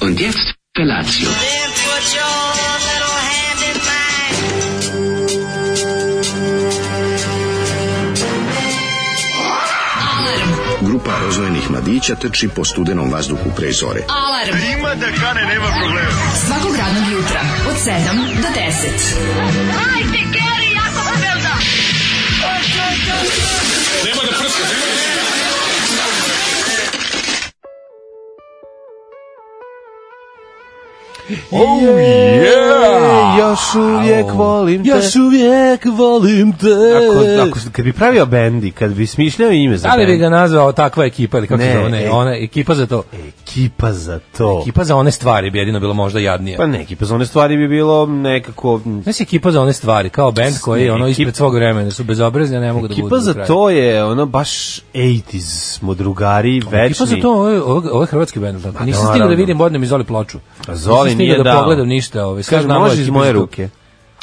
Und jetzt Felatio. Then put your little hand in mine. Grupa rozvojenih mladića trči po studenom vazduhu pre zore. Alarm. Ima da kane, nema problema. Svakog radnog jutra, od 7 do 10. Oh yeah! Još uvijek Au. volim te. Još uvijek volim te. Ako, ako, kad bi pravio bendi, kad bi smišljao ime za Da li bi bend, ga nazvao takva ekipa ili kako se Ne, zove? Ne, e- ona ekipa za to. ekipa za to. Ekipa za one stvari bi jedino bilo možda jadnije. Pa ne, ekipa za one stvari bi bilo nekako... m, Znaš ekipa za one stvari, kao band koji je ono Ne, ekip- ispred svog vremena, su bezobrazni, a ne mogu da budu Ekipa do za kraja. to je ono baš 80s smo drugari večni. Ekipa za to, ovo je, ovo je- ovo je hrvatski band, tako. Nisam stigao da Pa naravno. vidim, odnem mi Zoli ploču. A Zoli Nisam stigao nije da dao. pogledam ništa, ovaj, sad Kaže, znam ovo može je iz ekipa za moje to. ruke.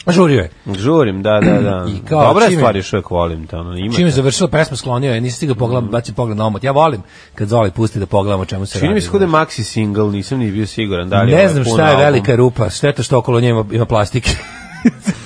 Žurio je. Žurim, da, da, da. I kao, Dobra je čim je- stvar, još uvijek volim te. Ono, ima Čim je te. završila pesmu sklonio je, nisam stigao Mm. pogledam, baci pogled na omot. Ja volim kad Zoli pusti da pogledam o čemu se Čini mi radi. se kod je maxi single, nisam ni bio siguran. Da li Ne ovaj znam pun šta je album. velika rupa, šteta što okolo nje ima, ima plastike.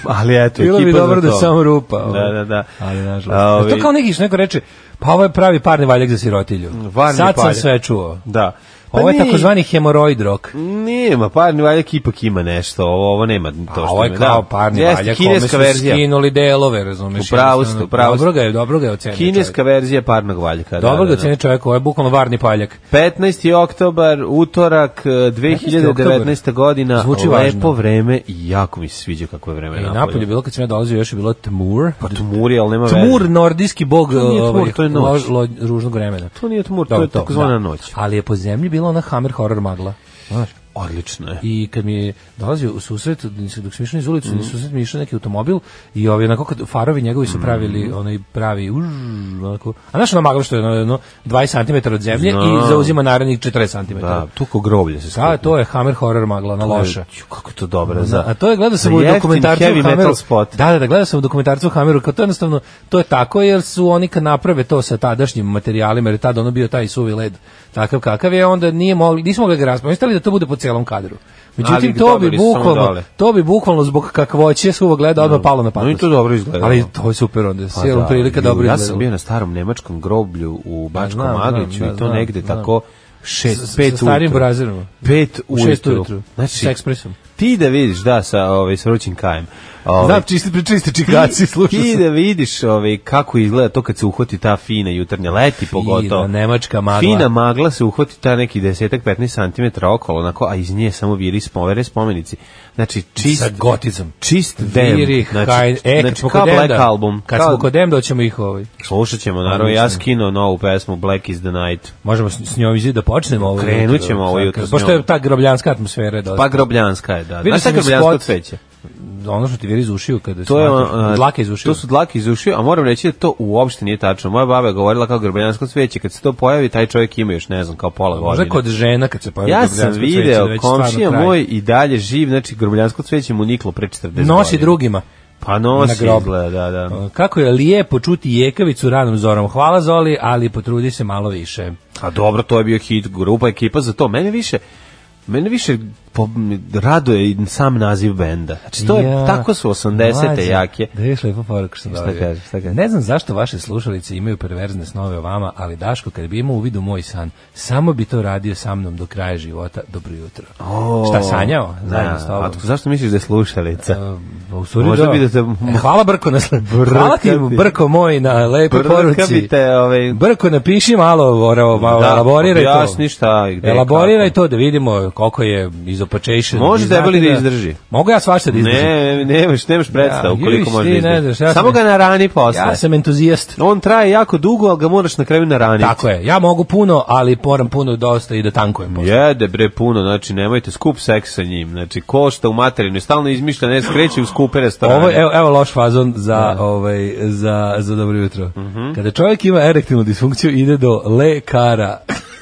Ali eto, Bilo bi ekipa za dobro da to. samo rupa. ovaj. Da, da, da. Ali A, nažalost. E, ovi- To kao neki što neko reče, pa ovo je pravi parni valjak za sirotilju. Varni Sad sam paljak. sve čuo. Da. Pa Ovo je nije- takozvani hemoroid rock. Nema, parni valjak ipak ima nešto, ovo, ovo nema to što A ovo je ima, kao da. parni Jeste, valjak, kome kineska su verzija. skinuli delove, razumeš? U pravu ste, jednostavno. u pravu Dobro ste. ga je, dobro ga je ocenio Kineska čovjek. verzija parnog valjka. Dobro da, ga da, da. ocenio čovjek, ovo je bukvalno varni paljak. 15. oktobar, utorak eh, 2019. godina, Zvuči lepo važno. vreme i jako mi se sviđa kako je vreme I E, napolje. napolje je bilo, kad sam ja dolazio, još je bilo Tmur. Pa tmuri, ali nema Tmur, veze. nordijski bog To nije tmur, ovaj, to je noć. lo- lo- ružnog vremena. To nije tmur, to Dobro, je takozvana da. noć. Ali je po zemlji bila ona Hammer horror magla. Znaš, Odlično je. i kad mi je dolazio u susret, dok sam išao iz Mhm. ulicu, u susret mi je išao neki automobil i ovaj, onako kad farovi njegovi Mhm. su pravili onaj pravi už, onako, a znaš ono magla što je ono, ono, 20 cm od zemlje Znam. i zauzima narednih 40 cm. Da, tu ko groblje se Da, skupi. to je Hammer horror ono magla, ona loša. Ću, Kako je to dobro. Za, A to je gledao sam za u jeftin dokumentarcu heavy o Hammeru. metal spot. Da, da, da, gledao sam u dokumentarcu o Hammeru, kao to je jednostavno to je tako jer su oni kad naprave to sa tadašnjim materijalima, jer je tad ono bio taj suvi led takav kakav je, onda nije mogli, nismo mogli ga raspraviti, Oni su hteli da to bude po celom kadru. Međutim, Ali to bi dobili su samo bukvalno, dole. to bi bukvalno zbog kakvoće suvog leda odmah palo na patos. No i to dobro izgleda. Ali to je super onda, s jelom prilika Pa ju, dobro Ja izgledalo. sam bio na starom nemačkom groblju u Bačkom Pa znam, Magliću znam, i da, to znam, negde znam. tako Sa- 6 sa 5 starim brazerima. 5 U šest ujutru. Znači, ujutru. S ekspresom. Ti da vidiš da sa ovaj sa vrućim kajem. Ovaj, Znam, čisti, prečisti čikaci, slušao ti sam. da vidiš ovaj kako izgleda to kad se uhvati ta fina jutarnja leti pogotovo. nemačka magla. Fina magla se uhvati ta neki 10-15 cm okolo, onako, a iz nje samo viri spovere spomenici. Znači, čist, sa goticom. čist dem. Viri, znači, Hain- e, kad znači, smo kao kod Black Enda, Album. Kad Kao- smo kod Enda, ćemo ih ovaj. Slušat ćemo, naravno, Odlično. ja skinuo novu pesmu Black is the Night. Možemo s, s njom izi da počnemo ovo. Krenut jutro. ćemo ovo jutro s Pošto je njom. ta grobljanska atmosfera. Da, Pa grobljanska je, da. Vidio Znaš šta sam je i grobljansko spot. cveće? Ono što ti vjeri iz ušiju kada Pa, To je, uh, a, dlake iz ušiju. To su dlake iz ušiju, a moram reći da to uopšte nije tačno. Moja baba je govorila kao grobljansko cveće, kad se to pojavi, taj čovjek ima još, ne znam, kao pola Možda godine. kod žena kad se pojavi Ja grobljansko sam cveće, da video, već stvarno komšija traje. moj i dalje živ, znači grobljansko cveće mu niklo pre 40 godina. nosi drugima. Pa nosi, na grob. izgleda, da, da. Uh, Kako je lijepo čuti jekavicu ranom zorom. Hvala Zoli, ali potrudi se malo više. A dobro, to je bio hit, grupa, ekipa za to. Mene više, mene više po, raduje i sam naziv benda. Znači, to je, Ja, tako su 80-te mlađe, jake. Da je lepo poruku što Šta dobio. kažeš, šta kažeš? Ne znam zašto vaše slušalice imaju perverzne snove o vama, ali Daško, kad bi imao u vidu moj san, samo bi to radio sa mnom do kraja života. Dobro jutro. Šta sanjao? Zajedno s tobom. A tko- zašto misliš da je slušalica? Pa, u stvari Možda da. bi da te- E, hvala Brko na sl- Brka Hvala ti bi- Brko moj na lepoj Brka poruci. bi te, ovaj- Brko napiši malo, ora, malo Da, elaboriraj to. objasni šta i gde, Elaboriraj kako. to da vidimo koliko je izopačation. Može Vi znate debeli da izdrži. Mogu ja svašta da izdržim. Ne, nemaš, nemaš predstavu Ja, koliko vidiš, može ti izdržati. ne znaš, ja sam- Samo ga narani posle. Ja sam entuzijast. On traje jako dugo, ali ga moraš na kraju naraniti. Tako je. Ja mogu puno, ali moram puno dosta i da tankujem. posle. Jede bre puno, znači nemojte skup seks sa njim, znači košta u materinu, stalno izmišlja, ne skreće u skupe restorane. Ovo je, evo, evo loš fazon za, ovaj, za, za dobro Mhm. jutro. Kada čovjek ima erektilnu disfunkciju, ide do lekara.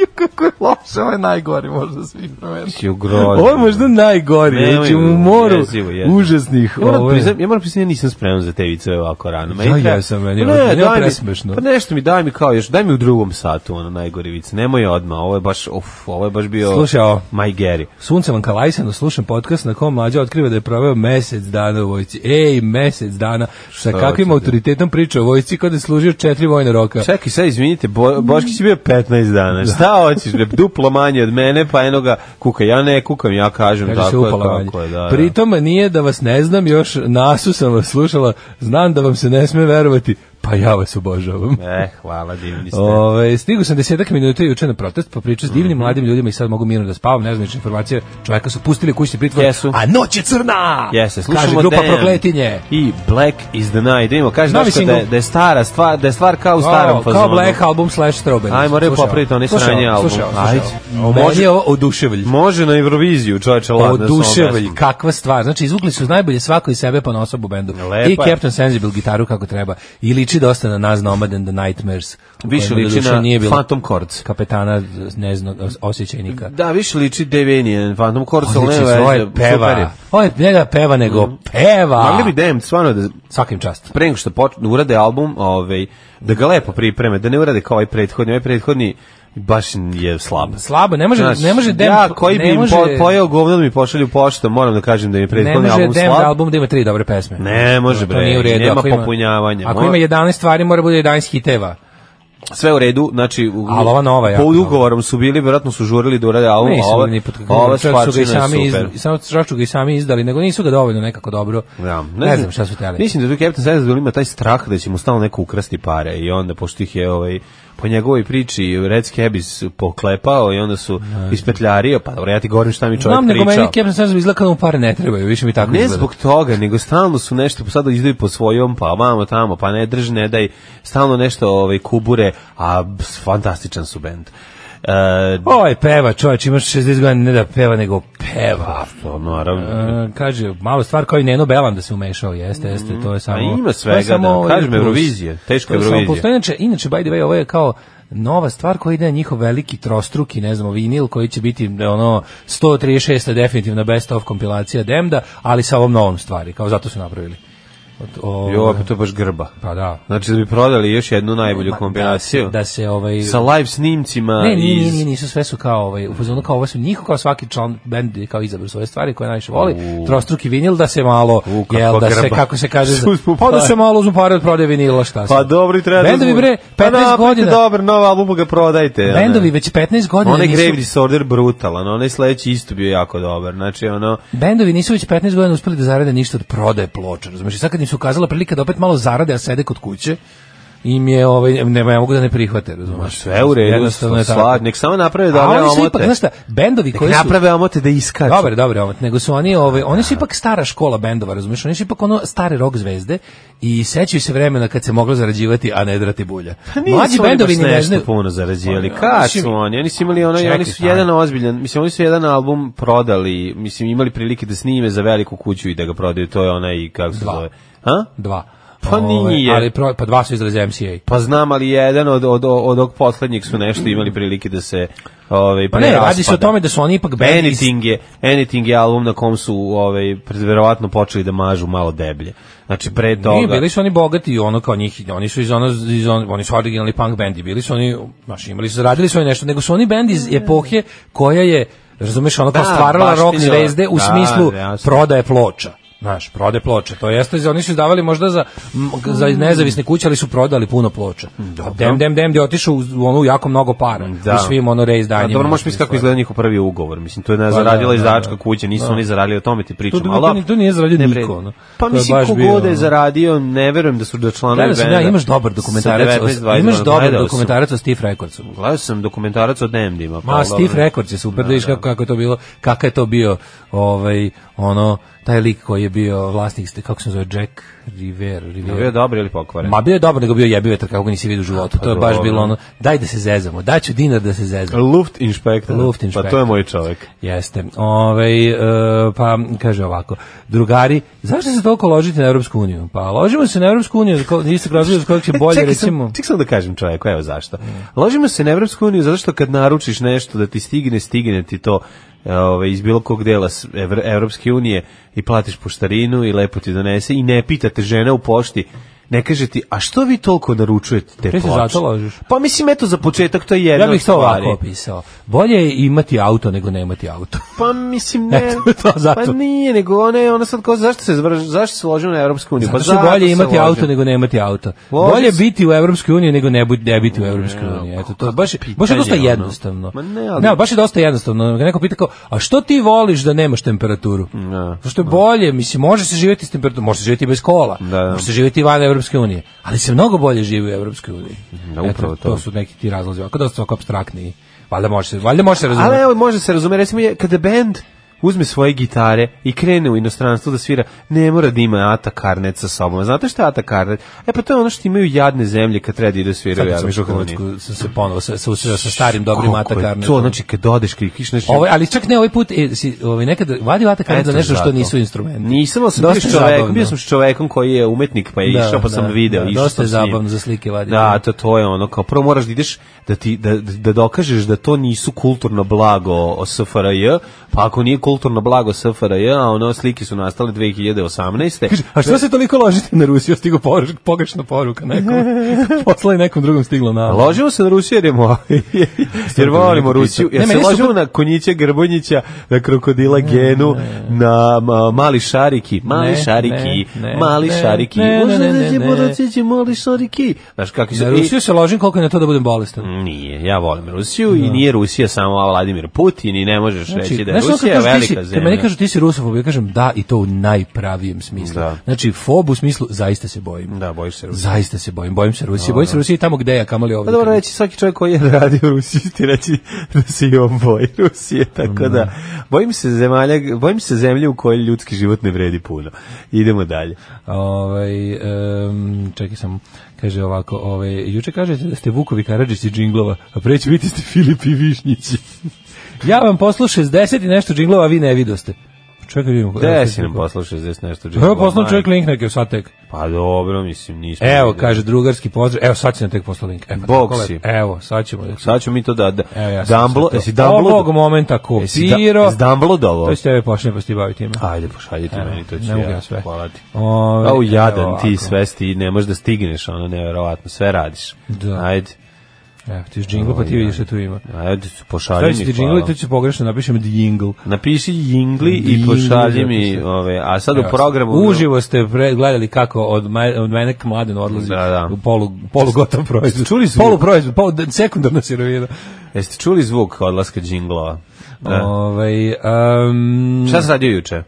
Ju, kako je loše, ovo je najgori možda svih vremena. Ju, grozno. Ovo je možda najgori, Nemoj, znači u moru jezivo, jezivo. užasnih. Ja moram ovo je- priznam, ja moram priznam, ja nisam spreman za te viceve ovako rano. Meni Ja treba- jesam, meni Pa je- meni je daj mi- presmešno. Pa nešto mi, daj mi kao još, daj mi u drugom satu, ono, najgori vice. Nemoj odmah, ovo je baš, uf, ovo je baš bio... Slušaj ovo. My Gary. Sunce vam kalajsano, slušam podcast na kom mlađa otkriva da je proveo mesec dana u vojci. Ej, mesec dana. Sa kakvim hoćete? autoritetom priča o vojci kada je služio četiri vojna roka. Čekaj, sad izvinite, Bo, Boškić je bio 15 dana. Šta hoćeš, bre, duplo manje od mene, pa eno ga kuka. Ja ne kukam, ja kažem Kaže se tako je, upala kako manje. je, da, da. Pritom nije da vas ne znam, još nasu sam vas slušala, znam da vam se ne sme verovati, pa ja vas obožavam. E, hvala, divni ste. Ove, stigu sam desetak minuta juče na protest, popričao s Mhm. divnim mladim ljudima i sad mogu mirno da spavam, ne znam niče informacije, čoveka su pustili u kućni pritvor, Jesu. a noć je crna! Jeste, slušamo Kaže grupa Damn prokletinje. I Black is the Night. Da Vidimo, kaže Novi Daško da, je- singl. da je stara stvar, da je stvar kao u starom Kao- fazonu. Kao Black album slash Strobe. Ajmo, moraju popraviti onaj sranji album. Slušaj, ovo, Ajde. slušaj. ovo. Meni Može- je ovo oduševlj. Može na Euroviziju, čoveče, ladno. Oduševlj, kakva stvar. Znači, izvukli su najbolje svako iz sebe pa na osobu bendu. Lepa I je. Captain Sensible gitaru kako treba. I liči dosta na nas Nomad and the Nightmares. u Više kojima liči doduše na nije bilo Phantom Chords. Kapetana, ne znam, osjećajnika. Da, više liči Devenian, Phantom Chords, ali Odlično, ne ovo veze, je peva. Pa. Ovo je njega peva nego peva. Mhm. Pa. Mogli bi Dem stvarno da Svakim čast. pre nego što počne urade album, ovaj da ga lepo pripreme, da ne urade kao ovaj prethodni, ovaj prethodni baš je slab. Slabo, ne može, Znaš, ne može Dem... ja koji bi ne im može, po, pojeo govno da mi pošalju poštom, moram da kažem da mi je Ne prethodni može album Dem da slab. album da ima tri dobre pesme. Ne može To nije u bre, redu. nema Ako ima- popunjavanja. Ako ima 11 stvari, mora bude 11 hiteva. sve u redu, znači u, Ali ova nova je po jako ugovorom su bili, verovatno su žurili da urade album, a Nisu ova, ni pod ova čak su ga i stvarčina je sami iz, super. samo čak su ga i sami izdali, nego nisu ga dovoljno nekako dobro. Da, ne, znam šta su hteli. Mislim da tu Captain Sensible ima taj strah da će mu stalno neko ukrasti pare i onda pošto ih je ovaj po njegovoj priči Red Scabies poklepao i onda su ispetljario, pa dobro, ja ti govorim šta mi čovjek Znam, nego pričao. meni Captain Sensible izgleda kao da mu pare ne trebaju, više mi tako Ne izgleda. zbog toga, nego stalno su nešto sada izdaju po svojom, pa vamo tamo, pa ne drži, ne daj, stalno nešto ovaj, kubure, a s- fantastičan su bend. E, Ovaj peva, čovječ, imaš 60 godina, ne da peva, nego peva. pa, to naravno. E, kaže, malo stvar kao i Neno Belan da se umešao, jeste, jeste, to je samo... Mm, A ima to je svega, samo da, ovaj kažem, plus. Eurovizije, teško To je samo Eurovizije. plus. To je Inače, inače, by the way, ovo je kao nova stvar koja ide na njihov veliki trostruki, ne znamo, vinil koji će biti e, ono 136. definitivno best of kompilacija Demda, ali sa ovom novom stvari, kao zato su napravili. Od- o- Jo, pa to je baš grba. pa da. Znači da bi prodali još jednu najbolju Ma, kombinaciju. Da se, da se ovaj... sa live snimcima Ne, nije, iz... nije, nisu sve su kao ovaj, u fazonu kao ovo su njih kao svaki član bend je kao izabrao svoje stvari koje najviše voli. Trostruki vinil da se malo U, kako jel da se grba. kako se kaže za- Uzmu pa da pare. se malo uzmu pare od prodaje vinila šta Pa dobro, i treba Znači, Bendovi uzmu- bre Pa 15 napravite godina. dobar, nov album ga prodajte. ono. Bendovi već 15 godina Onaj Grave nisu, Disorder brutalan, onaj sledeći isto bio jako dobar. Znači, ono, bendovi nisu već 15 godina uspeli da zarade ništa od prodaje ploča. Razumeš, I sad kad im se ukazala prilika da opet malo zarade, a sede kod kuće, im je ovaj ne, ne mogu da ne prihvate, razumeš. sve u redu, pa Jednostavno je tako. svar, nek samo naprave A dobre oni su omote. ipak, znaš šta, bendovi nek koji su... naprave omote da iskaču. Dobar, dobar, omot, nego su oni, ovaj, oni su ipak stara škola bendova, razumiješ, oni su ipak ono stare rock zvezde i sećaju se vremena kad se moglo zarađivati, a ne drati bulja. Pa Nisu Mlađi oni bendovi baš ni ne nešto znaju. puno zarađivali. Pa, Kad mislim- su oni? Oni su imali ono, Čekaj, oni su stani. jedan ozbiljan, mislim, oni su jedan album prodali, mislim, imali prilike da snime za veliku kuću i da ga prodaju, to je onaj, kako se Dva. zove. Ha? Dva. Pa Ovaj, nije. Ali pro, pa dva su izdali MCA. Pa znam, ali jedan od, od, od ovog poslednjeg su nešto imali prilike da se ovaj, Pa ne, radi preraspada. se o tome da su oni ipak bend iz Anything je, Anything je album na kom su ovaj, pred- verovatno počeli da mažu malo deblje. Znači, pre toga... Nije, bili su oni bogati i ono kao njih, oni su iz ono, iz ono oni su originalni punk bendi, bili su oni, znači imali su, radili su oni nešto, nego su oni bendi iz epohe koja je, razumeš, ono kao Da, stvarala rock baštinila. zvezde u Da, smislu jasno. prodaje ploča. Znaš, prode ploče. To jeste, za- oni su izdavali možda za, m, za nezavisne kuće, ali su prodali puno ploča. Dem, dem, dem, gdje otišu u, u ono jako mnogo para. Da. U svim ono reizdanjima. A dobro, možeš misliti kako izgleda njihov prvi ugovor. Mislim, to je ne, zaradila Pa da, izdavačka kuća, nisu oni zaradili, o tome ti To, pričam. to, ali to, to nije zaradio ne vredi. niko. Ono. Pa To je mislim, baš bio, kogod je ono. zaradio, ne verujem da su da članovi Gledao benda. sam ja, imaš dobar sa dokumentarac, 19, 20 o- imaš godina, dobar gledao sam. dokumentarac o Steve Recordsu. Gledao sam dokumentarac pa o Demdima. Ma, Steve Records je super, da, vidiš kako, kako je to bilo, kakav je to bio, ovaj, ono, taj lik koji je bio vlasnik, ste- kako se zove, Jack River, River. Bio je dobro ili pokvaren? Ma bio je dobar, nego bio jebi vetar kako ga nisi vidio u životu. Pa to je baš dobro. bilo ono, daj da se zezamo, daću dinar da se zezamo. Luft inspektor. Luft inspektor. Pa to je moj čovjek. Jeste. Ovaj e, pa kaže ovako, drugari, zašto se toliko ložite na Evropsku uniju? Pa ložimo se na Evropsku uniju, za ko- isto razlog za kojeg će bolje, Čekaj sam- recimo. Mm. Čekaj sam da kažem čovjeku, evo zašto. Ložimo se na Evropsku uniju zato što kad naručiš nešto da ti stigne, stigne ti to e, ovaj, iz bilo kog dela s- Evr- Evropske unije i platiš poštarinu i lepo ti donese i ne pitate žena u pošti ne kaže ti, a što vi toliko naručujete te Ti se ploče? zato ložiš? Pa mislim, eto, za početak to je jedna Ja bih od to stvari. ovako opisao. Bolje je imati auto nego nemati auto. Pa mislim, ne. Eto, to zato. Pa nije, nego ona je, ona sad kao, zašto se, zvrž- zašto se ložimo na Evropsku uniju? Pa pa što je bolje se imati auto ložimo. nego nemati auto. Loži bolje se. biti u Evropskoj uniji nego ne, bu- ne biti u Evropskoj uniji. Eto, to je baš, baš je pa pitanje, dosta ono. jednostavno. Ma ne, ali- baš je dosta jednostavno. Ga neko pita kao, a što ti voliš da nemaš temperaturu? Ne. Zašto je bolje, mislim, može se živjeti s temperaturom, može se živjeti i bez kola, Da, da. može se živjeti i van Evropske unije, ali se mnogo bolje živi u Evropskoj uniji. Da, Eto, upravo to. to. su neki ti razlozi, ovako dosta ovako abstraktni. Valjda može se, valjda može se razumjeti. Ali evo, može se razume, recimo, je, kada band uzme svoje gitare i krene u inostranstvo da svira, ne mora da ima Ata Karnet sa sobom. Znate šta je Ata Karnet? E pa to je ono što imaju jadne zemlje kad treba da idu Sad sviraju u kad sam išao u Evropsku uniju. Hrvatsku, sam se ponovo sa, sa, susreo sa starim dobrim Kako je atakarnim. To, znači, kad odeš, krikiš, znači... Ovo, ali čak ne ovaj put, e, si, ovaj, nekad vadi vata karnet za Eto, nešto što zato. nisu instrumenti. Nisam, ali sam Dosta bio s je čovekom, zabavno. bio sam s čovekom koji je umetnik, pa je Da, išao, pa sam da, video. da, išao dosta je sam s njim. zabavno za slike vadi. Da, to, to je ono, kao prvo moraš da ideš, da, ti, da, da dokažeš da to nisu kulturno blago o SFRJ, pa ako nije kulturno blago SFRJ, a ono, slike su nastale 2018. Kaže, a što se toliko ložite na Rusiju? Stigo poruš- pogrešna poruka nekom. Poslali nekom drugom stiglo na... Ložimo se na Rusiju jer, je mo- jer volimo Rusiju. Jer Ne, se meni je ložimo na konjića Grbonjića, na krokodila Genu, na ma- mali šariki. Mali Ne, šariki, ne, ne, mali ne, šariki. ne, ne, Možda ne, da će ne, Borussia će mali šariki. Znaš kakvi su... Na i- Rusiju se ložim koliko je na to da budem bolestan. Nije, ja volim Rusiju i nije Rusija samo Vladimir Putin i ne možeš reći da je znaš ono kad Rusija kažu ti velika si- Kad meni zemlja. kažu ti si rusofob, ja kažem da i to u najpravijem smislu. Da. Znači, fob u smislu zaista se bojim. Da, bojiš se Rusije. Zaista se bojim, bojim se Rusije, bojim se Rusije i tamo gde ja, kamoli ovdje. Pa dobro reći, svaki čovjek koji je radio u Rusiji ti reći da se i on boji Rusije, tako da bojim se, zemalja, bojim se zemlje u kojoj ljudski život ne vredi puno. Idemo dalje. Ovaj em, čekaj sam kaže ovako, ovaj juče kažete da ste Vukovi Karadžići džinglova, a pre će biti ste Filip i Višnjići. ja vam poslu 60 i nešto džinglova, a vi ne vidoste. Čekaj, vidimo. Gde si nam Ovaj. poslao 60 nešto džingla? Evo poslao čovjek link neki, sad tek. Pa dobro, mislim, nismo... Evo, videli. kaže drugarski pozdrav. Evo, sad će nam tek poslao link. Evo, Bog tako lepo. si. Evo, sad ćemo. Sad ćemo mi to da... da Evo, ja sam Dumblo, sad to- jesi Dumblo... Ovog momenta Jesi da, kopirao. jesi Dumblo dovo? To ćete joj počne pa se ti bavi time. Ajde, pošalji ti Evo, meni, to ću ne mogu ja ja. sve. Hvala ti. Ove, Au, evo jadan ti, ovako. sve sti, ne možeš da stigneš, ono, nevjerovatno, sve radiš. Da. Ajde, Evo, ti džingl pa ti Oj, vidiš što tu ima. ajde, pošalji mi, Stavit ću ti džingl i hvala. to će pogrešno napišem djingl. Napiši jingli i Jingli, pošalji mi zapisno. ove, a sad u Evo, programu Uživo ste pre- gledali kako od, maj, od mene k mladen odlazi Da, da. u polu, polu gotov proizvod. Čuli smo- Polu proizvod, polu, da- sekundarna sirovina. Jeste čuli zvuk odlaska džinglova? Da. Ovaj, um, Šta si radio juče?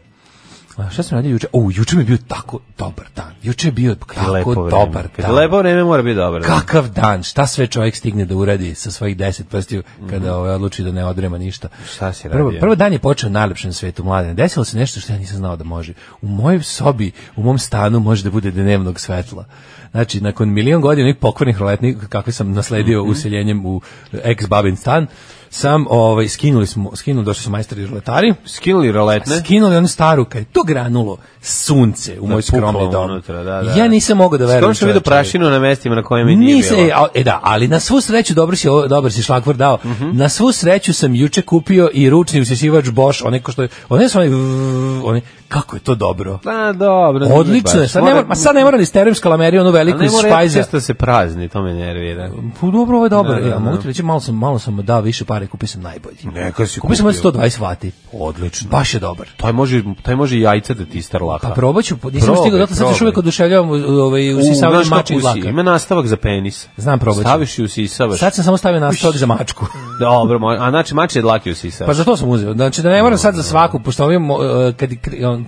a šta sam radio juče? O, juče mi je bio tako dobar dan. Juče je bio Kad je tako lepo vreme. dobar Kad je dan. lepo vreme mora biti dobro. Kakav dan, šta sve čovjek stigne da uradi sa svojih deset prstiju kada ovaj, odluči da ne odrema ništa. Mhm. Šta si Prvo, radio? prvo dan je počeo najlepšem svetu mladene. Desilo se nešto što ja nisam znao da može. U mojoj sobi, u mom stanu može da bude dnevnog svetla. Znači, nakon milion godina onih pokvarnih roletnih kakve sam nasledio Mhm. useljenjem u ex-babin stan, sam ovaj, skinuli smo, skinuli, došli su majstori roletari, Skinuli roletne? skinuli onu staru kad je to granulo sunce u moj skromni puklo dom. unutra, da, da. Ja nisam mogao da verujem. Skoro sam vidio čoveče. prašinu na mestima na kojima i nije Nisam, e, bilo. a- e, da, ali na svu sreću, dobro si, ovo- dobar si šlagvor dao, na svu sreću sam juče kupio i ručni usisivač Bosch, onaj ko što je, onaj su onaj, vrrr, onaj, kako je to dobro. Pa dobro. nije Odlično je, baš. sad ne mora, ma sad ne mora ni sterem skalameriju, onu Ali veliku ne iz mora jako špajza. često da se prazni, to me nervira. Pa dobro, ovo je dobro. Da, da, ja, mogu da. ti reći, malo sam, malo sam dao više pare, kupio sam najbolji. Neka si kupio sam kupio. 120 vati. Odlično. Baš je dobar. Taj Pa može, taj može i jajca da ti istarlaka. Pa probat ću, po- nisam Probaj, stigao, zato sad još probaj. uvijek oduševljavam u- ovaj, U, usisavanje znaš kako mača i si, dlaka. Ima nastavak za penis. Znam, probat ću. Staviš i usisavaš. Sad sam samo stavio nastavak za mačku. Dobro, moj- a znači mače je dlake usisavaš. Pa za to sam uzeo. Znači da ne moram sad za svaku, pošto ovi, mo- e, kad,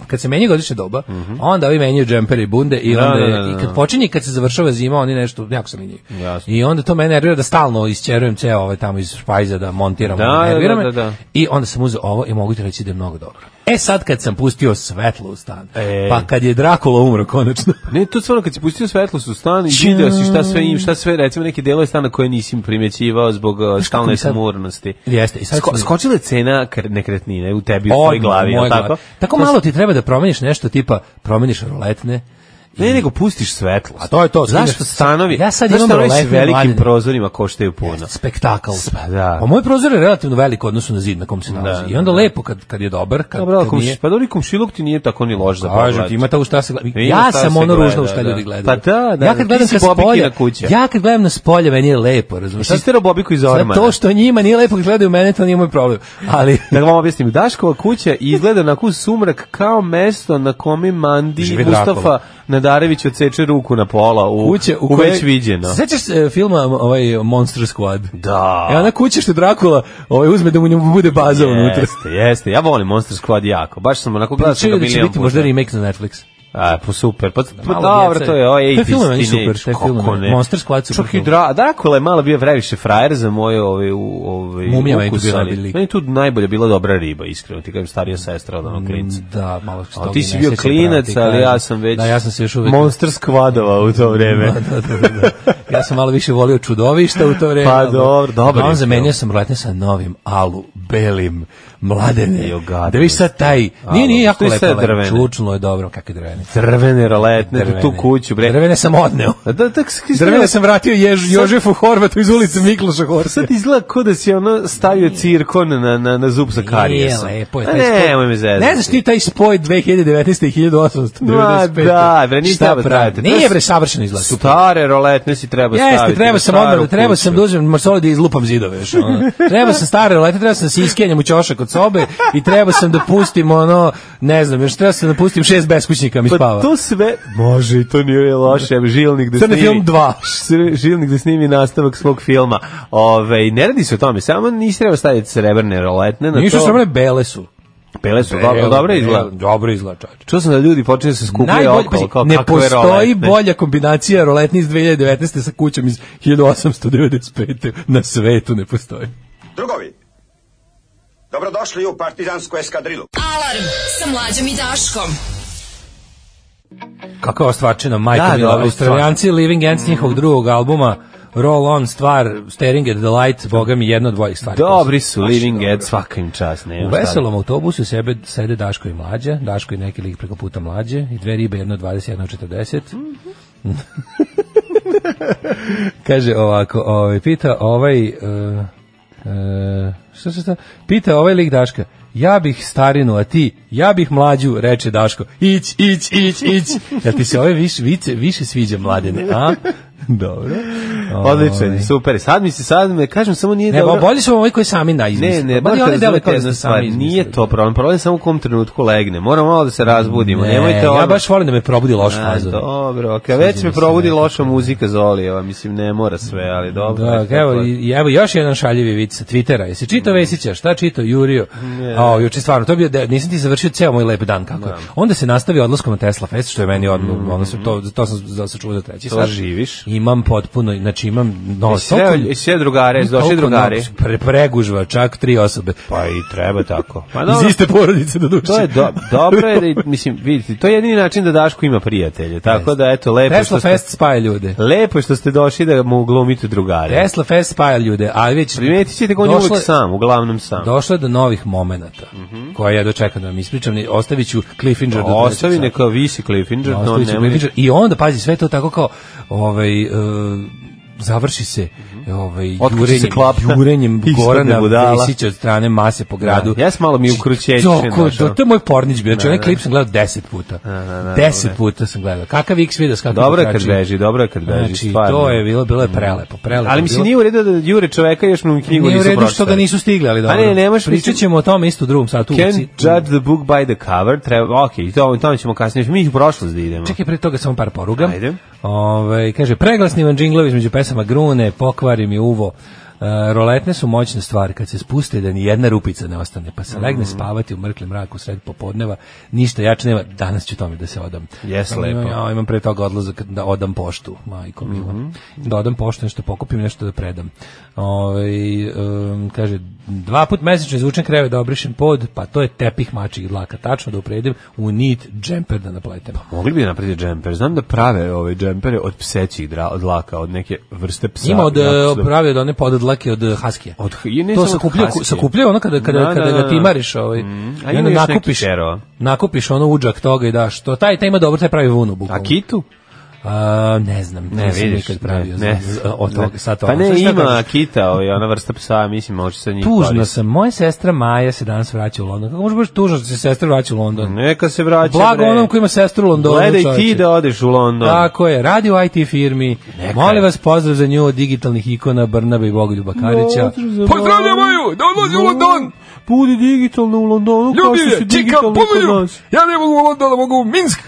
kad se menja godišnja doba, onda ovi menjaju džempere i bunde i Mhm. Da, onda je- da, da, da. i kad počinje i kad se završava zima, oni nešto jako se menjaju. Jasno. I onda to mene nervira da stalno isćerujem ceo ovaj tamo iz špajza da montiram, Da, ono, da, nervira da, da, me. da. I onda sam uzeo ovo i mogu ti reći da je mnogo dobro. E sad kad sam pustio svetlo u stan, E. pa kad je Drakula umro konačno, Ne, to je stvarno kad si pustio svetlost u stan i vidio si šta sve im, šta sve, recimo neke delove stana koje nisi primećivao zbog uh, stalne mi sad- samornosti. Jeste, i sad Sko, sam- skočila je cena kr- nekretnine u tebi u tvojoj Odmah, glavi, u je mojoj li tako? glavi. Tako malo ti treba da promeniš nešto tipa promeniš roletne. Ne, nego pustiš svetlost. A to je to, Zašto skineš- stanovi? Ja sad zašto imam stanovi s roletne velikim mladine. prozorima koštaju puno. spektakl. Pa da. A moj prozor je relativno velik u odnosu na zid na kom se nalazi. Da, I onda da. lepo kad, kad je dobar, kad, Dobro, ali kad nije. komšiluk, pa dobro, komšiluk ti nije tako ni loš za pogled. Kažem ti, ima ta u šta se gleda. Ima Ja šta sam se ono gleda, ružno u šta da. ljudi gledaju. Pa da, da, Ja da, kad ti gledam si ka Bobikina spolja, kuća. ja kad gledam na spolje, meni je lepo, razumiješ? Jesi sterao Bobiku iz Ormana? To što njima nije lepo kad gledaju mene, to nije moj problem. Ali, Da vam objasnim, Daškova kuća izgleda na kus sumrak kao mesto na kome Mandi Živi Drakula. Mustafa Nadarević odseče ruku na pola u, kuće u, u kojoj- već viđeno. Sećaš se filma ovaj Monster Squad? Da. E ona kuća što Drakula ovaj, uzme da mu njemu bude baza unutra. Jeste, jeste. Ja volim Monster Squad jako. Baš sam onako gledao sam ga Pričaju da će milijon biti puta. možda remake na Netflix. A, pa super. Pa, pa Malo dobro, djece. to je ovaj Te 80s filmove meni super, teenage, te kako filmove. ne. Monster Squad super Čak i film. Dra Dracula je malo bio previše frajer za moje ove, u- ove Mumija meni tu ukuse, bila ali najbolji. Meni tu najbolje bila dobra riba, iskreno. Ti kažem starija sestra od onog Mm. klinca. Da, malo što A ti si bio klinac, ali ja sam već... Da, ja sam se još uvek... Monster skvadova u to vreme. da, da, da, da. Ja sam malo više volio čudovišta u to vreme. Pa ali- dobro, dobar je Uglavnom, film. zamenio sam roletne sa novim alu, belim, mladene. Jo, gadno. Da viš sad taj... Alu. Nije, nije jako Što je lepo, sve lepo. drvene? Čučno je dobro, kakve drvene. Drvene roletne, tu- tu kuću, bre. Drvene sam odneo. Da, da, tak, sk- Drvene sam vratio Jež, Jožefu Horvatu iz ulice Mikloša Horsa. Sad izgleda kao da si ono stavio cirkon na, na, na zub sa karijesom. Nije, lepo je. A Taj spoj- Ne, moj me zezati. Ne znaš ti taj spoj 2019. i 1895. Ma da, bre, nije Šta treba pravi? staviti. To Nije je- bre savršeno izgleda. super. Stare roletne si treba staviti. Jeste, treba na sam odmah, staru da- treba sam kuću. da uzmem marsole da izlupam zidove još. Ono. Treba sam stare rolete, treba sam da se iskenjam u ćošak od sobe i treba sam da pustim ono, ne znam, još treba sam da pustim šest beskućnika mi spava. Pa to sve... Može, i to nije loše. evo, Žilnik da Crni snimi... film dva. Sr- Žilnik da snimi nastavak svog filma. Ove, ne radi se o tome, samo nisi treba staviti srebrne roletne. Na Ništa to... što mene bele su. Bele su, dobro, Bele, dobro bele, izgleda. Dobro izgleda, čovječe. Čuo sam da ljudi počinju da se skupljaju Najbolje, okolo, pazi, kao ne kakve postoji roletne. bolja kombinacija roletni iz 2019. sa kućom iz 1895. Na svetu ne postoji. Drugovi, dobrodošli u partizansku eskadrilu. Alarm sa mlađom i Daškom. Kakva ostvačena, majka Da, Mhm. da, mila, dobro, Australijanci Living Ends njihovog drugog albuma Roll On stvar, Staring at the Light, boga mi jedno od dvojih stvari. Dobri su Living Ed, svaka im čast. Ne, U veselom autobusu sebe sede Daško i mlađa, Daško i neki lik preko puta mlađe i dve ribe, jedno 20, jedno 40. Kaže ovako, ovaj, pita ovaj... Uh, uh, šta, šta, šta? Pita ovaj lik Daška, ja bih starinu, a ti, ja bih mlađu, reče Daško. Ić, ić, ić, ić. Jel ti se ove više, vice, više sviđa mladene, a? Dobro. Odličan, Ovaj. je, super. Sad mi se, sad me, kažem, samo nije Ne, dobro. bolje su ovi koji sami naizmislili. Ne, ne, Mada i morate oni dele razumeti kao da jednu su stvar, sami Nije izmislili. to problem, problem je samo u kom trenutku legne. Moramo malo da se razbudimo. Ne, Nemojte ja ono- baš volim da me probudi loš A, fazon. Dobro, okay. već Sviđa me mi se probudi nekako. loša muzika Zolijeva, mislim ne mora sve, ali dobro. Da, eto, evo, to je. Mm. i- i evo još jedan šaljivi vic sa Twittera. Jesi čitao Vesića? Šta čitao Jurio? A, juče stvarno, to je bio, de- nisam ti završio ceo moj lep dan kako. je. Onda se nastavi odlaskom na Tesla Fest, što je meni odmah, ono se to to sam za sačuvao za treći Mm-hmm. To sat. živiš. Imam potpuno, znači imam no, I sve, i sve drugare, došli drugari. Pre, pregužva, čak tri osobe. Pa i treba tako. Pa Iz dobro, iste porodice do duše. to je do, dobro je da, i- mislim, vidite, to je jedini način da Daško ima prijatelje. Tako da eto lepo Tesla što e, ste Fest spaja ljude. lepo je što ste došli da mu glumite drugare. Tesla Fest spaja ljude, a već Primetit ćete ga on je došlo uvek je- sam, uglavnom sam. Došlo je do novih momenata, Mhm. koje ja dočekam da vam ispričam, ne- ostavit ću Cliffinger do Ostavi 12 neka visi Cliffinger, sata. to Ostavit ću nemoj. Cliffinger. I onda, pazi, sve to tako kao, ovaj, e, završi se ovaj, Otkači Mhm. se jurenjem, klapka. jurenjem Ispadne Gorana budala. Vesića od strane mase po gradu. Da, ja sam malo mi ono. ukrućećen Doko, našao. do, to je moj pornić bio, znači onaj klip sam gledao deset puta. deset puta sam gledao. Kakav X video, kakav Dobro je kad potrači. beži, dobro je kad beži, Znači, stvarno. Mhm. to je bilo, bilo je prelepo, prelepo. Ali je mi se bilo. nije u redu da jure čoveka još mu knjigu Nije u nisu redu što pročitali. ga nisu stigli, ali dobro. A ne, ne možeš Pričat mislim- ćemo o tome isto u drugom satu. Can judge the book by the cover. Treba, ok, to, tome ćemo kasnije. Mi ih u prošlost da idemo. Čekaj, pre toga samo par poruga. Ovaj, Ajde. Ove, kaže, preglasni vam džinglovi između pesama Grune, pokvari mi uvo, E, roletne su moćne stvari kad se spuste da ni jedna rupica ne ostane pa se Mm. legne spavati u mrklim mraku sred popodneva ništa jače nema danas ću tome da se odam Jes, Imam- lepo. Mhm. ja imam pre toga odlazak da odam poštu majko mm da odam poštu nešto pokupim nešto da predam Ovaj, em, kaže dva put mesečno izvučem kreve da obrišem pod pa to je tepih mačih dlaka tačno da upredim u nit džemper da napletem Mogli bi napraviti džemper. Znam da prave ove džempere od psećih dra- od laka, od neke vrste psa. Ima od eh, Jako su- pravi od one podadlake od haskija. Od h- i ne to samo od sakupljaju, haskija. sakupljaju ono kada kada Da, kada da, da, ga da. timariš ovaj. Mm. A ima još nekih terova. Nakupiš ono udžak toga i daš to. Taj taj ima dobro, taj pravi vunu bukvalno. A kitu? A, ne znam, ne, znam nikad pravio. ne, za- za- od toga, ne. sa toga. Pa ne, Sad šta ima kažeš? kita, ovaj, ona vrsta psa, mislim, može se njih Tužno koristiti. sam. Moja sestra Maja se danas vraća u London. Kako može baš tužno što se sestra vraća u London? Neka se vraća, Blago bre. onom ko ima sestru u Londonu. Gledaj ti čoveče. da odeš u London. Tako je, radi u IT firmi. Neka je. Molim vas pozdrav za nju od digitalnih ikona Brnabe i Bogoljuba Karića. Pozdravljamo ju, da odlazi u London! Budi digitalno u Londonu, kao što si digitalno kod nas. ja ne mogu u London, mogu u Minsk.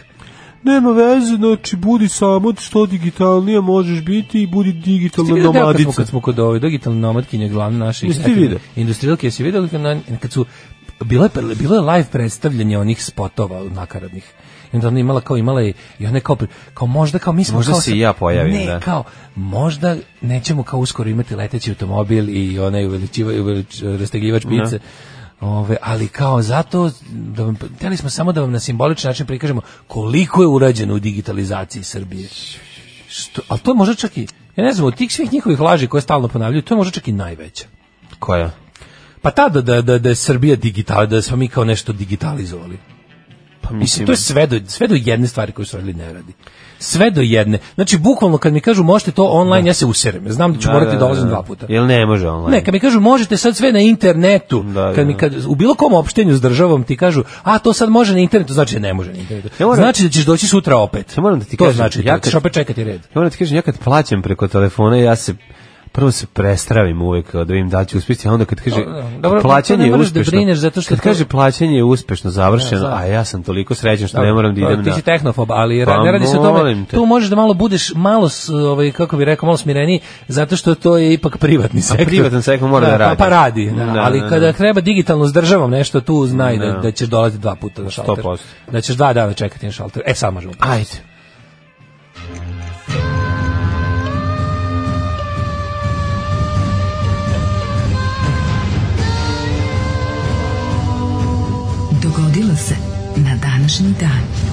Nema veze, znači, budi samo što digitalnije možeš biti i budi digitalna Kad smo, nomadica. kad smo kod ove digitalne nomadkinje glavne naše Jesi ti neke vidio? industrijalke, jesi vidio kad, na, kad su bilo je, bilo je live predstavljanje onih spotova nakaradnih i onda ona imala kao imala je i ona je kao, pri- kao možda kao mi smo Možda kao se sad- i ja pojavim, ne, da. kao možda nećemo kao uskoro imati leteći automobil i onaj uveličiva, uvelič, rastegljivač pice Ove, ali kao zato da vam, hteli smo samo da vam na simboličan način prikažemo koliko je urađeno u digitalizaciji Srbije što, ali to je možda čak i, ja ne znam, od tih svih njihovih laži koje stalno ponavljaju, to je možda čak i najveća. Koja? Pa tada da, da, da je Srbija digital, da smo mi kao nešto digitalizovali. Pa Mislim, to je sve do, sve do jedne stvari koju su radili ne radi. Sve do jedne. Znači, bukvalno kad mi kažu možete to online, ja se userem. Ja Znam da ću morati da, dolazim dva puta. Jel ne može online? Ne, kad mi kažu možete sad sve na internetu, Da, kad mi da. kad u bilo kom opštenju s državom ti kažu, a to sad može na internetu, znači da ne može na internetu. Ja moram- Znači da ćeš doći sutra opet. Ja moram da ti to kažem, znači, ja ja ćeš kad- opet čekati red. Ja moram ti kažem, ja kad plaćam preko telefona, ja se prvo se prestravim uvek da vidim da li ću uspjeti, a onda kad kaže Dobro, kad dobro, to plaćanje ne je moraš da uspješno, brineš zato što kad to- kaže plaćanje je uspješno završeno, znam. a ja sam toliko srećan što ne moram da idem Ti na... si tehnofob, ali Pa ra- ne radi se o molim tome. te. Tu možeš da malo budeš malo, s- ovaj, kako bi rekao, malo smireniji, zato što to je ipak privatni sektor. privatan sektor mora da pa- radi. Pa, radi, da, Da, ali da, kada da. treba digitalno s državom nešto, tu znaj da, Da. da ćeš dolaziti dva puta na šalter. 100%. Da ćeš dva dana čekati na šalter. E, sad možemo. Ajde. Dogodilo se na današnji dan.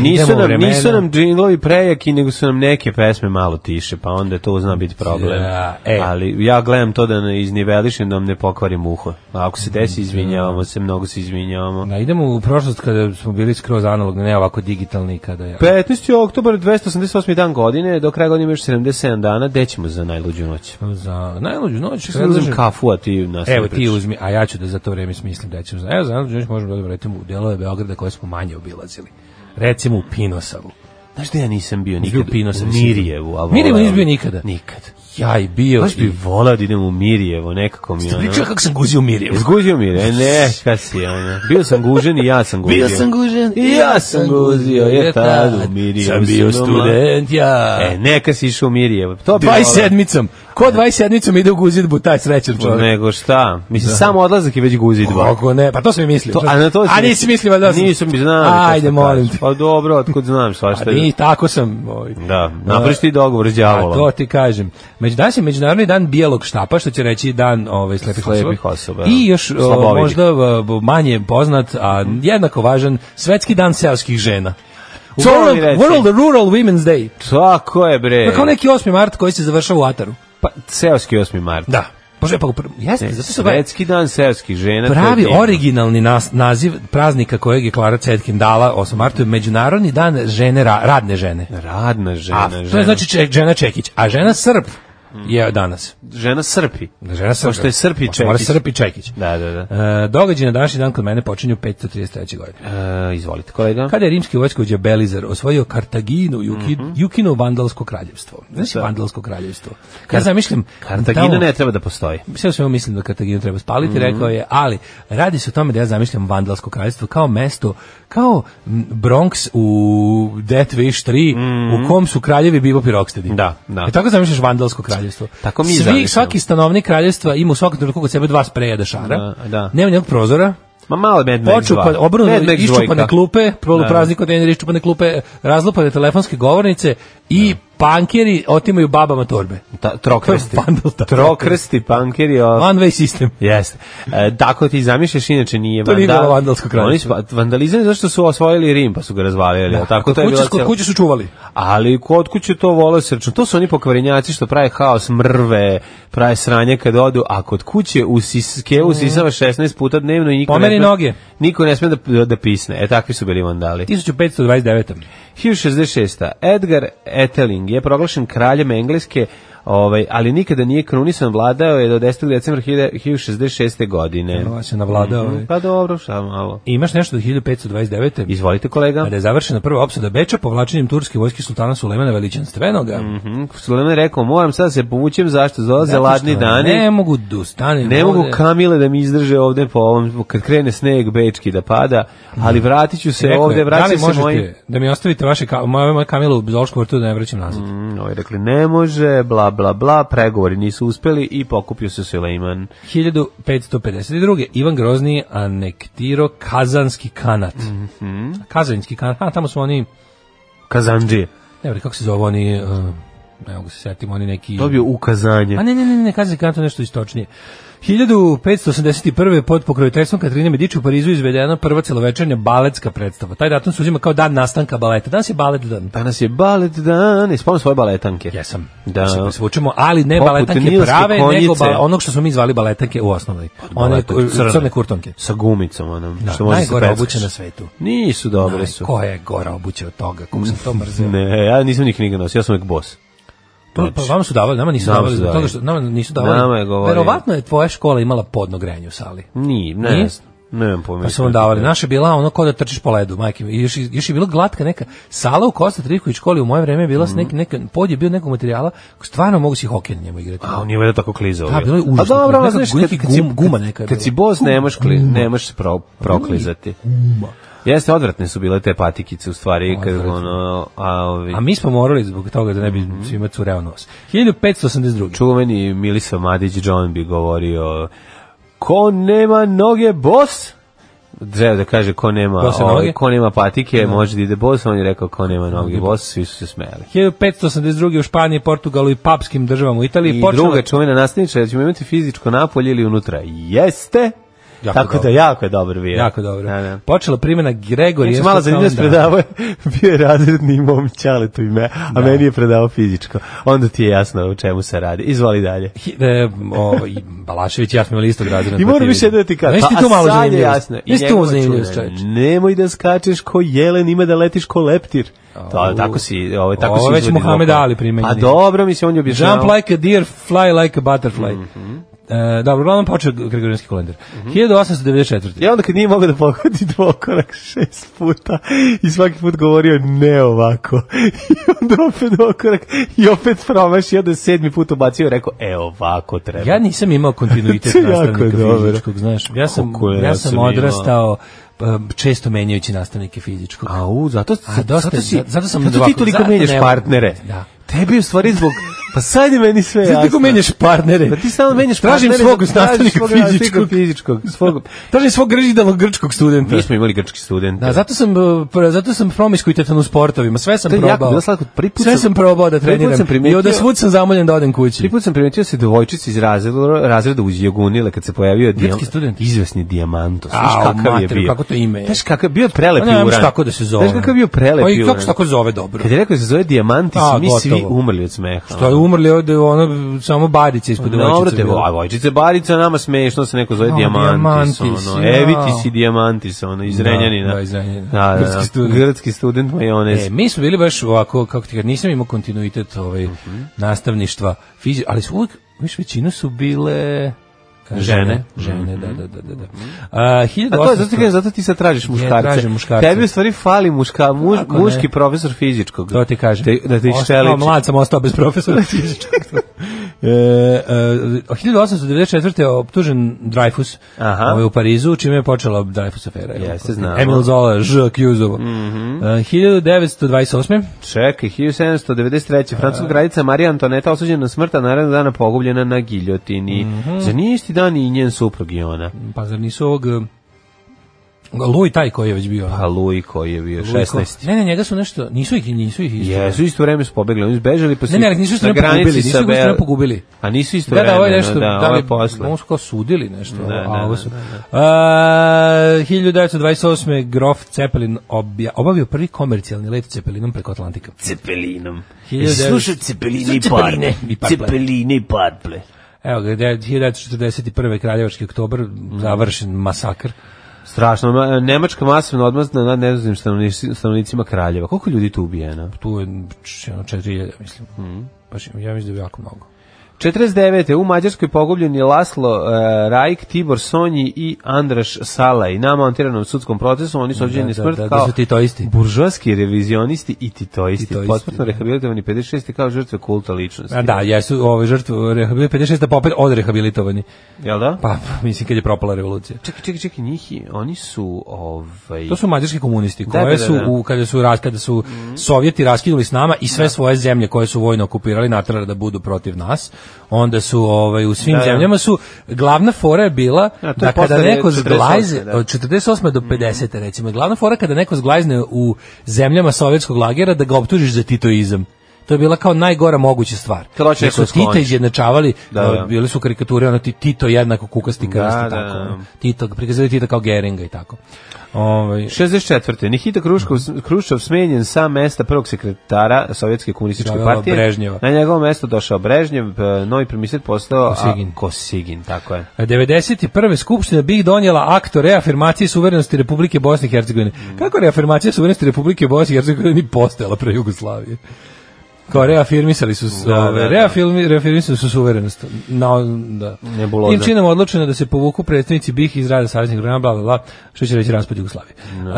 Nisu Eh, idemo u nam, vremena. nisu nam džinglovi prejaki, nego su nam neke pesme malo tiše, pa onda to zna biti problem. Da, e. Ali ja gledam to da ne iznivelišem, da vam ne pokvarim uho. A ako se desi, izvinjavamo se, mnogo se izvinjavamo. Na, idemo u prošlost kada smo bili skroz analogni, ne ovako digitalni kada je... 15. oktobar, 288. dan godine, do kraja godine ima još 77 dana, gde ćemo za najluđu noć? za najluđu noć. Ja uzem predlažem- kafu, a ti nas Evo ti uzmi, a ja ću da za to vreme smislim da ćemo. Evo za Andređ možemo da vratimo u delove Beograda koje smo manje obilazili. Recimo u Pinosavu. Znaš da ja nisam bio Nisi nikad? bio u Pinosavu, sigurno. Mirijevu. a Mirijevu voleo nisi bio bi. nikada? Nikad. Ja i bio. Baš bi volao da idem u Mirijevo, nekako mi je ono... Pričao kako sam guzio Mirjevu. Izguzio mi, ne, ne, kad si, ono. Bio sam gužen i ja sam guzio. gužen. I ja sam guzio, je tad u Mirijevu. Sam bio sam, ono. student, ja. E, neka si išao u Mirijevo. To pa- bi volao. 27. Ko 27. ide u guzidbu, taj srećan čovjek. Nego šta? Mislim, samo odlazak je već guzidba. Kako ne, pa to sam i mislio. To, a na to a si- nisi mislio valjda da sam... Nisam bi znao. Ajde, molim te. Pa dobro, otkud znam svašta. A ni, tako sam. Ovaj. Da, napraviš ti dogovor s đavolom. A to ti kažem. Među danas je međunarodni dan bijelog štapa, što će reći dan ovaj slepih, Slepih osoba. osoba, I da. još o, Slabovidih. možda o, b- manje poznat, a jednako važan, svetski dan seoskih žena. Moram World, ti reći. World Rural Women's Day. Tako je, bre. Pa kao neki 8. mart koji se završava u Ataru. Pa, seoski 8. mart. Da. Bože, pa u prv- jeste, Ne, zato se ovaj Svetski dan seoskih žena. E, to je pravi divno. originalni nas, naziv praznika kojeg je Klara Cetkin dala 8. martu je Međunarodni dan žene, ra- radne žene. Radna žena, A, to žena. je znači ček, žena Čekić, a žena Srb je danas. žena srpi. Žena Srb. Pošto je Srp i Pošto Mora Čekić. Srp i Čekić. Da, da, da. E, događaj na današnji dan kod mene počinju 533. godine. E, izvolite, kolega. Kada je rimski vojskovođa Belizar osvojio Kartaginu i uki- Mhm. i ukinuo Vandalsko kraljevstvo. Znaš da. Vandalsko kraljevstvo? Ja zamišljam... Kartagina ne treba da postoji. Sve u svemu mislim da Kartaginu treba spaliti, Mhm. rekao je, ali radi se o tome da ja zamišljam Vandalsko kraljevstvo kao mesto, kao m, Bronx u Death Wish 3, u kom su kraljevi bivo pirokstedi. Mhm. Da, da. E tako zamišljaš Vandalsko kraljevstvo. kraljevstvo. Tako mi Svi, zamišljamo. svaki stanovnik kraljevstva ima u svakom trenutku kod sebe dva spreja dešara. Da, da. Nema nijednog prozora. Ma malo Mad Max 2. Počupa, Mad obrnuto, Max iščupane dvojka. klupe, poluprazni kontejneri, iščupane klupe, razlupane telefonske govornice i pankeri otimaju babama torbe. Ta, trokrsti. To je bundle, da. trokrsti, pankeri. o- One way system. Jeste. E, tako ti zamišljaš, inače nije To nije vandal- bilo vandalsko kraljevstvo. Oni su pa- vandalizam je zašto su osvojili Rim, pa su ga razvalili. Da. Tako to je Kuće bilo s- kod cijelo- kuće su čuvali. Ali kod kuće to vole srčno. To su oni pokvarenjaci što prave haos, mrve, prave sranje kad odu, a kod kuće u Siskevu sisava 16 puta dnevno i niko Mm. Pomeri ne sme, noge. Niko ne sme da, da pisne. E, takvi su bili vandali. 1529. 1066. Edgar Eteling je proglašen kraljem Engleske, ovaj, ali nikada nije krunisan, vladao je do 10. decembra 1066. godine. Ova se navladao. Mhm, Pa dobro, šta malo. Imaš nešto do 1529. Izvolite kolega. Kada je završena prva opsada Beča povlačenjem turske vojske sultana Sulejmana Veličanstvenoga. Mhm, Sulejman je rekao, moram sad da se povučem, zašto? Dolaze Zato što ladni dani. Ne mogu da ustanem. Ne mogu ovde. kamile da mi izdrže ovde po ovom, kad krene sneg bečki da pada, ali vratit ću se Mm. Rekao je, ovde, da vratit li se možete moj... da mi ostavite vaše ka, moje, moje kamile u Zološkom vrtu da ne vraćam nazad. Mm, Ovi rekli, ne može, bla, bla, bla, pregovori nisu uspeli i pokupio se Sulejman. 1552. Ivan Grozni anektirao Kazanski kanat. Mhm. Kazanski kanat, a tamo su oni, Kazanđije. ne vredi, kako se zove oni, uh, ne mogu se setiti, oni neki... Dobio ukazanje. A ne, ne, ne, ne, Kazanski kanat je nešto istočnije. 1581. pod pokroviteljstvom Katarine Medici u Parizu izvedena prva celovečernja baletska predstava. Taj datum se uzima kao dan nastanka baleta. Danas je balet dan. Danas je balet dan, ispomnim svoje baletanke. Jesam. Da. Da se presvučemo, ali ne Poput baletanke nilske prave, nego konjice. ba, onog što smo mi zvali baletanke u osnovnoj. One baletanke, kur, crne. crne kurtonke. Sa gumicom, onom, Da, što može se najgore peckaš. obuće na svetu. Nisu dobre su. Mm. Ko je gora obuće od toga? Kako sam to mrzeo? Ne, ja nisam njih knjiga nosio, ja sam uvijek bos. Pa, pa vama su davali, nama nisu Nama davali, su zbog davali. toga što nama nisu davali. Nama je govorio. Verovatno je tvoja škola imala podno grejanje u sali. Ni, ne, Nije? ne, nemam pojma. Pa su vam davali. Naša je bila ono kao da trčiš po ledu, majke mi. I još, još je bila glatka neka sala u Kosta Trivković školi u moje vreme je bila s nekim, neka, pod je bio nekog materijala, stvarno mogu si hokej na njemu igrati. A on je valjda tako klizao. Da, bilo je užasno. A dobro, Neka a znaš, neki kad, kad si, gum- guma neka je kad bila. si bos, ne možeš kli, ne možeš pro, proklizati. Jeste, odvratne su bile te patikice, u stvari, kad Odvratne. ono, a ovi... A mi smo morali zbog toga da ne bi Mhm. svima cureo nos. 1582. čuveni Milisa Madić John bi govorio ko nema noge bos treba da kaže ko nema Bose ovaj, noge? ko nema patike može da ide bos on je rekao ko nema noge bos svi su se smejali 1582. u Španiji, Portugalu i papskim državama u Italiji i počela druga čuvena nastavnica da ćemo imati fizičko napolje ili unutra jeste Jako tako dobro. da jako je dobar bio Jako dobro. da, da. Počela primjena Gregorija. Znači, mala zanimljivost predavao je, bio je razredni i mom ćaletu ime, a meni je predavao fizičko. Onda ti je jasno o čemu se radi. Izvoli dalje. e, o, i Balašević i ja smo imali istog razreda. I na moram televiziji. više da ti kažem. Pa, Znaš ti tu a malo sad je zanimljivost? jasno. I Znaš ti tu njegovo zanimljivost, čuveno, čoveče? Nemoj da skačeš ko jelen, ima da letiš ko leptir. To, tako si, ovo, tako Ovo si već izvodio Muhammed oko. Ali primenjeni. A dobro, mi se on je objašnjavao. Jump like a deer, fly like a butterfly. Mhm. E, dobro, uglavnom počeo Gregorijanski kalendar. 1894. I onda kad nije mogao da pohvati dvokorak šest puta i svaki put govorio ne ovako. I onda opet dvokorak i opet promaš i onda je sedmi put ubacio i rekao e ovako treba. Ja nisam imao kontinuitet To je jako nastavnika dobro. fizičkog, znaš. Ja sam, Kako je, ja ja sam sam imao. odrastao pa, često menjajući nastavnike fizičkog. A u, zato, A, dosta zato, je, si, zato- zato sam zato ti ovako- toliko zato menjaš ne- partnere. Da. Tebi je u stvari zbog... Pa sad je meni sve jasno. Ti kako menjaš partnere? Da ti stalno menjaš Tražim partnere, svog da tražiš nastavnika svog nastavnika fizičkog. fizičkog, svog- Tražim svog grđidalog grčkog studenta. Mi smo imali grčki student. Da, zato sam uh, pr- zato sam promisku i tetan u sportovima. Sve sam To je jako probao. bilo slatko. Prvi put Sve sam- sam probao prvi da put treniram. sam I primetio- od svud sam zamoljen da odem kući. Tri put sam primetio da se devojčice iz razreda, razreda uz Jogunile kad se pojavio Grčki student. izvesni Diamantos. Znaš Au, kakav je materu, bio? kako to ime je? Pa Znaš kakav bio je prelep Ne, juran. nemaš tako da se zove. Znaš kakav je bio prelep Pa i juran? kako se tako zove dobro? Kad je rekao da se zove Diamantis, A, mi svi gotovo. umrli od smeha. Što je umrli ovde ono samo barice ispod Dobro, devojčice. te bilo. vojčice Barica, nama smešno se neko zove A, Diamantis, Diamantis, ono, jao. Evi ti si Diamantis, ono, iz Da, Renjanina. da, iz Renjanina. Da, da, Grčki da. student. Grčki student majonez. E, mi smo bili baš ovako, kako ti kažem, nisam imao kontinuitet ovaj, Mhm. nastavništva, fizi, ali su uvijek, viš, većinu su bile žene. Žene. Mhm. Žene, da, da, da. da, da. A, A to je, zato, ti kažem, 1800, zato ti sad tražiš muškarce. tražim muškarce. Tebi u stvari fali muška, muž, Ako ne. muški profesor fizičkog. to ti kažem. Te- da te Ostao- iščeliči. Mlad sam ostao bez profesora fizičkog. E, e, 1894. je optužen Dreyfus Aha. ovaj, u Parizu, čime je počela Dreyfus afera. jel? Jeste, znamo. Emil Zola, Ž. Kjuzovo. Mm -hmm. e, 1928. Čekaj, 1793. Francuska kraljica Marija Antoneta osuđena na smrt, a narednog dana pogubljena na giljotini. Mm Mhm. -hmm. Za nije isti dan i njen suprug i ona. Pa zar nisu ovog... e, Louis taj koji je već bio. A Louis Pa koji je bio Louis ko- 16. Ne, ne, njega su nešto... Nisu ih, nisu ih isto. Jesu isto vreme su pobegli, oni su bežali pa su Ne, ne, ali nisu isto na vreme granici pogubili, nisu sa ih isto Bel- vreme pogubili. A nisu isto Da, vreme, da, ovo je nešto, da, da ovo li, je posle. ovo su kao sudili nešto, Ne, a ne, ovo ne, su. ne, ne. A, 1928. Grof Cepelin obja, obavio prvi komercijalni let Cepelinom preko Atlantika. Cepelinom. 1900 Slušaj Cepeline i Cepeline Parple. i Parple. Cepeline i Parple. Evo ga, de- 1941. Kraljevački oktobar, završen masakr. Strašno, ma- Nemačka masovna odmazna nad nedoznim stanovnici- stanovnicima Kraljeva. Koliko ljudi tu ubijeno? Tu je č- ono 4000, mislim. Mhm. Baš, ja mislim da je jako mnogo. 49. u Mađarskoj pogubljen je Laslo uh, Rajk, Tibor Sonji i Andraš Salaj. Na montiranom sudskom procesu oni su ođeni da, smrt da, da kao su titoisti. buržuarski revizionisti i titoisti. Titoisti, Potpuno da. rehabilitovani 56. kao žrtve kulta ličnosti. A da, jesu ove žrtve rehabil- 56. pa opet odrehabilitovani. Jel da? Pa, pa, mislim, kad je propala revolucija. Čekaj, čekaj, čekaj, njih, je- oni su ovaj... To su mađarski komunisti da, koje da, su da. u, kada su ras- kada su Sovjeti raskinuli s nama i sve svoje zemlje koje su vojno okupirali natrali da budu protiv nas. Onda su ovaj u svim Da, da. zemljama su glavna fora je bila to je da kada posle 48, neko zglajze da. Mhm. od 48 do 50 recimo glavna fora kada neko zglajzne u zemljama sovjetskog lagera da ga optužiš za titoizam. To je bila kao najgora moguća stvar. Kad hoće Jer su neko Tita skloniš. izjednačavali, Da, da. uh, bile su karikature, ono ti Tito jednako kukasti krasti, da, tako. da. ono. Tito, prikazali Tita kao Geringa i tako. Ovaj, 64. Nikita Kruškov, Kruščov smenjen sa mesta prvog sekretara Sovjetske komunističke Doveo partije. Brežnjeva. Na njegovo mesto došao Brežnjev, e, novi premijer postao Kosigin. A, Kosigin, tako je. 91. skupština BiH donijela akt o reafirmaciji suverenosti Republike Bosne i Hercegovine. Mm. Kako je reafirmacija suverenosti Republike Bosne i Hercegovine ni postojala pre Jugoslavije? Kao reafirmisali su s- Da, da, ove, da. reafirmi, reafirmisali su suverenost. Na, da. Nebuloza. Tim činom odlučeno je da se povuku predstavnici BiH iz rada saveznih programa, bla, bla, bla, što će reći raspad Jugoslavije. No.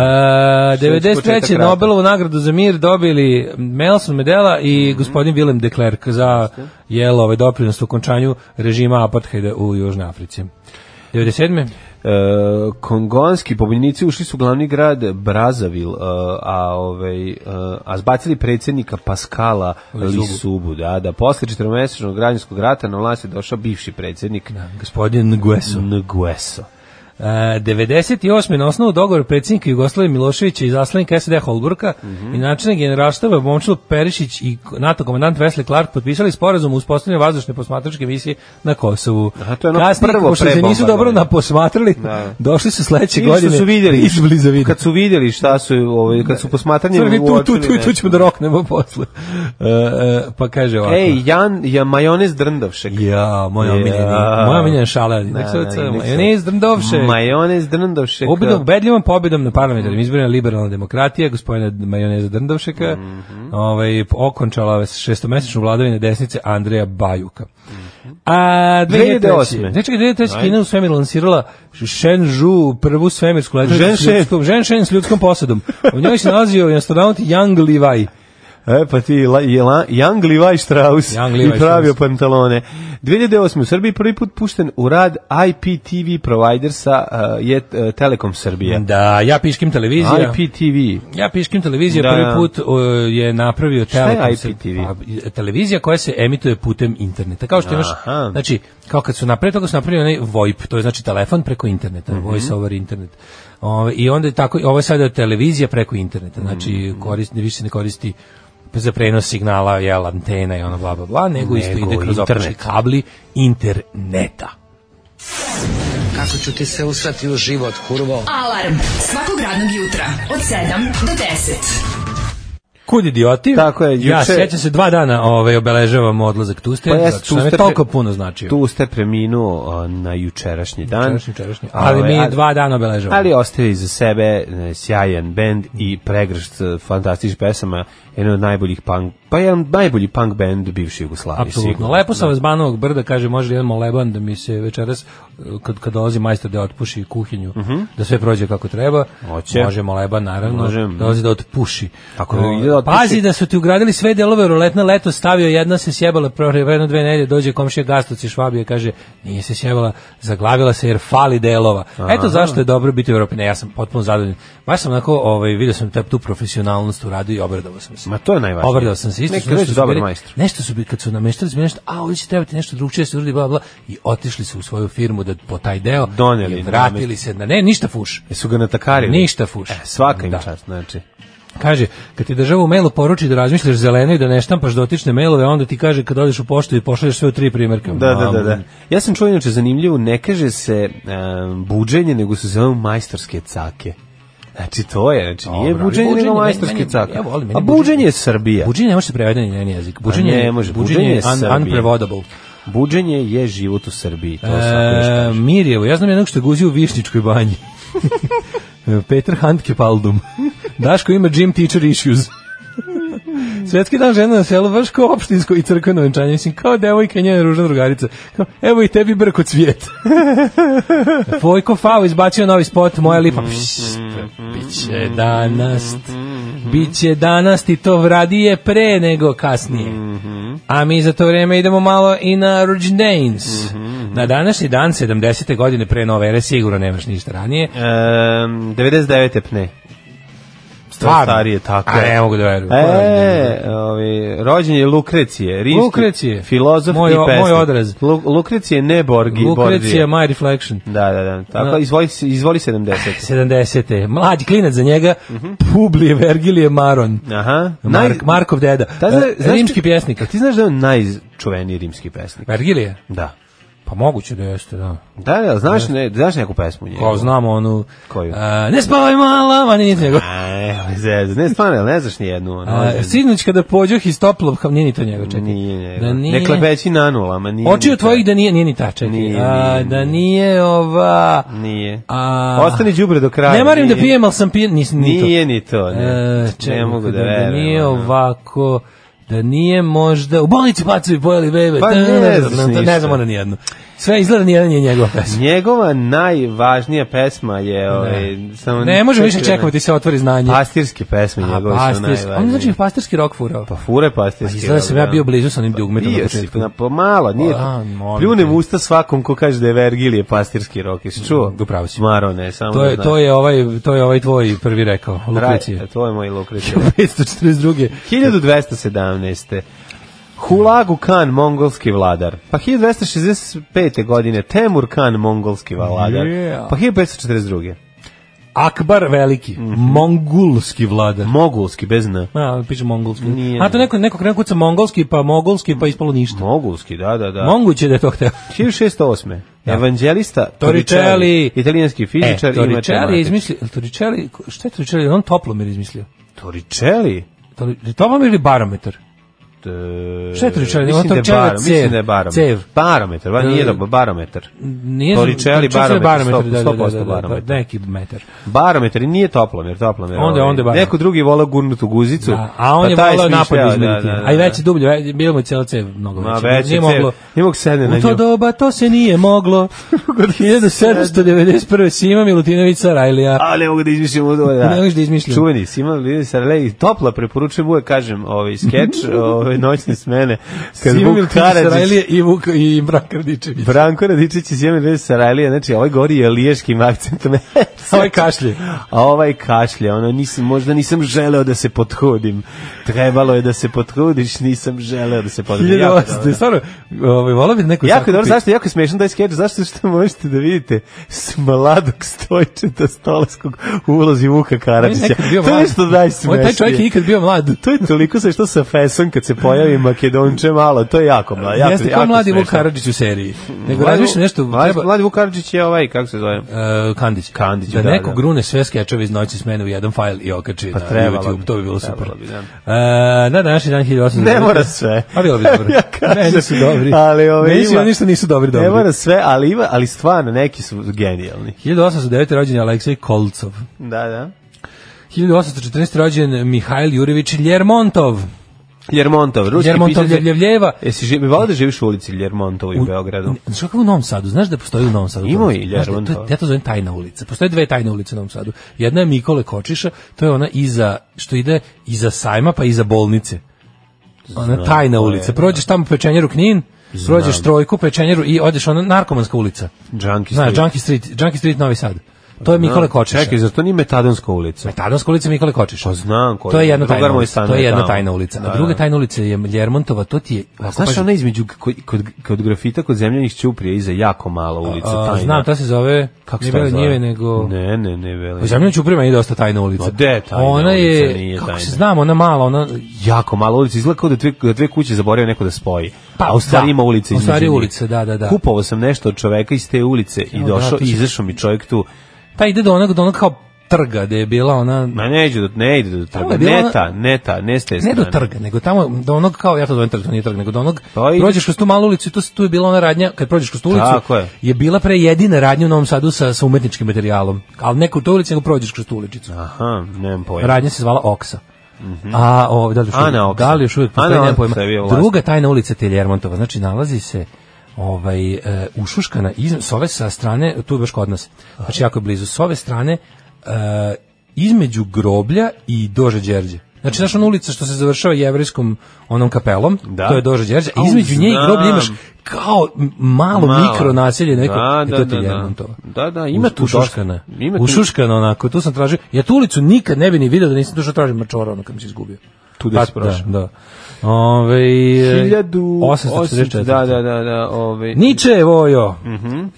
Što je već početak 93. rata. Nobelovu nagradu za mir dobili Nelson Mandela Mhm. i gospodin Willem de Klerk za jel ovaj doprinos u končanju režima apartheida u Južnoj Africi. 97. E, kongonski pobunjenici ušli su u glavni grad Brazavil, e, a, ovaj, e, a zbacili predsjednika Paskala Lisubu. Lisubu. Da, da, posle četvromesečnog građanskog rata na vlast je došao bivši predsjednik Gospodin Nguesso. Ngueso. E, 98. na osnovu dogovora predsjednika Jugoslavije Miloševića i zaslanika SED Holburka i načina generalštava Momčilo Perišić i NATO komandant Wesley Clark potpisali sporazum uz postavljanje vazdušne posmatračke misije na Kosovu. Aha, to je ono prvo pošto pre se nisu dobro bombardovanja. naposmatrali, Da. došli su sledeće Ili što godine su vidjeli, izbliza vidjeli. kad su vidjeli šta su, ovaj, kad su posmatranjem Crvi, tu, tu, uočili tu, tu nešto. ćemo da roknemo posle. E, e, pa kaže ovako. Ej, Jan, ja, majonez drndavšek. Ja, moja Ja. omiljena, moja omiljena šala. Nek se Da, da, odsama. nek se- Ja ne izdrndovše. Majonez drndavšek. Obedom, ubedljivom pobedom na parlamentarnim izborima liberalna demokratija, gospodina Majoneza Drndovšeka, ovaj, okončala šestomesečnu vladavinu desnice Andreja Bajuka. A 2008. 2008. Ne čekaj, 2003. Kina u svemir lansirala Shenzhou, prvu svemirsku letelicu s Shenzhen. ljudskom, Shenzhen s ljudskom posadom. U njoj se nalazio astronaut Yang Levi. E, pa ti, la, je la, Young Levi Strauss Young Levi i pravio Strauss. pantalone. 2008. u Srbiji prvi put pušten u rad IPTV provider sa uh, je, uh, Telekom Srbije. Da, ja piškim televizija. IPTV. Ja piškim televizija Da. prvi put o, je napravio je Telekom. IPTV? Pa, televizija koja se emituje putem interneta. Kao što imaš, Aha. znači, kao kad su napravili, toga su napravili onaj VoIP, to je znači telefon preko interneta, Mhm. voice over internet. Ove, I onda je tako, ovo je sada televizija preko interneta, znači Mhm. korist, više se ne koristi za prenos signala, jel, antena i ono bla bla bla, nego, isto Nego ide kroz optički internet. kabli interneta. Kako ću ti se usrati u život, kurvo? Alarm svakog radnog jutra od 7 do 10. Kud idioti? Tako je, Ja juče- sjećam se dva dana ovaj, obeležavamo odlazak Pa Tuste, zato što nam znači, je toliko puno značio. Tu ste preminuo uh, na jučerašnji dan. Jučerašnji, jučerašnji. Ali Ovaj, mi dva dana obeležavamo. Ali ostavi za sebe e, sjajan bend i pregršt e, fantastičnih pesama, jedan od najboljih punk, pa jedan najbolji punk bend bivše Jugoslavije. Apsolutno. sigurno. Lepo sam vas Banovog brda, kaže, može li jedan moleban da mi se večeras, eh, kad, kad dolazi majstor da otpuši kuhinju, da sve prođe kako treba. Mhm. Hoće. Može moleban, naravno, Može. dolazi da otpuši. Ako O, ide da otpiši. Pazi da su ti ugradili sve delove roletna leto stavio, jedna se sjebala proreveno dve nedelje, dođe komšija Gastoci Švabija, kaže, nije se sjebala, zaglavila se jer fali delova. Eto zašto je dobro biti u Evropi. Ne, ja sam potpuno zadovoljan. Baš sam onako, ovaj, vidio sam te- tu profesionalnost u radu i obradovao sam se. Ma to je najvažnije. Obradovao sam se. Isto Neki su nešto reći su dobar bili- majstor. Nešto su, bi- kad su nameštali, su bili nešto, a ovdje će trebati nešto drugčije da se uradi, bla, bla, i otišli su u svoju firmu da po taj deo Doneli, i vratili nameštali. se. Na, ne, ništa fuš. Jesu ga natakarili? Ništa fuš. E, svaka im Da. čast, znači. Kaže, kad ti država u mailu poruči da razmišljaš zeleno i da ne štampaš dotične mailove, onda ti kaže kad odeš u poštu i pošalješ sve u tri primjerka. Da, da, da, da. Mam. Ja sam čuo inače zanimljivo, ne kaže se um, buđenje, nego se zove majstorske cake. Znači to je, znači nije Dobro, ali buđenje, buđenje, nego meni- majstorske meni- cake. ja volim, meni A buđenje buđenje- je Srbija. Buđenje ne može se prevedeni na njeni jezik. Buđenje, Pa ne može, buđenje buđenje je je un, Srbija. unprevodable. Buđenje je život u Srbiji, to svako još E, kaže. Mirjevo, ja znam jednog što je guzio u Višničkoj banji. Peter Handke Paldum. Daško ima gym teacher issues. Svetski dan žena na selu, baš kao opštinsko i crkveno venčanje. Mislim, kao devojka i njena ružna drugarica. Kao, evo i tebi brko cvijet. Vojko Fao izbacio novi spot, moja lipa. Mm-hmm. Pšst, biće danas. Mm-hmm. Biće danas i to radije pre nego kasnije. Mm-hmm. A mi za to vrijeme idemo malo i na rođendans. Mm-hmm. Na današnji dan, 70. godine pre nove ere, sigurno nemaš ništa ranije. Em, 99. pne. starije, tako A je. ne mogu da verujem. E, ovi, rođen je Lukrecije, rimski Lukrecije. filozof Moj- i pesnik. moj odraz. Lu, Lukrecije ne Borgi, Lukrecija, Borgije. My Reflection. Da, da, da. Tako, Da. izvoli, se- izvoli 70. 70. Mlađi klinac za njega, Publije Vergilije Maron. Aha. Mark, Naj- Markov deda. Ta zna- E, znaš Rimski ti- pjesnik. A Ti znaš da je on najčuveniji rimski pesnik? Vergilije? Da. Pa moguće da jeste, da. Da, da, znaš, ne, znaš neku pesmu njegovu? Kao znamo onu... Koju? A, ne spavaj mala, ma ne niti njegov. E, ali zezu, ne, stvarno, ali ne znaš ni jednu. ono, A, zezu. Sinoć kada pođoh iz toplog, kao nije ni to njegov, čekaj. Nije, nije. Da nije. Ne klepeći na nulama, nije. Oči ni od to. tvojih da nije, nije ni ta, čekaj. Nije, A, nije, da nije. nije ova... Nije. A- Ostani đubre do kraja. Ne marim da nije. pijem, ali sam pijen, nisam ni to. Nije ni to, ne. E, čekaj, ne mogu da, da, da verujem. nije ono. ovako, da nije možda... U bolnici pacovi pojeli bebe. Pa ne znaš ništa. Ne znam ona nijednu. Sve izgleda nijedan je njegova pesma. Njegova najvažnija pesma je... Ovaj, samo Ne može više čekati se otvori znanje. Pastirske pesme A, njegove su pastirski. najvažnije. On znači pastirski rok furao. Pa fure pastirski. A izgleda da sam ja bio blizu sa onim dugmetom na Pa Bio si, početku. na, pa malo, nije. A, molim pljunem te. usta svakom ko kaže da je Vergilije pastirski rok. Jesi čuo? Mm, upravo si. Maro, ne, samo To je, to je ovaj, to je ovaj tvoj prvi rekao, Lukrecije. Lukrecije. To je moj Lukrecije. 542. 1217. Hulagu Khan, mongolski vladar. Pa 1265. godine Temur Khan, mongolski vladar. Yeah. Pa 1542. Akbar Veliki, Mhm. mongulski vladar. Mogulski, bez n. A, piše mongolski. Nije. A to neko, neko krenuo kuca mongolski, pa mogolski, pa ispalo ništa. Mogulski, da, da, da. Moguće da je to hteo. 1608. Da. Evanđelista Torricelli. italijanski fizičar E, i Torricelli je matematičar. izmislio, Torricelli, šta je Torricelli, on toplomir izmislio? Torricelli? Torri- Toplomir ili barometar? E, Šta je Torricelli? Mislim Ono da je Torricelli barom- cev. Mislim da je barometar. Cev. Barometar, ba, nije E, dobro, barometar. Nije Torricelli barometar, sto- da, da, da, 100% da, da, barometar. da, neki metar. Barometar i nije toplomer, toplomer. Onda je- ovaj, onda je barometar. Neko drugi vola gurnutu guzicu. Da, a on pa je taj volao smišljao, napad izmeriti. da, da, da, A i da. veće dublje, ve- bilo mu je cijela cev mnogo Ma veće. veće Nije cev. moglo. Nije mogu sedne na U to nju. doba to se nije moglo. 1791. Sima Milutinović Sarajlija. A ne mogu da izmišljam ovo, da. Ne možeš da izmišljam. Čuveni, Sima Milutinović Sarajlija, topla preporučujem uvek, kažem, ovaj skeč, ovaj noćne smene. Kad Sima Vuk Milutinović Karadžić, Sarajlija i Vuk i Bran Kardičević. Branko Radičić i Sima Milutinović Sarajlija, znači ovaj gori je liješkim akcentom. A ovaj kašlje. A ovaj kašlje, ono, nisam, možda nisam želeo da se potrudim. Trebalo je da se potrudiš, nisam želeo da se potrudim. Jako dobro. 1800, stvarno, ovaj, volao bi da neko Jako je dobro, sakupi. zašto je jako smešan taj skeč, zašto što možete da vidite s mladog stojčeta stolarskog u ulozi Vuka On je Karadžića. nekad bio To je mlad. nešto On je najsmešnije. Taj čovjek je ikad bio mlad. To je toliko se što sa fesom kad se pojavi Makedonče malo, to je jako mlad. Pa Jako, Jeste jako kao mladi Vuk smešno. Karadžić u seriji. Nego Mladi- razmišljam nešto, Mladi, treba, mladi Vuk Karadžić je ovaj, kako se zove? Uh, Kandić. Kandić, da, da, neko da. Pa grune sve skečeve iz noći smene u jedan fajl i okači na trebalo bi, YouTube, to bi bilo trebalo super. bi, da. Uh, na današnji dan 1800. Ne mora sve. A bilo bi dobro. ja kažem, Meni su dobri. Ali ove, Meni su ima- oni što nisu dobri, dobri. Ne mora sve, ali, ima, ali stvarno, neki su genijalni. 1809. rođen je Aleksej Kolcov. Da, da. 1814. rođen Mihajl Jurević Ljermontov. Jermontov, ruski Ljermontov pisac je- Ljevljeva. Jesi živi, volao da živiš u ulici Ljermontovu i u Beogradu? Ne, Znaš kako je u Novom Sadu? Znaš da postoji u Novom Sadu? Ima ulica? i Znaš da- Ljermontova. to je- Ja to zovem tajna ulica. Postoje dve tajne ulice u Novom Sadu. Jedna je Mikole Kočiša, to je ona iza, što ide iza sajma pa iza bolnice. Ona tajna koja ulica. je, Prođeš tamo pečenjeru Knin, prođeš trojku pečenjeru i odeš ona narkomanska ulica. Junkie Znaš, Street. Junkie Street, Junkie Street Novi Sad. To je Mikole Kočiša. Čekaj, zar to nije Metadonska ulica? Metadonska ulica Mikole Kočiša. Pa znam koja To je je. jedna Drugar tajna moj ulica. To stanuje je jedna tamo. tajna ulica. A Da, druga da. tajna ulica je Ljermontova, to ti je... A ovako, znaš Pa, pazi, ona između kod, kod, kod grafita, kod zemljanih ćuprija, iza jako mala ulica, a, tajna. Znam, to se zove... Kako ne se to Bele zove? Njive, nego... Ne, ne, ne, vele. Pa U Zemljanu Ćuprija je dosta tajna ulica. Ma de Pa tajna ona je, ulica, nije kako tajna. se znam, ona mala, ona... Jako mala ulica, izgleda kao da dve, da dve kuće zaboravio neko da spoji. Pa, a u stvari da. ima ulica U između stvari njih. ulica, da, da, da. Kupovao sam nešto od čoveka iz te ulice i Evo, došao, da, i to su- izašao mi čovjek tu. Pa ide do onog, do onog kao trga gde je bila ona... Ma ne ide do, ne ide do Tamo trga, je bila ona- ne ta, ne ta, ne s te Ne strane. do trga, nego tamo do onog kao ja to zovem trg, to nije trg, nego do onog Pa ide- prođeš kroz tu malu ulicu, i tu, tu je bila ona radnja, kad prođeš kroz tu ulicu, Tako je. bila pre jedina radnja u Novom Sadu sa, sa umetničkim materijalom. Ali neko u tu ulici, nego prođeš kroz tu uličicu. Aha, nemam pojma. Radnja se zvala Oksa. A o, da li još Ana uvijek- Mhm. Oksa. Da li još uvijek postoji, Ana nemam Oksa pojma. je bio vlasnik. Druga tajna ulica je Ljermontova, znači nalazi se ovaj e, ušuškana iz, s ove sa strane, tu je baš kod nas. Znači jako je blizu s ove strane e, između groblja i Dože Đerđe. Znači, znaš ona ulica što se završava jevrijskom onom kapelom, Da. to je Dože Đerđe, a Au, između nje i groblja znam. imaš kao m- malo, Malo. mikro naselje neko, Da, e, da, to ti da, je da. Ljermontova. Da, da, ima Uš- tu dosta. ušuškana. Ima tu- Ušuškana onako, tu sam tražio. Ja tu ulicu nikad ne bi ni video da nisam došao tražim mačora ono kad mi se izgubio. Tu gde si Pa, prošao. Da, da. Ove, e, 1844. 1844. Da, Mhm. da, da, da, ovaj. Nietzsche je vojo.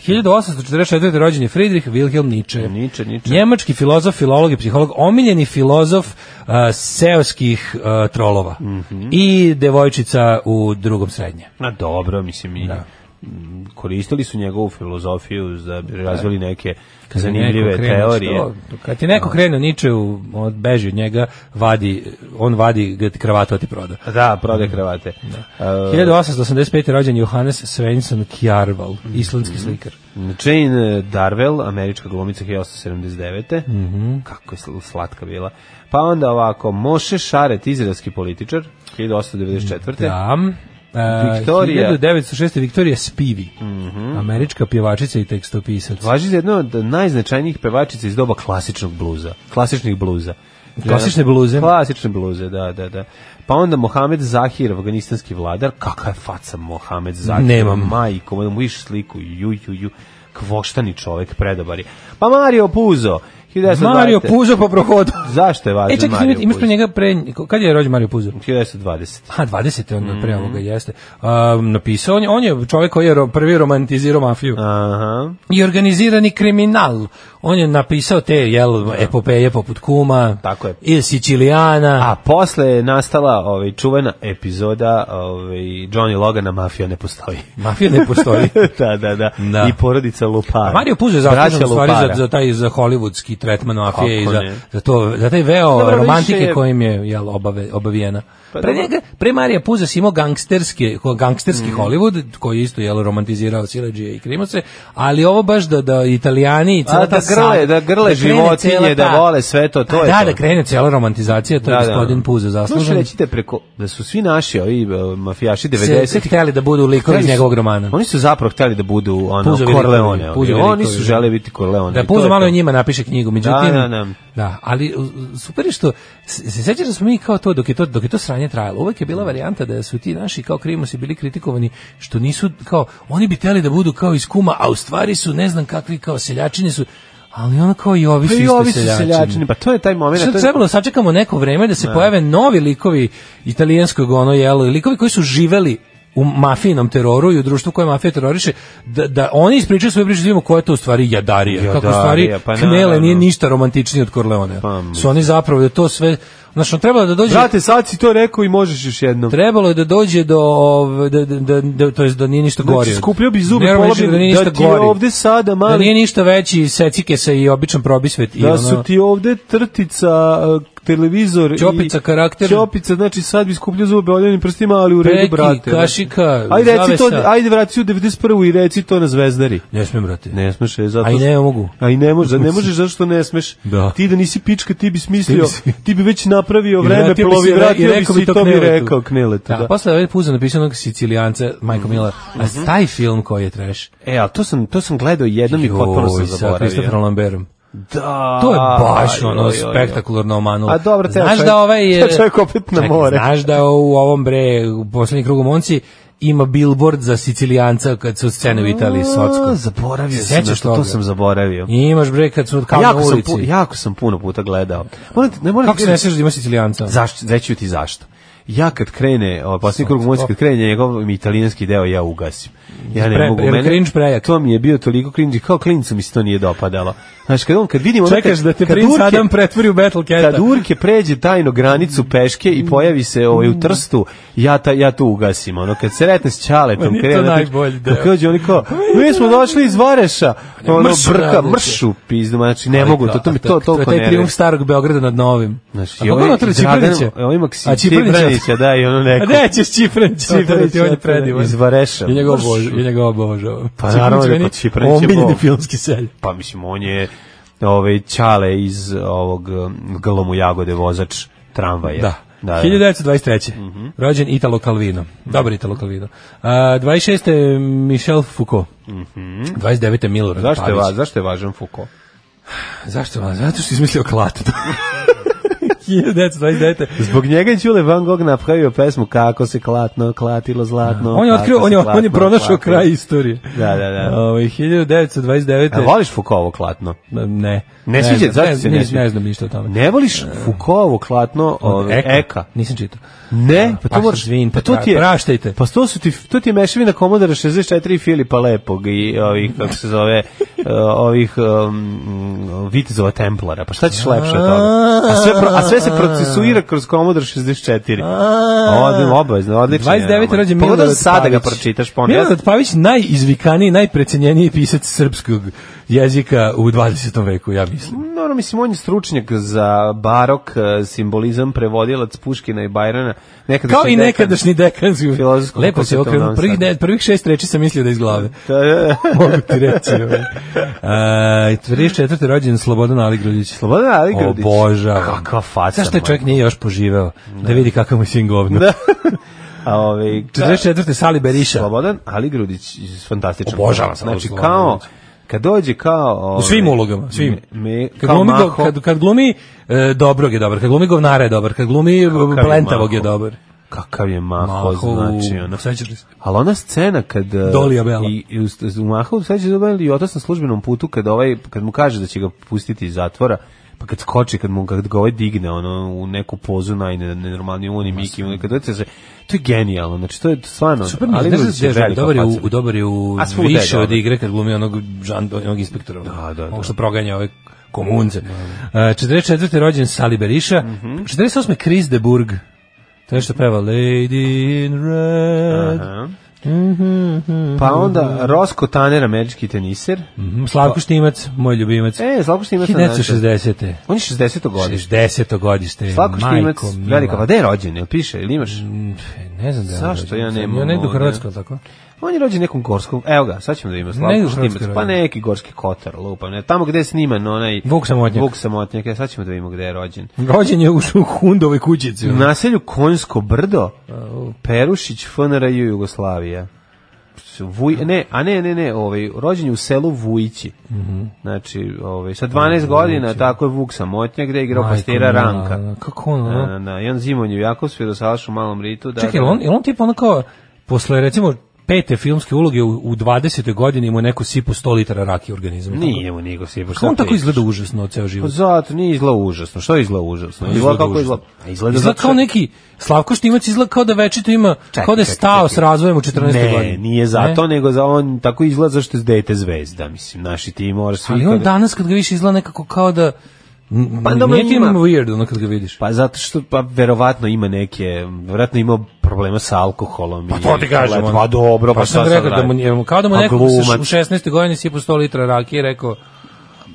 1844. rođen je Friedrich Wilhelm Nietzsche. Nietzsche, Nietzsche. Njemački filozof, filolog i psiholog, omiljeni filozof uh, seoskih uh, trolova Mhm. i devojčica u drugom srednje. Na dobro, mislim i m, koristili su njegovu filozofiju da bi razvili neke Kad ti zanimljive neko krene, teorije. što- kad ti neko krene Nietzsche, u, od, beži od njega, vadi, on vadi ga ti kravatu, a ti proda. Da, prode kravate. Uh, 1885. je rođen Johannes Svensson Kjarval, islandski Mhm. slikar. Jane Darvel, američka glumica 1879. Mm Kako je sl- slatka bila. Pa onda ovako, Moše Šaret, izraelski političar, 1894. Da. E, Viktorija. Mhm. 1906. Viktorija Spivi, američka pjevačica i tekstopisac. Važi za jedno od najznačajnijih pevačica iz doba klasičnog bluza. Klasičnih bluza. Klasične bluze. Klasične bluze, da, da, da. Pa onda Mohamed Zahir, afganistanski vladar. Kakva je faca Mohamed Zahir? Nemam. Majko, moja, da mu vidiš sliku. Ju, ju, ju. Kvoštani čovek, predobar je. Pa Mario Puzo. 1920. Mario Puzo po prohodu. Zašto je važan E, čekaj, Mario imaš, imaš Puzo? pre njega pre... Kad je rođen Mario Puzo? 1920. A, 20. onda pre Mhm. ovoga jeste. Um, napisao, on je, on je čovjek koji je ro- prvi romantizirao mafiju. Aha. i organizirani kriminal. On je napisao te jel, epopeje poput Kuma, Tako je. ili Sicilijana, A posle je nastala ovaj, čuvena epizoda ovaj, Johnny Logana Mafija ne postoji. mafija ne postoji. da, da, da, Da. I porodica Lupara. A Mario Puzo je zaslužen Braća u stvari za, Lupara. za taj za hollywoodski tretman mafije i Kako za, ne. za, to, za taj veo Dobro, više romantike je- kojim je jel, obave, obavijena. Pa pre, dobro. Mm. njega, pre Marija Puza si imao gangsterski, gangsterski Hollywood, koji je isto jel, romantizirao sileđije i krimose, ali ovo baš da, da italijani... i A, cijela ta da grle, sad- da grle krene životinje, cijela da vole sve to, to Pa je da, to. da krene cijela romantizacija, to je gospodin Puza Možeš zaslužen. reći da preko, da su svi naši ovi e, mafijaši se 90 hteli da budu likovi iz njegovog romana. Oni su zapravo hteli da budu ono, Puzovi Corleone. likovi, ovi. Puzovi Oni likovi, su da. žele biti Corleone. Da i to Puzo je malo to. o njima napiše knjigu, međutim... Da, da, da. da, ali u- super je što, se se sećaš da smo mi kao to, dok je to, dok je to sranje trajalo, uvek je bila varijanta da su ti naši kao krimosi bili kritikovani, što nisu, kao, oni bi teli da budu kao iz kuma, a u stvari su, ne znam kakvi, kao seljačini su, ali ono kao i ovi Pa su i isto ovi su seljačini, pa to je taj moment. Sad to je- trebalo sačekamo neko vreme da se pojave novi likovi italijanskog ono jelo, likovi koji su živeli u mafijinom teroru i u društvu koje mafija teroriše, da, da oni ispričaju svoje priče, da vidimo koja je to u stvari jadarija. Jadarija, kako u stvari pa knele naravno. nije ništa romantičnije od Corleone. Pa, su oni zapravo da to sve... Znači, trebalo je da dođe... Brate, sad si to rekao i možeš još jednom. Trebalo je da dođe do ov- da, da, da, da to jest da nije ništa Znači, gore. skupljao bi zube, polomio da, bi- nije da ništa ti je gore. ovde sada mali- Da nije ništa veći secike se i običan probisvet i Da ono- su ti ovde trtica, e, televizor Ćopica, i... karakter. Ćopica, znači sad bi skupljio zube oljenim prstima, ali u redu, Preki, brate. ono. kašika, ajde, reci to, zavesa. ajde vrati se u 91. i reci to na zvezdari. Ne smem, brate. Ne smeš, e, zato A i što- ne mogu. A i ne možeš, ne možeš zato što ne smeš. Da. Ti da nisi pička, ti bi smislio, Ti bi si- ti bi već napravio vreme, vratio mi se plovi i re- i vratio mi rekao se mi i to to mi Kneletu. rekao Kneletu. Da, Da. Mhm. posle ovaj Puzo napisao onog Sicilijanca, Michael Miller, a taj film koji je trash, E, ali to sam, to sam gledao jednom i potpuno Joj, sam sa zaboravio. Christopherom Lamberom. Da. To je baš Aj, ono joj, joj, joj. spektakularno omanulo. A dobro, ceo znaš čovjek- da ovaj ceo čovjek opet na more. Znaš da u ovom bre u poslednjem krugu Monci ima billboard za Sicilijanca kad su scene u Italiji A, Socko. Zaboravio Se sam, sjećaš nešto, to toga? sam zaboravio. I imaš bre kad su kao na jako, sam, ulici. pu, jako sam puno puta gledao. Morate, ne morate Kako se ne sjećaš da ima Sicilijanca? Zašto, reći ću ti zašto. Ja kad krene, ovaj posljednji krug muzike, kad krene njegov italijanski deo, ja ugasim. Ja ne Pre- mogu, jer mene, cringe prejak. to mi je bio toliko cringe, kao klincu mi se to nije dopadalo. Znaš, kad on, kad vidimo... Čekaš da te princ Adam pretvori u Battle Cata. Kad Urke pređe tajno granicu peške i pojavi se ovaj Mm. u Trstu, ja ta ja to ugasim. Ono kad se retne s Ćaletom, Meni je to krene najbolji deo. Kad dođe oni kao, mi smo došli iz Vareša. Ono Mršu brka, radite. mršu pizdu, znači ne mogu to, to mi to To je toliko taj ne. trijumf starog Beograda nad Novim. Znači, A kako ono otvara Čipranića? Ovo ovaj ima Ksi- A Čipranića- Čipranića, da, i ono neko. A nećeš Čipranić, Čipranić, on je Čipranić, predivan. iz Vareša. Ja njega Mršu. obožavam, ja njega obožavam. Pa naravno da je kod Čipranića Čipranić je Bog. omiljeni filmski selj. Pa mislim, on je ovaj, Ćale iz ovog um, Glomu Jagode, vozač tramvaja. Da. Da, 1923. Mhm. Rođen Italo Calvino. Dobar Italo Calvino. A, 26. Michel Foucault. 29. Milorad Mhm. Zašto je, Pavić. va, zašto je važan Foucault? Zašto je važno? Zato što je izmislio klat. 1929. Zbog njega je Đule Van Gogh napravio pesmu Kako se klatno, klatilo zlatno. On je kako otkrio, se on je, on je klatno, pronašao klatilo. kraj istorije. Da, da, da. Ovaj, A 1929. voliš Foucaultovo klatno? Ne. Ne, sviđa, znam, zašto se ne ne, sviđa? ne znam ništa o tome. Ne voliš Foucaultovo klatno ove, eka. Nisam čitao. Ne, pa Pa to sam moraš, zvin, pa pa to ti je, praštajte. pa to su ti, to ti je mešavina Komodora 64 i Filipa Lepog i ovih, kako se zove, eh, ovih um, Vitezova Templara, pa šta ćeš lepše od toga? A sve, pro, a sve se procesuira kroz Komodor 64. Odem, obavezno, odlično. 29. rođen Milorad Pogledaj Pavić. sada ga pročitaš pa ponovno. Ja sam- Milorad Pavić najizvikaniji, najprecenjeniji pisac srpskog jezika u 20. veku, ja mislim. Dobro, ono, mislim, on je stručnjak za barok, eh, simbolizam, prevodilac Puškina i Bajrana. Nekada Kao sam i dekan. nekadanšnji dekanski Filozofskog Lepo se fakulteta u okrenuo. Novom Prvih, Sadu. ne, prvih šest reči sam mislio da iz glave. Da, da, da. Mogu ti reći. ovaj. A, 34. rođen Slobodan Aligrudić. Slobodan Aligrudić. Obožavam. Kakva faca, Zašto je čovjek majko. nije još poživeo? Da vidi kakav mu je sin govno. Da. A ovaj 44. Sali Beriša. Slobodan Ali Grudić fantastičan. Obožavam Slobodan Znači Slobodan kao Grudić. kad dođe kao ovaj, U svim ulogama, svim. Me, Kad kao glumi, go- Maho, kad, kad glumi e, dobrog je dobar, kad glumi govnara je dobar, kad glumi Kakav je plentavog je Maho? dobar. kakav je Maho, Maho u- znači ono. sećaš li se? Ali ona scena kad eh, Dolija Bela. i, i u, u Mahu sećaš da Bela i otac na službenom putu kad ovaj kad mu kaže da će ga pustiti iz zatvora pa kad skoči, kad mu kad ga ovaj digne ono, u neku pozu najnenormalnije on i Miki, ono, kad dođe se, to je genijalno, znači to je stvarno, Super pa mi je, znaš Grudić da je velika dobar je u, faca. u- dobar je u A svuda je više od dobar. igre kad glumi onog, žan, onog inspektora. Da, da, da. Ono što proganja ove komunce. E, 44. rođen Sali Beriša, Mhm. 48. Chris de Burg, to je što peva Lady in Red, Aha. Pa onda Rosco Tanner, američki teniser. Mhm, Slavko Štimac, moj ljubimac. Pa- E, Slavko Štimac na našem. 1960. On je 60. godište. 60. godište. Slavko Štimac, majko mila. Mm. velika, pa da je rođen, jel piše, ili imaš? Ne znam da je on Zašto rođen. ja nemam Ja ne idu u ovdje? Hrvatsko, jel tako? On je rođen nekom gorskom, evo ga, sad ćemo da ima Ne, u Slavko Hrvatskoj Štimac, pa rođen. neki gorski kotar, lupam, ne, tamo gde je sniman onaj... Vuk Samotnjak. Vuk Samotnjak, e, sad ćemo da vidimo gde je rođen. Rođen je u u Hundovoj kućici. U naselju Konjsko brdo, uh, Perušić, FNRJ Jugoslavija. Vuj, ne, a ne, ne, ne, ovaj, rođen je u selu Vujići. Mhm. Znači, ovaj, sa 12 godina, tako je Vuk Samotnjak, gde je igrao Majko pastira mila, Ranka. da, Kako ono? Da, da, da. I on zimonje u Jakovsku i u malom ritu. Da, Čekaj, da. jel on, jel on tipa ono kao, posle recimo pete filmske uloge u, u 20. godini mu je neko sipu 100 litara rakije u organizmu. Nije mu niko si Kako on tako izgleda užasno ceo život? Zato nije izgleda užasno. Što je izgleda užasno? Izgleda kako izgleda. A Izgleda, Izgleda zato što- kao neki Slavko Štimac izgleda kao da večito ima Čekaj, kao da je čekaj, stao čekaj. s razvojem u 14. Ne, godini. nije zato, nego za on tako izgleda zašto je dete zvezda, mislim, naši ti moraš svi Ali on kada- danas kad ga više izgleda nekako kao da Pa pa, dobro, nije ti ima- weird ono kad ga vidiš. Pa zato što pa verovatno ima neke, verovatno ima problema sa alkoholom. Pa to ti kažem, ono. Pa dobro, pa, Pa sam šta sad rekao da mu raditi? nije, kao da mu A neko u glumac? 16. godini sipu 100 litra rakije i rekao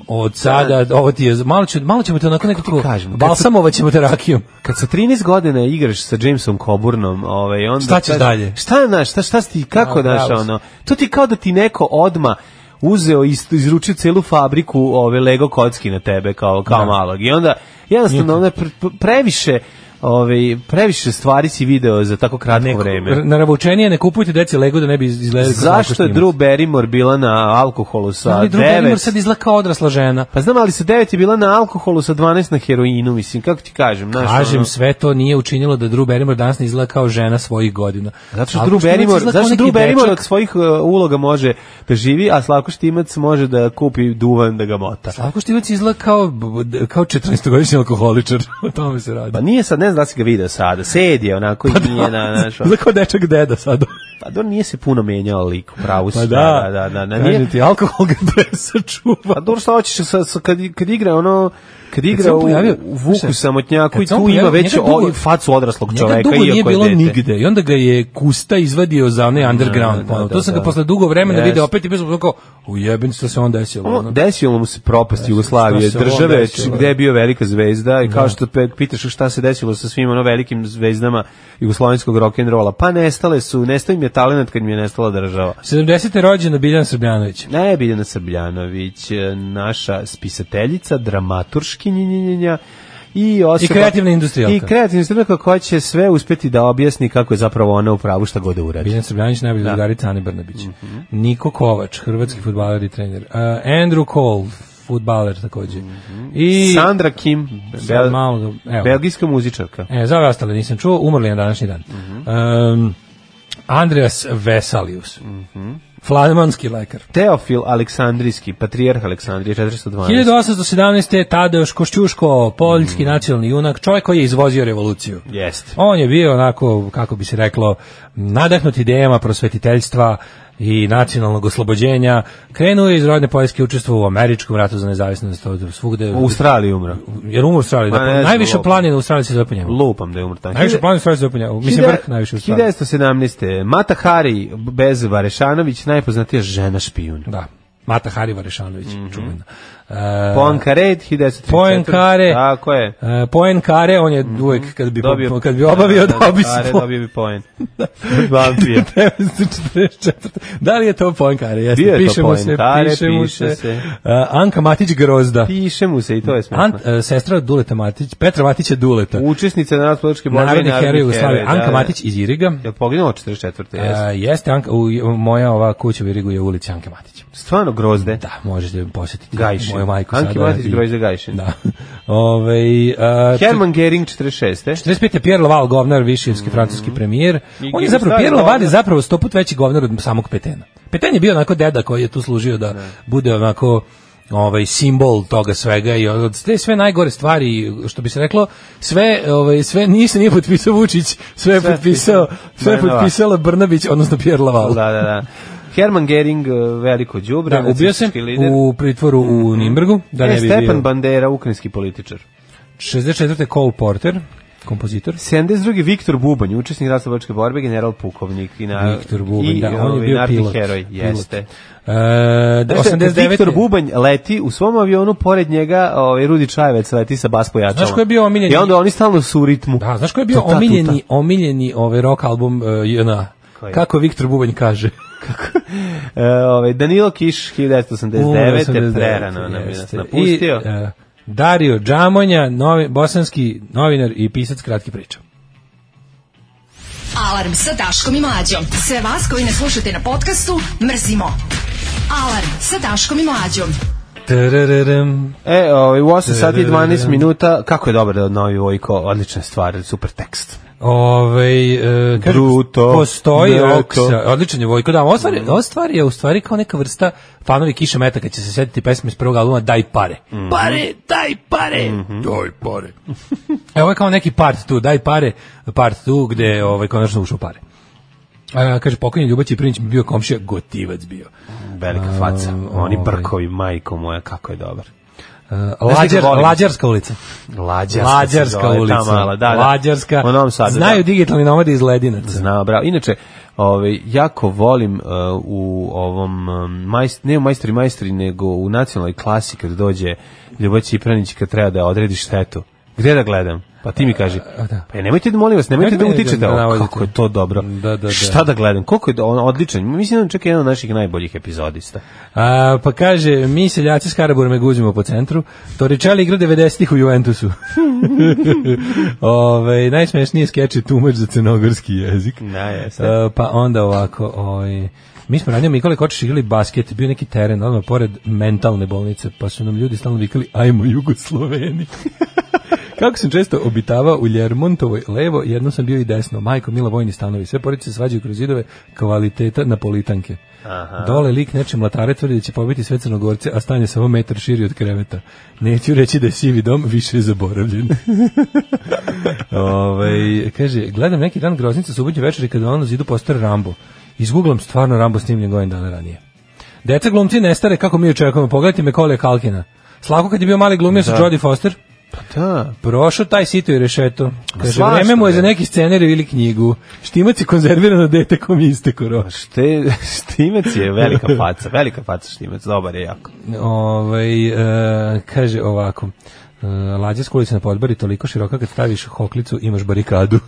od sada, ovo ti je, malo, ću, malo ćemo te onako nekako, kažem, kad se- balsamovat ćemo te rakijom. Kad sa 13 godina igraš sa Jamesom Coburnom, ovaj, onda... Šta ćeš kažeš, dalje? Šta, znaš, šta, šta si ti, kako, Da, znaš, pravo si. ono... To ti kao da ti neko odma uzeo i isto- izručio celu fabriku ove Lego kocki na tebe kao kao malog i onda Jednostavno, ona pre, previše, ovaj, previše stvari si video za tako kratko vreme. R- Naravučenije, E, ne kupujte deci Lego da ne bi iz- izgledali kao Zašto je slatko Drew Barrymore bila na alkoholu snimac. sa Ali druga Animor 9? sad izgleda kao odrasla žena. Pa znam, ali sa 9 je bila na alkoholu, sa 12 na heroinu, mislim, kako ti kažem? Znaš, Kažem, ono- sve to nije učinilo da Drew Barrymore danas ne izgleda kao žena svojih godina. Zato što Slavko Drew Štimac Barrymore, izgleda zašto kao Drew neki Barrymore od dečak. svojih uh, uloga može da živi, a Slavko Štimac može da kupi duvan da ga mota. Slavko Štivac izgleda kao, kao 14-godišnji alkoholičar. o tome se radi. Pa nije sad, ne znam da si ga video sada, sed je onako i nije na našo. Izgleda kao dečak deda sad. Pa do nije se puno menjao lik, pravo si. Pa da, da, da, da, Kažem nije. ti, alkohol ga presa Pa dobro šta hoćeš sa, sa kad, kad igra ono kad igra se on u, pojavio- u Vuku Šta? samotnjaku Kad i se on tu ima pojavio, već njega o, dugo- facu odraslog Njega čoveka dugo iako nije je bilo dete. nigde i onda ga je Kusta izvadio za onaj underground. Da, Da, da, da, to sam ga da. posle dugo vremena Yes. video opet i bio sam kao, u jebin, što se on desilo. Ono, ono. desilo mu se propast Jugoslavije, šta se ovo države desilo? gde je bio velika zvezda i kao što pe- pitaš šta se desilo sa svim ono velikim zvezdama jugoslovenskog rock and rolla, pa nestale su, nestao im je talent kad im je nestala država. 70. rođena Biljana Srbljanović. Ne, Biljana Srbljanović, e, naša spisateljica, dramaturškinjenjenja i osoba... I kreativna industrijalka. I kreativna industrijalka koja će sve uspeti da objasni kako je zapravo ona u pravu šta god da Mhm. uradi. Biljana Srbljanić, najbolja da. drugarica Ane Brnabić. Niko Kovač, hrvatski futbaler i trener. Uh, Andrew Cole, futbaler takođe. Mhm. I... Sandra Kim, Sad bel, malo ga- evo. belgijska muzičarka. E, za ove ostale nisam čuo, umrli je na današnji dan. Mhm. um, Andreas Vesalius. Mhm. Flamanski lekar. Teofil Aleksandrijski, patrijarh Aleksandrije 412. 1817. Tadeuš Košćuško, Mm. poljski nacionalni junak, čovjek koji je izvozio revoluciju. Jeste. On je bio onako, kako bi se reklo, nadahnut idejama prosvetiteljstva i nacionalnog oslobođenja. Krenuo je iz rodne Poljske učestvo u američkom ratu za nezavisnost od svugde. U Australiji umro. jer umro u Australiji. Ma, Da, ne znam, najviše lopov. planina u Australiji se zove po njemu. Lupam da je umro tamo. Najviše planina u Australiji se zove po njemu. Mislim, vrh najviše u Australiji. 1917. Mata Hari bez Varešanović, najpoznatija žena špijun. Da. Mata Hariva Rešanović, Mhm. čuvena. E, Poincaré 1934. Poincaré. Tako je. e, poen Kare, on je uvek kad bi, Mhm. Dobio, kad bi obavio, dobio bi Poincaré, svoj- dobio bi poen. Vampir. 1944. Da li je to Poinkare? Jeste, Bio je to piše mu se, Poincare, piše mu piše se. se. Uh, Anka Matić Grozda. Piše mu se i to je Ant, smešno. uh, sestra od Duleta Matić, Petra Matića Duleta. Učesnica narodne političke borbe i Narodni heroj Jugoslavije. heroj, da, Anka da. Matić iz Iriga. Jel poginuo 44. Uh, Jeste. jeste, Anka, u, moja ova kuća u Irigu je u ulici Anke Matić. Stvarno grozde. Da, možete posjetiti Gajšin. moju majku. Anki sada Matić i- Grozde Gajšin. Da. Ove, uh, Herman Gering 46. 45. je Pierre Laval, govnar, višijevski francuski premijer. Mhm. I On je Gustav zapravo, Pierre Laval je Laval. zapravo sto put veći govnar od samog Petena. Peten je bio onako deda koji je tu služio da bude onako ovaj simbol toga svega i od te sve najgore stvari što bi se reklo sve ovaj sve nije se nije potpisao Vučić sve je Sve je potpisao potpisao sve je Brnabić. potpisala Brnabić odnosno Pierre Laval Da, da, da. Herman Gering, eh, veliko đubre, da, ubio se nacistički lider. u pritvoru u Nimbergu da E, ne bi Stepan bio Bandera, ukrajinski političar. 64. Cole Porter kompozitor 72. Viktor Bubanj, učesnik raslovačke borbe, general pukovnik i na Viktor Bubanj, i, da, on je ovaj, bio narodni pilot. heroj, pilot. jeste. E, Znaš šta, kad 89. Viktor Bubanj leti u svom avionu pored njega, ovaj Rudi Čajevec leti sa bas pojačalom. Znaš ko je bio omiljeni- I onda oni stalno su u ritmu. Da, znaš ko je bio Tuta, tuta. omiljeni, omiljeni ovaj rock album uh, JNA? Koji? Kako Viktor Bubanj kaže. E, ovaj Danilo Kiš 1989. prerano nam je nas Jeste. napustio. I, e, Dario Džamonja, novi, bosanski novinar i pisac kratkih priča. Alarm sa Daškom i Mlađom. Sve vas koji ne slušate na podcastu, mrzimo. Alarm sa Daškom i Mlađom. Tarararam. E, ovaj, u 8 sati i 12 minuta, kako je dobar da novi Vojko, odlična stvar, super tekst. Ovaj e, kaže, Bruto, postoji neto. oksa, odličan je Vojko, da, ova stvar, je- ova stvar je u stvari kao neka vrsta fanovi Kiša Meta kad će se setiti pesme iz prvog albuma Daj pare. Mhm. Pare, daj pare. Daj pare. E, ovo je kao neki part tu, daj pare, part tu gde je ovaj, konačno ušao pare. A, kaže, pokojni Ljubac Prinić mi bio komšija, gotivac bio. Mhm. E, Velika faca. Oni ovaj. brkovi, majko moja, kako je dobar. E, Znaš da Lađar, ga volim? Lađarska ulica. Lađarska, se Lađarska zove, ta ulica. mala, da, da. Lađarska. U Novom Sadu, Znaju da. digitalni nomadi iz Ledinaca. Znao, bravo. Inače, ovaj, jako volim uh, u ovom, um, majst, ne u majstori majstori, nego u nacionalnoj klasi kad dođe Ljubav Cipranić kad treba da odredi štetu. Gde da gledam? Pa ti mi kaži. da. Pa nemojte da molim vas, nemojte Nemojte da me utičete. da O, navodite. kako je to dobro. Da, da, da. Šta da gledam? Koliko je da, on odličan. Mislim da je čak jedan od naših najboljih epizodista. A, pa kaže, mi seljaci s Karaburme guzimo po centru, Toričali igra 90-ih u Juventusu. Ove, najsmešniji skeč je tumač za crnogorski jezik. Da, jeste. E, pa onda ovako, ovaj, mi smo ranije Mikole Kočiš igrali basket, bio neki teren, odmah pored mentalne bolnice, pa su nam ljudi stalno vikali, ajmo Jugosloveni. Kako sam često obitavao u Ljermontovoj levo, jedno sam bio i desno. Majko, mila vojni stanovi, sve porodice se svađaju kroz zidove kvaliteta napolitanke. Aha. Dole lik neče mlatare tvrdi da će pobiti sve crnogorce, a stanje samo metar širi od kreveta. Neću reći da je sivi dom više je zaboravljen. Ove, Ovaj, kaže, gledam neki dan groznica subotnje večeri kada ono na zidu postara Rambo. Izgooglam stvarno Rambo snimljen godin dana ranije. Deca glumci nestare kako mi očekujemo. Pogledajte me kole Kalkina. Slako kad je bio mali glumio sa Jodie Foster. Da. Prošao taj sito i rešeto. Kaže, Svašta, vreme mu je bre. za neki scenarij ili knjigu. Štimac je konzervirano dete kom je isteko rok. Šte, štimec je velika faca, velika faca štimec, dobar je jako. Ovaj, e, kaže ovako, e, lađa s kulice na podbari toliko široka kad staviš hoklicu imaš barikadu.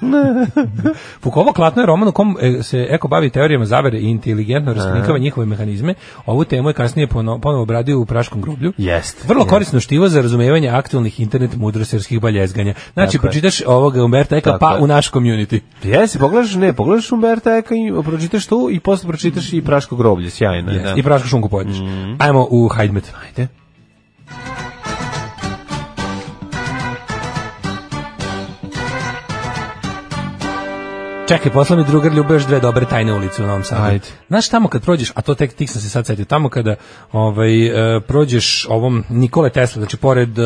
Pukovo klatno je roman u kom e, se Eko bavi teorijama zavere i inteligentno raskrinkava njihove mehanizme. Ovu temu je kasnije pono- ponovo obradio u Praškom groblju. Jeste. Vrlo korisno štivo za razumevanje aktualnih internet mudroserskih baljezganja. Znači, Tako je. pročitaš ovoga Umberta Eka, Tako pa je. u naš community. Pa Jesi, pogledaš, ne, pogledaš Umberta Eka i pročitaš to i posle pročitaš i Praško groblje, sjajno. je, Jeste, Da. I prašku šunku pojedeš. Ajmo u Hajdmet. Ajde. Čekaj, posla mi drugar ljube još dve dobre tajne ulice u Novom Sadu. Ajde. Znaš tamo kad prođeš, a to tek tik sam se sad setio, tamo kada ovaj, e, prođeš ovom Nikole Tesla, znači pored e,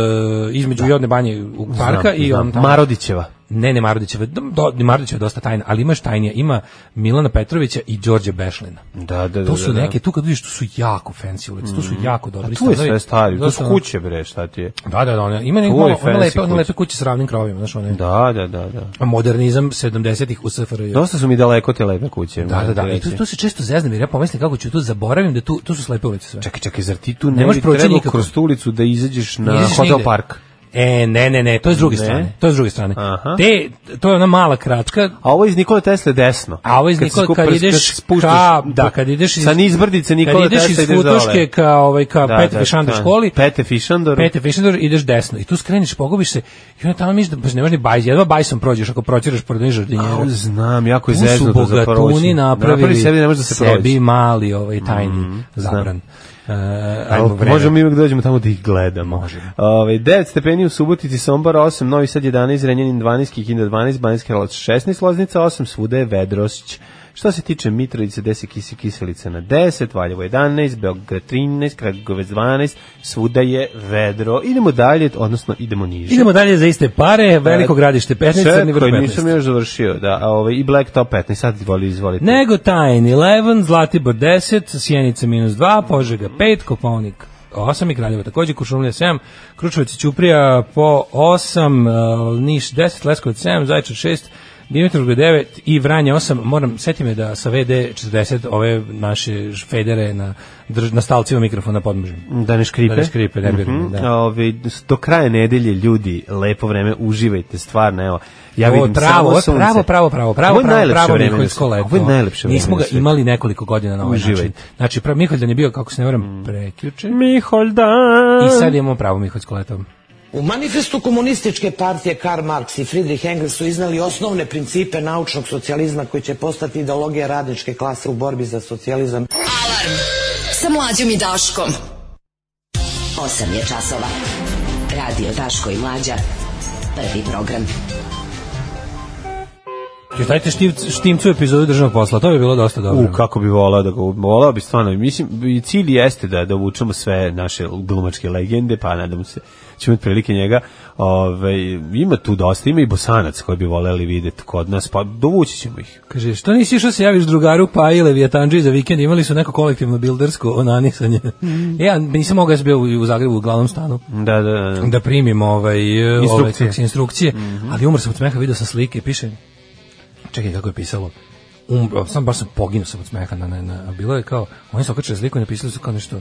između Jodne banje u parka i on tamo... Marodićeva. Ne, ne Marodićeva, do, Marodićeva je dosta tajna, ali imaš tajnija, ima Milana Petrovića i Đorđe Bešlina. Da, da, da. To su da, da. neke, tu kad vidiš, tu su jako fancy ulice, tu su jako A dobri tu je stanovi. sve stari, tu su Dosta- kuće, bre, šta ti je? ono- Da, da, da, one, ima neko, Tu je ono, one fancy lepe, one kuće. lepe kuće s ravnim krovima, znaš, one, Da, da, da, da. modernizam 70-ih u SFRJ. Dosta su mi daleko te lepe kuće. Da, moram da, da, ti i tu, reći. tu se često zeznam jer ja pomislim kako ću tu, zaboravim da tu, tu su slepe ulice sve. Čekaj, čekaj, zar ti tu ne, možeš bi proći trebao nikako. kroz tu ulicu da izađeš na Ne izađeš hotel nigde. park? E, ne, ne, ne, to je s druge Ne. strane, to je s druge strane. Aha. Te, to je ona mala kratka, A ovo iz Nikole Tesle desno. A ovo iz Kad se Nikole- skup- kad ideš spuštaš- ka- da, kad ideš iz- sa nizbrdice kad Nikole ideš iz Tesle ideš dole. Futoške ka, ovaj, ka Pete Fišandar školi, Pete Fišandor. Pete Fišendor, ideš desno i tu skreniš, pogubiš se i onda tamo misliš da baš ne možeš ni bajs, jedva bajsom prođeš ako proćiraš pored onih žardinjera. Au, znam, jako je Tu su zeznuto za proći. bogatuni napravili Napravi sebi, ne može da se sebi prođe. mali ovaj tajni zabran. E, ajmo Ali vreme. Možemo mi uvek dođemo tamo da ih gledamo. Možemo. Ove, 9 stepeni u Subotici, Sombor 8, Novi Sad 11, Renjanin 12, Kikinda 12, Banjski Kralac 16, Loznica 8, svuda je Vedrošć. Što se tiče Mitrovice, 10 kisi kiselica na 10, Valjevo 11, Beograd 13, Kragovec 12, svuda je vedro. Idemo dalje, odnosno idemo niže. Idemo dalje za iste pare, veliko gradište 15, crni vrh E, Čekaj, 15. nisam još završio, da, a ovaj, i Black Top 15, sad voli, izvolite. Nego tajn 11, Zlatibor 10, Sjenica minus 2, Požega 5, Koponik 8 i Kraljevo takođe, Kušumlija 7, Kručevac i Ćuprija po 8, e, Niš 10, Leskovac 7, Zajčar 6, Dimitrovgrad 9 i Vranje 8. Moram, seti me da sa VD 40 ove naše federe na, drž, na stalcima mikrofona podmržim. Da ne škripe. Da ne škripe, ne vjerujem, Mhm. da. Ove, s- do kraja nedelje, ljudi, lepo vreme, uživajte, stvarno, evo. Ja Ja vidim ovo pravo, ovo samo je sunce. pravo, pravo, pravo, pravo, Ovo je pravo, najlepše pravo vreme na Miholjsko svetu. lepo. Ovo je najlepše vreme Nismo ga na svetu. imali nekoliko godina na ovaj Uživajte. način. Znači, prav, Miholjan je bio, kako se ne varam, Mm. prekjuče. Miholdan. I sad imamo pravo Miholjsko leto. U manifestu komunističke partije Karl Marx i Friedrich Engels su iznali osnovne principe naučnog socijalizma koji će postati ideologija radničke klase u borbi za socijalizam. Alarm sa mlađom i Daškom. 8 je časova. Radio Daško i mlađa. Prvi program. Još dajte štivc- štimcu epizodu državnog posla, to bi bilo dosta dobro. U, kako bi volao da ga, volao bi stvarno, mislim, i cilj jeste da, da uvučemo sve naše glumačke legende, pa nadam se ćemo imati prilike njega. Ove, ima tu dosta, ima i bosanac koji bi voleli videti kod nas, pa dovući ćemo ih. Kaže, što nisi išao se javiš drugaru pa i Leviatanđi za vikend, imali su neko kolektivno bildersko onanisanje. Ja nisam mogao, ja sam bio u u Zagrebu u glavnom stanu. Da, da, da. da primim ovaj e, Instrukcije. ove kako se, instrukcije, ali umr sam od smeha, video sam slike, piše Čekaj kako je pisalo. Um, sam baš sam poginuo sam od smeha na, na, na bilo je kao oni su okačili sliku i napisali su kao nešto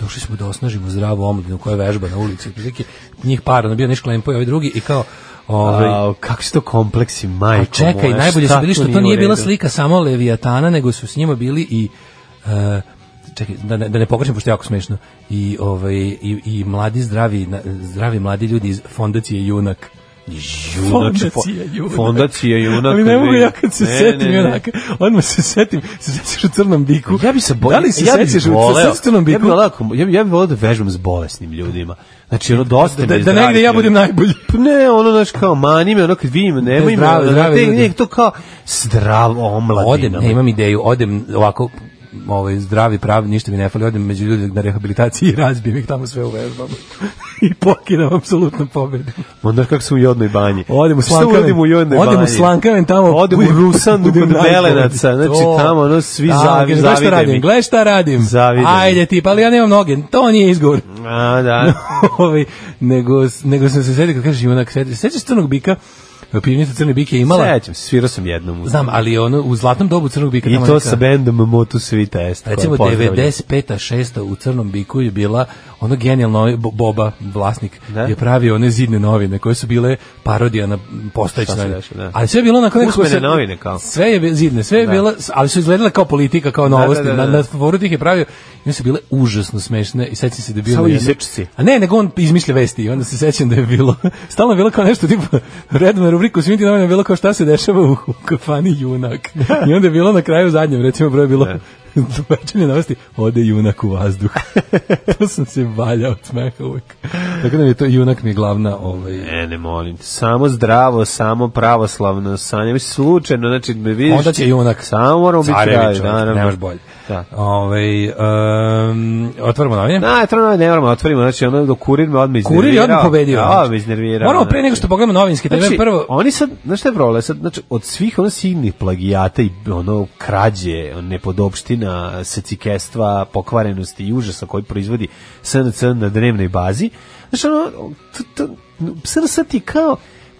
došli smo da osnažimo zdravu omladinu koja vežba na ulici. Otprilike njih par, ono bio Niš Klempo i ovaj drugi i kao ovaj, A, kako su to kompleksi, Pa majko čekaj, moja, najbolje su šta bili što to u nije bila redu? slika samo Leviatana, nego su s njima bili i e, čekaj, da ne, da ne pogrešim, pošto je jako smešno, i, ovaj, i, i mladi zdravi, na- zdravi mladi ljudi iz fondacije Junak. Junače, fo- Fondacija Junak. Fondacija Junak. Ali ne mogu bre. ja kad se Ne, ne, setim ne. Junaka, odmah se setim, se sećaš u crnom biku. Ja bi se bojao. Da li se ja bi sećaš u voleo- crnom Ja bi biku? voleo, ako- ja bi, ja bi voleo da vežbam s bolesnim ljudima. Znači, ono, dosta Da, mi je da negde zdravih ja budem ljudi. najbolji. Pa ne, ono, znaš, kao, mani me, ono, kad vidim, nema ime, zdravi, ono, zdravi te- ljudi. nek to kao zdrav omladina. ono. Odem, ne, imam ideju, odem ovako ovaj zdravi pravi ništa mi ne fali odem među ljude na rehabilitaciji i razbijem ih tamo sve u vežbama i pokidam apsolutno pobedu Onda kako su u jodnoj banji. Odem u Šta Slankamen. Odem u jodnoj banji. Odem u Slankamen, tamo Odem budem- u Rusan kod budem najbolji. Belenaca. Znači To. tamo ono svi Tamo, zavi, kaže, Gle šta zavide radim, mi. gle šta radim. Zavide mi. Ajde tip, ali ja nemam noge, to nije izgovor. A, da. ovaj, nego, nego sam se sjetio kad kažeš junak, sjetio- sećaš crnog bika, pivnica crne bike je imala, Sećam, se, svirao sam jednom. u- znam, ali ono, u zlatnom dobu crnog bika. I tamo to neka- sa bendom Motu Svita Est. Recimo koja pozdravlja. 95. 6. u Crnom Biku je bila ono genijalno ovaj Bo- Boba vlasnik Da. je pravio one zidne novine koje su bile parodija na postojeće Šta se novine. dešava, da. Ali sve je bilo onako nekako Usmene se- novine kao. Sve je bi- zidne, sve je bilo, ali su izgledale kao politika, kao novosti. da, da, da. Na, na foru tih je pravio i one su bile užasno smešne i sećam se da je bio Samo na jednom- izečci. A ne, nego on izmišlja vesti i onda se sećam da je bilo stalno je bilo kao nešto tipa redovna rubrika u svim tim novinama je bilo kao šta se dešava u, u kafani junak. I onda je bilo na kraju u zadnjem recimo broj je bilo Večernje novosti, ode junak u vazduh. to sam se valjao od smeha uvek. Tako da mi je to junak mi je glavna ovaj, E, ne molim te. Samo zdravo, samo pravoslavno, sanje. Mislim, slučajno, znači, me vidiš... Onda će junak. Samo moramo biti Carević, pravi, čovjek, naravno. nemaš bolje. Da. Ovaj, um, otvaramo novine. Na, eto, no, ne moramo, otvorimo, znači, ono, do kurir me odmah iznervirao. Kurir je odmah pobedio. Ja, me iznervirao. Moramo pre znači. nego što pogledamo novinske teme, Znači, prvo... oni sad, znaš šta je problem, sad, znači, od svih ono signih plagijata i ono krađe, nepodopština, secikestva, pokvarenosti i užasa koji proizvodi SNC na dnevnoj bazi, znači, ono, to, to, SNC ti kao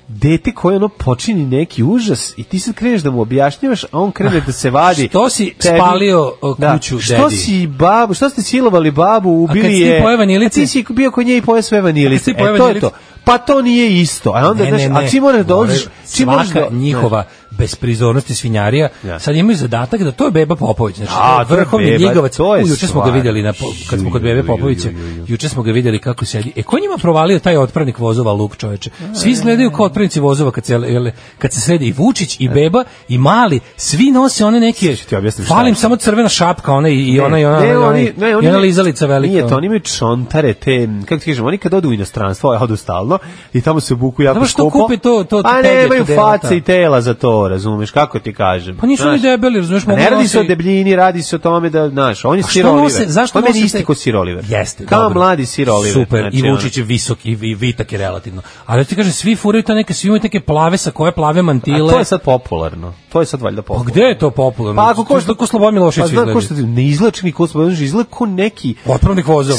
dete koje ono počini neki užas i ti sad kreneš da mu objašnjavaš, a on krene da se vadi. Što si spalio, o, kuću što dedi? Si babu, što ste silovali babu, ubili kad si ti je. pojeo vanilice? A ti si bio kod nje i pojeo sve vanilice. si pojeo E, to je vanilice? to. Pa to nije isto. A onda, znaš, a ti moraš da odeš, čim svaka moraš da... njihova besprizornost i svinjarija, Ja. sad imaju zadatak da to je Beba Popović. Znači, A, to je vrhovni to je beba, ljigavac. to je U, Juče smo ga stvar. vidjeli na, po- kad smo kod Bebe Ju, ju, ju, Popovića, ju, ju, ju. juče smo ga vidjeli kako sedi. E, ko je njima provalio taj otpravnik vozova luk čoveče? Svi izgledaju kao otpravnici vozova kad se, jel- kad se sredi i Vučić, i Beba, i Mali, svi nose one neke... ću E. ti objasniti šta Falim je. samo crvena šapka, ona i, i ona i ona, ne, ona- oni, ne, oni, i ona lizalica velika. ono. Nije to, oni imaju čontare, te, kako ti kažem, oni kad odu u inostranstvo, a odu stalno, i tamo se buku jako Dobro, što skupo. kupe to- to A tege, to ne, imaju dela, da. face i tela za to, razumeš, kako ti kažem. Pa nisu Znaš, oni debeli, razumeš, a mogu Ne radi nositi- se o debljini, radi se o tome da, znaš, on je A što Sir Oliver. nose- zašto on Pa meni nose isti te- ko Sir Oliver. Jeste, Kao dobro. mladi Sir Oliver. Super, i ono. Vučić je visok i, i vitak je relativno. Ali ti kaže, svi furaju ta neke, svi imaju neke plave sa koje plave A mantile. to je sad popularno. To je sad valjda Pa popularno. gde je to popularno? Pa ako ko što ko Slobodan Milošević Pa znam ko što izgleda. ne izlači ni ko Slobodan Milošević, izgleda ko neki Otpravnik vozova.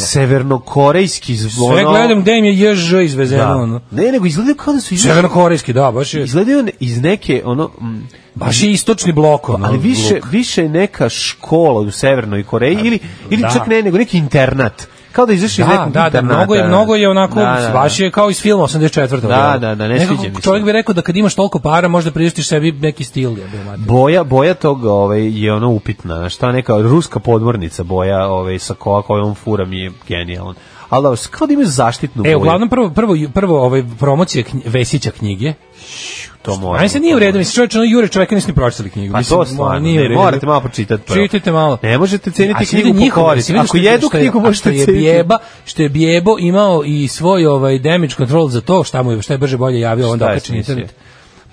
severnokorejski zvono. Sve gledam gde im je JŽ izvezeno. ono- da. Ono. Ne, nego izgleda kao da su iz Severnokorejski, da, baš je, izgledaju on iz neke ono mm, baš je istočni blok. Ono, ali više luk. više je neka škola u Severnoj Koreji ili ili da. čak ne nego neki internat. Kao da izašli iz Da, nekog da, da, internata. mnogo je, mnogo je onako, Da, da, da. baš je kao iz filma 84. Da, da, da, ne Nekako sviđa mi se. Čovjek bi rekao da kad imaš toliko para, možda priuštiš sebi neki stil. Ja, bio, mate. Boja, boja tog ovaj, je ono upitna, šta neka ruska podmornica boja ovaj, sa koja kojom fura mi je genijalan. Ali da, kao da imaju zaštitnu E, boju. uglavnom prvo prvo prvo ovaj promocija knj, Vesića knjige. to A meni se nije u redu, mislim čovjek, ono Jure čovjeka nisu ni pročitali knjigu. Pa mislim, to stvarno, ono, nije u ne, redu. morate malo pročitati prvo. Čitajte malo. Ne možete A ceniti sad knjigu ide po njihove, koristi. mislim, vidiš Ako što je- jednu što je- knjigu a što možete je ceniti. Bijeba, što je Bijebo imao i svoj ovaj damage control za to, šta mu je, šta je brže bolje javio, onda je okačio na smislio? internet.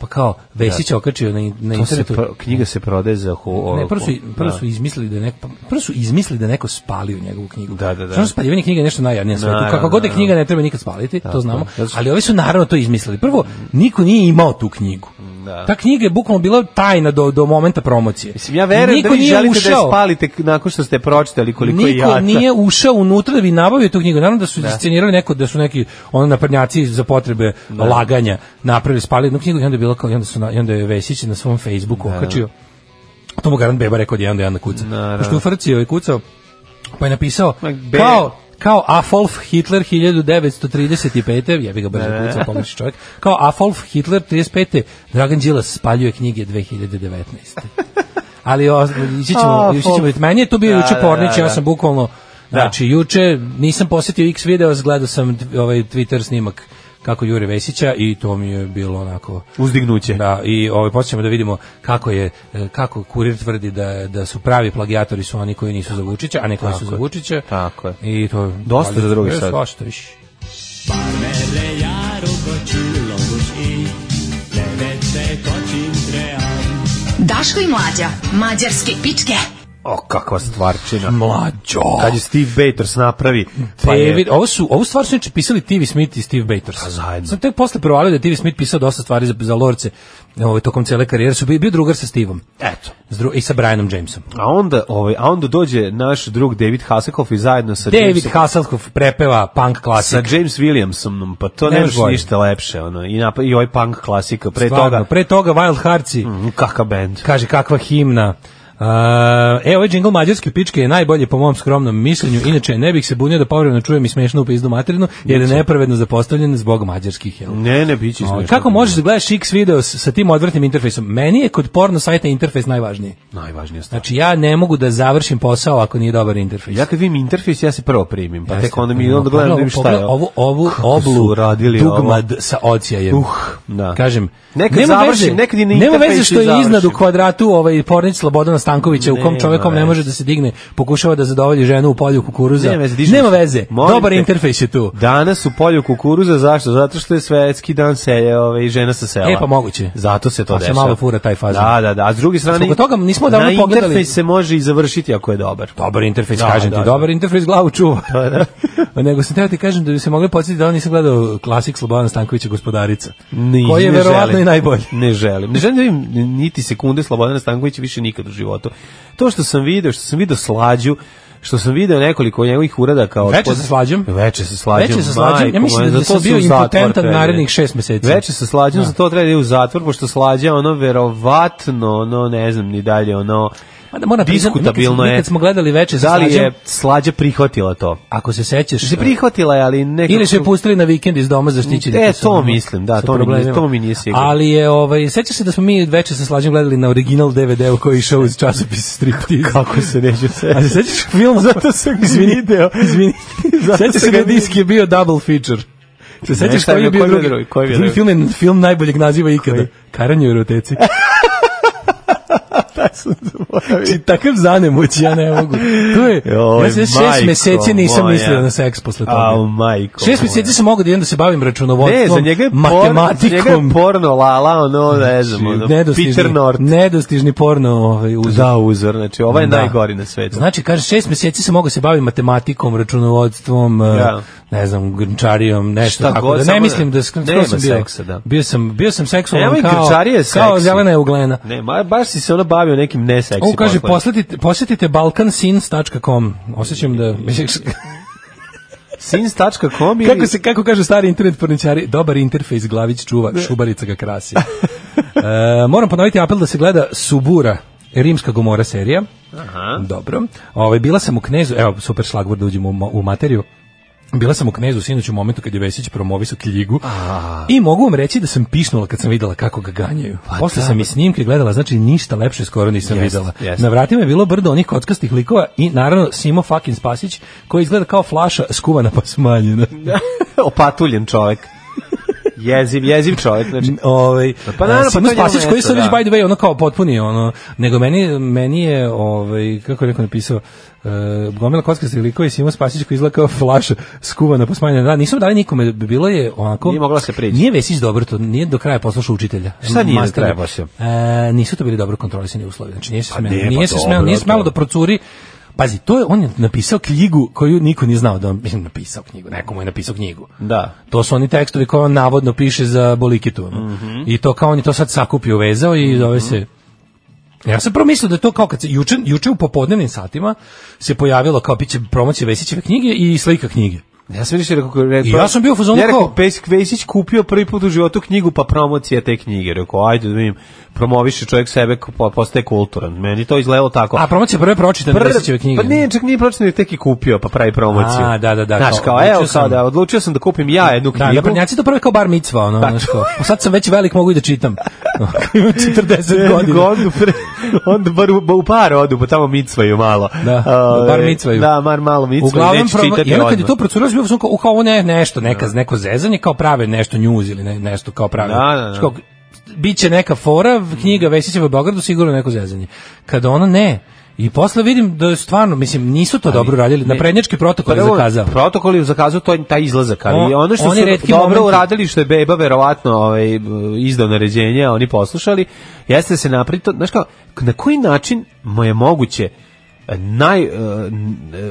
Pa kao, Vesić je okačio na, in- na To se internetu. pro- knjiga se prodaje za ho, Ne, prvo su, prvo da. su izmislili da je neko, prvo su izmislili da je neko spalio njegovu knjigu. Da, da, da. Znači, spaljivanje knjiga je nešto najjadnije na svetu. Naravno, Kako god je da. knjiga ne treba nikad spaliti, to znamo. zato što- Ali ovi su naravno to izmislili. Prvo, niko nije imao tu knjigu. Da. Ta knjiga je bukvalno bila tajna do, do momenta promocije. Mislim, ja verujem da Niko vi nije želite da je ušao. spalite nakon što ste pročitali koliko je Niko jata. nije ušao unutra da bi nabavio tu knjigu. Naravno da su iscenirali neko da su neki ono naprnjaci za potrebe laganja napravili spali jednu knjigu i onda je bilo kao i onda su na, i onda je Vesić na svom Facebooku okačio. To mu garant beba rekao da je jedan da je jedan da kuca. Pošto je u frci ovaj kucao, Pa je napisao Ma, be- kao kao Afolf Hitler 1935. Ja bih ga brzo kucao, pomoći čovjek. Kao Afolf Hitler 35. Dragan Đilas spaljuje knjige 2019. Ali o, ići ćemo, Afolf. ići ćemo. Meni je to bio Da, juče da, pornić, da, ja da. sam bukvalno Da. Znači, juče nisam posjetio X video, gledao sam t- ovaj Twitter snimak kako Jure Vesića i to mi je bilo onako... Uzdignuće. Da, i ovaj počnemo da vidimo kako je e, kako kurir tvrdi da da su pravi plagijatori su oni koji nisu za Vučića, a ne koji su Tako za je. Vučića. Tako je. I to Dosta za drugi E, sad. Svašta više. Daško i Mlađa, mađarske pičke. O, kakva stvarčina. Mlađo. Kad je Steve Bators napravi, pa je... David, ovo su ovu stvar su inače pisali TV Smith i Steve Bators. Pa zajedno. Sam tek posle provalio da je TV Smith pisao dosta stvari za, za Lorce. Ovaj tokom cele karijere su bio, bio drugar sa Steveom. Eto. S dru- I sa Brianom Jamesom. A onda, ovaj, a onda dođe naš drug David Hasselhoff i zajedno sa David Jamesom- Hasselhoff prepeva punk klasik. sa James Williamsonom, pa to Ne nemaš možeš bolje. ništa lepše, ono, i, napa, i ovaj punk klasika, pre Stvarno, toga, pre toga Wild Heartsi. Mm, kaka band. Kaže kakva himna. Uh, e, ovaj džingl mađarske pičke je najbolji po mom skromnom mišljenju, inače ne bih se bunio da povremeno čujem i smešnu pizdu materinu, jer je nepravedno zapostavljen zbog mađarskih. Jel? Ne, ne, bit će Ovaj, smiješno. Kako možeš da gledaš X video s- sa tim odvrtnim interfejsom? Meni je kod porno sajta interfejs najvažniji. Najvažnija stvar. Znači ja ne mogu da završim posao ako nije dobar interfejs. Ja kad vidim interfejs, ja se prvo primim, pa Znači- Jeste. tek onda mi onda Pogledaj gledam da ovo, vidim šta pogledaj je. ovo. Ovu, ovu Kako su oblu uradili ovo? dugmad sa ocijajem. Uh, da. Kažem, Nekad nema završim, veze, nekad i na nema veze interfejsu što je završim. iznad u kvadratu ovaj pornić Slobodana Stankovića u kom Nema čovekom ne veze. može da se digne, pokušava da zadovolji ženu u polju kukuruza. Nema veze, dižem se. veze, Molim dobar te. interfejs je tu. Danas u polju kukuruza, zašto? Zato što je svetski dan selja ove, i žena sa sela. E, pa moguće. Zato se to Pa se dešava. malo fura taj fazon. Da, da, da. A s druge strane, Zbog toga nismo odavno na pogledali- interfejs se može i završiti ako je dobar. Dobar interfejs, Da, kažem da, ti, da. Pa dobar interfejs glavu čuva. Pa Da, Nego sam teo ti kažem da bi se mogli podsjetiti da on nisam gledao klasik Slobodana Stankovića gospodarica. Ni- koji je ne verovatno želim. i najbolji. Ne želim. Ne želim da vidim niti sekunde Slobodana Stankovića više nikad u životu. To što sam video, što sam video slađu, što sam video nekoliko njegovih uradaka od Veče sa Slađom? Veče sa slađom. Veče sa Slađom? Ja majko mislim moja, da za to sam se bio u zatvor impotentan treba. narednih šest meseci. Veče sa slađom, za to treba da je u zatvor, pošto slađa ono verovatno, ono ne znam ni dalje, ono Mada moram priznati, mi kad smo- diskutabilno mi je. kad smo gledali Veče sa da li je Slađom- slađa prihvatila to? Ako se sećaš... Se prihvatila je, ali nekako... Ili su je pustili na vikend iz doma zaštićeni. E, sa- to mislim, da, sa to mi nije- problemima. to mi nije sigurno. Ali je, ovaj, sećaš se da smo mi veče sa slađem gledali na original DVD-u koji je išao uz časopis striptease. Kako se neću se... A se sećaš film? Zato sam ga video. Izvini. Zato Sećaš sam se ga da disk je bio double feature. Se sećaš šta je koji bio- je bio koji je bio drugi? drugi? Koji je bio drugi? drugi E, film je film najboljeg naziva ikada. Karanje u eroteci. Či takav zanemoć, ja ne mogu. To je, Joj, ja se šest majko meseci nisam moja. mislio na seks posle toga. Au, majko Šest moja. meseci sam mogao da idem da se bavim računovodstvom, Ne, za njega je porno, za njega matematikom. Znači, je porno lala, ono, ne znam, ono, nedostižni, Peter North. nedostižni porno ovaj, uz Da, uzor, znači, ovo je Da. najgori na svetu. Znači, kaže, šest mjeseci se mogu se baviti matematikom, računovodstvom, e, Ja. ne znam, grnčarijom, nešto Šta tako. god, da samo ne da- mislim da skroz nema sam bio. seksa, da. Bio sam, bio sam seksualan Evo i kao, grnčarija je kao seksi. zelena je uglena. Ne, ma, baš si se ono bavio nekim neseksi Ovo kaže, poslovima. posjetite, posjetite balkansins.com. Osjećam da... Sins.com ili... kako se kako kaže stari internet porničari, dobar interfejs glavić čuva, šubarica ga krasi. E, moram ponoviti apel da se gleda Subura, rimska gomora serija. Aha. Dobro. Ovaj bila sam u Knezu, evo super šlagvor da uđemo u, ma- u materiju. Bila sam u Knezu sinoć u momentu kad je Vesić promovisao kljigu i mogu vam reći da sam pišnula kad sam videla kako ga ganjaju. Posle sam i snimke gledala, znači ništa lepše skoro nisam Pa Jest, videla. jest. Na vratima je bilo brdo onih kockastih likova i naravno Simo fucking Spasić koji izgleda kao flaša skuvana pa smaljena. Opatuljen čovek. Jeziv, jeziv čovek, znači... ovaj Pa naravno, e, pa to Simo je njemu Spasić koji mesto, sad već da. by the way ono kao potpuni ono nego meni meni je ovaj kako je rekao napisao Uh, gomila kocka se likova i Simo Spasić koji izgleda kao flaša skuvana pa smanjena. Da, nismo dali nikome, bilo je onako... Nije mogla se prići. Nije Vesić dobro to, nije do kraja poslušao učitelja. Šta nije do Mastera. kraja poslušao? E, nisu to bili dobro kontrolisani uslovi. Znači nije se smelo, ne, pa nije se dobro, smelo, nije smelo to- da procuri Pazi, to je, on je napisao knjigu koju niko nije znao da on, mislim, napisao knjigu, nekomu je napisao knjigu. Da. To su oni tekstovi koje on navodno piše za Bolikitu. ono. Mhm. I to kao on je to sad sakupio, vezao i zove se... Ja sam promislio da je to kao kad se juče, juče u popodnevnim satima se pojavilo kao biće promocija Vesićeve knjige i slika knjige. Ja sam više rekao, rekao, I ja sam bio u fazonu ja rekao, kao- Pes- Vesić kupio prvi put u životu knjigu, pa promocija te knjige. Rekao, ajde da vidim, promoviše čovjek sebe, ko- pa postaje kulturan. Meni to izgledalo tako. A promocija prve pročitane Prve- Vesićeve knjige. Pa nije, čak nije pročitano, tek i kupio, pa pravi promociju. A, da, da, da, Znaš, kao, kao, odlučio evo, kao sam. da, odlučio sam da kupim ja jednu Da, knjigu. naprednjaci to prve kao bar micva, ono, Pa, znaš kao. Sad sam već velik, mogu i da čitam. Ako imam 40 godina. Godinu pre, onda bar u, u par odu, pa tamo micvaju malo. Da, Ove, bar micvaju. Da, mar malo micvaju, Uglavnom, neće promo, čitati i onda kad je odmah. to procurilo, bio sam kao, u, kao ovo ne, nešto, neka, neko zezanje, kao prave nešto news ili ne, nešto kao prave. Da, da, da. Znaš, Kao, biće neka fora, knjiga Vesićeva u Beogradu, sigurno neko zezanje. Kada ono ne, I posle vidim da je stvarno, mislim, nisu to dobro radili, na prednjački protokol je Prvo, zakazao. Protokol je zakazao to, taj izlazak, ali O, ono što oni su retki dobro momenti. uradili, što je Beba verovatno ovaj, izdao naređenje, a oni poslušali, jeste da se napravi to, znaš kao, na koji način mu je moguće eh, naj, eh, n- eh,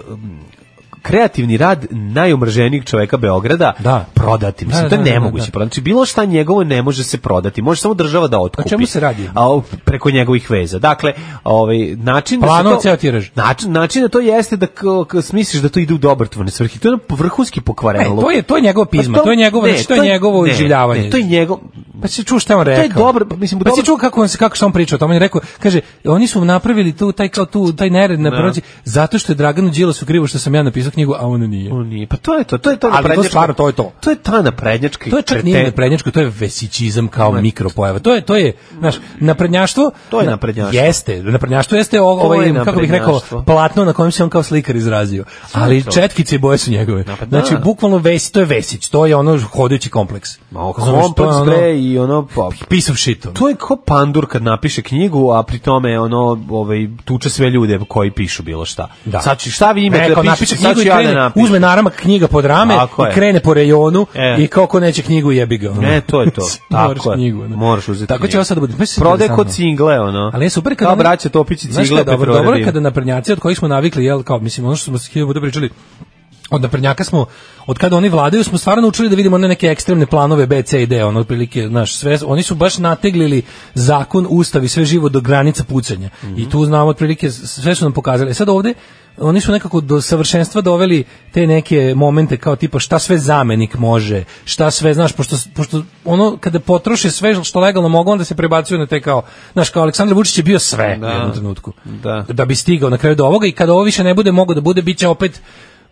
kreativni rad najumrženijeg čoveka Beograda Da. prodati. Mislim, Da, to je da, da, da, nemoguće. da. prodati. Znači, bilo šta njegovo ne može se prodati. Može samo država da otkupi. čemu se radi? A, o, preko njegovih veza. Dakle, ovaj, način Planovo da se ceo to... tiraž. Način, način da to jeste da k- k- smisliš da to ide u dobrotvorne svrhe. To je ono vrhunski pokvarelo. Ne, E, to je- to je Pa njegova pizma, to je njegovo- znači, to je njegovo iživljavanje. Ne, to je njegov... Pa si čuo šta je on je rekao. dobro, pa mislim, pa dobro- si čuo kako on se kako što on pričao, o tome on je rekao, kaže, oni su napravili tu taj kao tu taj nered na proći zato što je Draganu Đilasu krivo što sam ja napisao knjigu, a on nije. O, nije. Pa to je to, to je to Ali to naprednjačka- stvarno, to je to. To je ta naprednjačka To je čak kreten- nije naprednjačko, to je vesićizam kao mikropojava. To je to je, znaš, naprednjaštvo. To je na- naprednjaštvo. Jeste, naprednjaštvo jeste o- To je ovaj kako bih rekao naprednjaštvo. platno na kojem se on kao slikar izrazio. Ali to. četkice i boje su njegove. pa da. Znači bukvalno vesi, to je vesić, to je ono hodajući kompleks. Ma, o, Znaš, to je kompleks, ono- bre, i ono... Pa, piece of shit. ono. to je kao pandur kad napiše knjigu, a pri tome ono ovaj tuče sve ljude koji pišu bilo šta. Da. Sad ću- šta vi imate Rekao, da napiše pišete, sad knjigu ću i ja da krene, napišem. Uzme naramak knjiga pod rame Tako je. i krene po rejonu E. i kao ko neće knjigu jebi ga. ono. Ne, to je to. Moraš Tako je. knjigu, ono. Moraš uzeti Tako će knjigu. ovo sad da bude. Pa mislim, Prode interesantno. kod cingle, ono. Ali je super Kao kada... braće Topići Znaš cingle šta je dobro, Petrole dobro je Rim. kada naprednjaci od kojih smo navikli, jel, kao, mislim, ono što smo se hiljadu puta pričali, od naprednjaka smo, od kada oni vladaju, smo stvarno učili da vidimo one neke ekstremne planove B, C i D, ono, otprilike, znaš, sve, oni su baš nateglili zakon, ustav i sve živo do granica pucanja. I tu znamo, otprilike, s- sve su nam pokazali. E Sad ovde, oni su nekako do savršenstva doveli te neke momente kao tipa šta sve zamenik može, šta sve, znaš, pošto, pošto ono kada potroše sve što legalno mogu, onda se prebacuju na te kao, znaš, kao Aleksandar Vučić je bio sve u jednom trenutku. Da. da bi stigao na kraju do ovoga i kada ovo više ne bude mogo da bude, bit će opet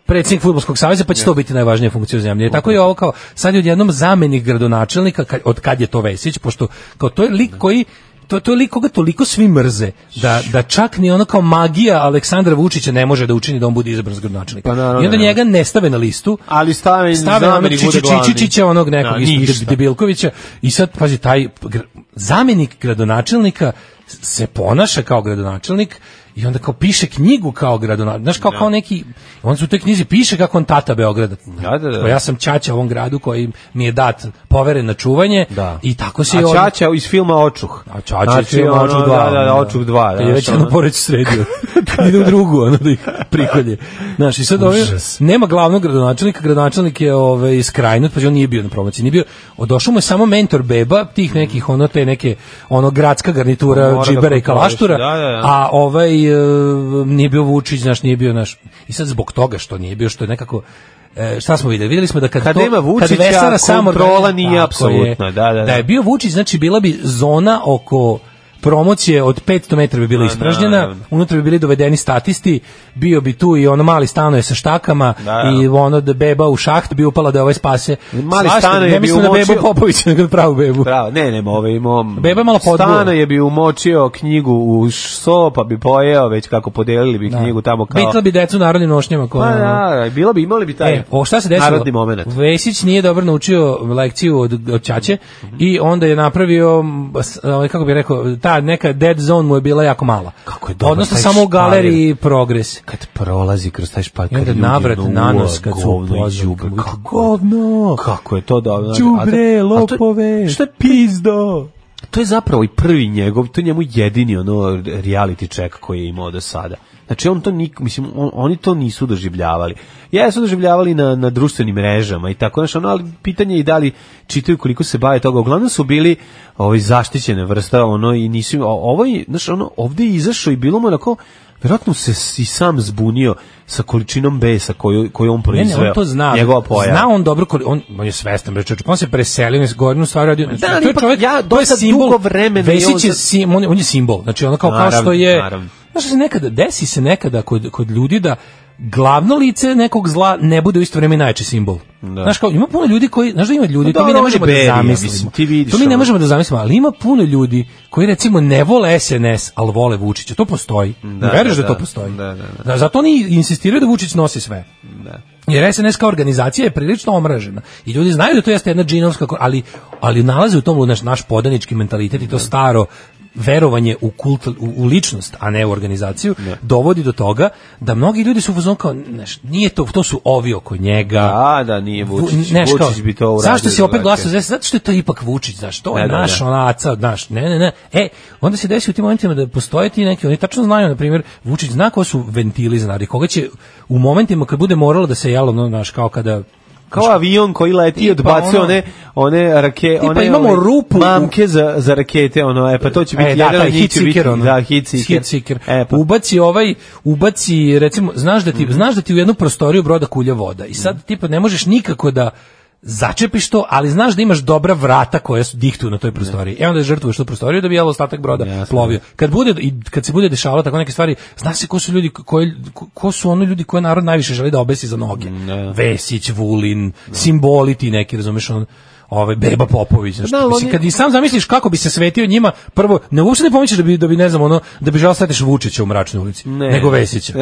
predsjednik fudbalskog saveza, pa će to biti najvažnija funkcija u zemlji. Tako je ovo kao, sad je odjednom zamenik gradonačelnika, kad, od kad je to Vesić, pošto kao to je lik koji to, to je lik koga toliko svi mrze da, da čak ni ono kao magija Aleksandra Vučića ne može da učini da on bude izabran za gradonačelnika. Pa naravno, I onda ne. njega ne stave na listu, Ali stave, stave onog zamenik bude glavni. Čičičića, onog nekog Da, ispod ništa. Deb- Debilkovića i sad, pazi, taj gra- zamenik gradonačelnika se ponaša kao gradonačelnik i onda kao piše knjigu kao gradonačelnik, znaš, kao, kao neki, on se u toj knjizi piše kako on tata Beograda. Da, da, da. Kao Ja sam ćaća ovom gradu koji mi je dat poveren na čuvanje Da. i tako se i A on... Čača iz filma Očuh. A Čača Znači, znači, film ono, Očuk 2. Da, da, znači, da, Očuh 2. Kad je već ono poreć sredio. Kad ide u drugu, ono da ih prikolje. Znaš, i sad ovaj, nema glavnog gradonačelnika, gradonačelnik je ovaj, iz Krajnut, pa on nije bio na promociji, nije bio, odošao mu je samo mentor beba, tih nekih, ono, te neke, ono, gradska garnitura, Mora da džibera i kontroliš, kalaštura, da, da, da. a ovaj, e, nije bio Vučić, znaš, nije bio naš, i sad zbog toga što nije bio, što je nekako, E, šta smo videli? Videli smo da kad, Kad to, nema Vučića, Vesara sam organizuje- kontrola nije Tako je. apsolutna, da, da, da. Da je bio Vučić, znači bila bi zona oko promocije od 500 metara bi bila ispražnjena, naravno. unutra bi bili dovedeni statisti, bio bi tu i ono mali stanoje sa štakama Naravno. i ono da beba u šaht bi upala da ovaj spase. Mali Svašta, stanoje bi ne mislim na umočio- bebu Popovića, nego na pravu bebu. Bravo, ne, ne, ovaj mom... Beba je malo podgula. Stano je bi umočio knjigu u so, pa bi pojeo, već kako podelili bi knjigu tamo kao... Bitla bi decu u narodnim nošnjama. Ko, Pa ono- da, bilo bi, imali bi taj E, o šta se desilo? narodni moment. Vesić nije dobro naučio lekciju od, od Ćaće i onda je napravio, m, s- ovaj, kako bih rekao, ta neka dead zone mu je bila jako mala. Kako je dobar Odnosno taj samo u špalir. galeriji progres. Kad prolazi kroz taj špar, I onda kad ljudi navrat ono, na nos, ua, kad su govno i upoznali, đubre. kako- Kako- govno! Kako je to dobro. znači, a to- Đubre, a to- lopove! Šta je pizdo? to je zapravo i prvi njegov, to je njemu jedini ono reality check koji je imao do sada. Znači on to nik, mislim on- oni to nisu doživljavali. Ja su doživljavali na na društvenim mrežama i tako znači ono, ali pitanje je i da li čitaju koliko se bave toga. Uglavnom su bili ovaj zaštićene vrsta ono i nisu o- ovo je, znači ono ovde je izašao i bilo mu onako verovatno se s- i sam zbunio sa količinom besa koju, koju on Ne, proizveo. ne, on to zna. Njegova pojava. Zna on dobro, koli, on, on je svestan, bre, čovječe, pa on se preselio, on je gorinu stvar radio. Da, ali to je ipak čovjek, ja to je dosta simbol, dugo vremena je Vesić on je, za- sim, on, je- on je simbol, znači ono kao, kao Naravno, što je, naravno. znaš što se nekada, desi se nekada kod, kod ljudi da glavno lice nekog zla ne bude u isto vreme i najjači simbol. Da. Znaš kao, ima puno ljudi koji, znaš da ima ljudi, Pa to mi dobro, ne on je možemo Berija, da zamislimo. mislim, ti vidiš to mi ne ono. možemo da zamislimo, ali ima puno ljudi koji recimo ne vole SNS, ali vole Vučića. To postoji. Da, Veruješ da, da, to da. postoji. Da, da, da. Da, zato oni insistiraju da Vučić nosi sve. Jer SNS kao organizacija je prilično omražena. I ljudi znaju da to jeste jedna džinovska, ko- ali, ali nalaze u tom naš, naš podanički mentalitet i to staro verovanje u, kult, u, u ličnost, a ne u organizaciju, dovodi do toga da mnogi ljudi su u fazonu kao, znaš, nije to, to su ovi oko njega. Da, da, nije Vučić. Vu- znaš kao, Vučić bi to uradio. Zašto si opet drugačije. glasao za SNS? Zato što je to ipak Vučić, znaš, to je Da, da, naš da. ona aca, naš, ne, ne, ne. E, onda se desi u tim momentima da postoje ti neki, oni tačno znaju, na primjer, Vučić zna ko su ventili znari, koga će u momentima kad bude moralo da se jelo, no, znaš, kao kada Kao avion koji leti i Tipa odbacuje ono- one, one rake, Tipa one imamo ovaj, rupu u- mamke za, za rakete, ono, e pa to će biti e, da, jedan taj od njih hit će biti- seeker, ono. da, hit seeker. Hit seeker. E, pa, Mhm. Ubaci ovaj, ubaci, recimo, znaš da ti, znaš da ti u jednu prostoriju broda kulja voda i sad tipa ne možeš nikako da začepiš to, ali znaš da imaš dobra vrata koja su dihtuju na toj prostoriji. E onda žrtvuješ tu prostoriju da bi jel ostatak broda plovio. Kad, bude, i kad se bude dešavalo tako neke stvari, zna se ko su ljudi, koji, ko- ko su ono ljudi koje narod najviše želi da obesi za noge. Vesić, Vulin, simboli ti neki, razumeš, on, ovaj Beba Popović, znaš, Da, ali mislim, oni- kad i sam zamisliš kako bi se svetio njima, prvo, ne uopšte ne pomisliš da bi, da bi ne znam, ono, da bi želao svetiš Vučića u mračnoj ulici, Ne. nego Vesića.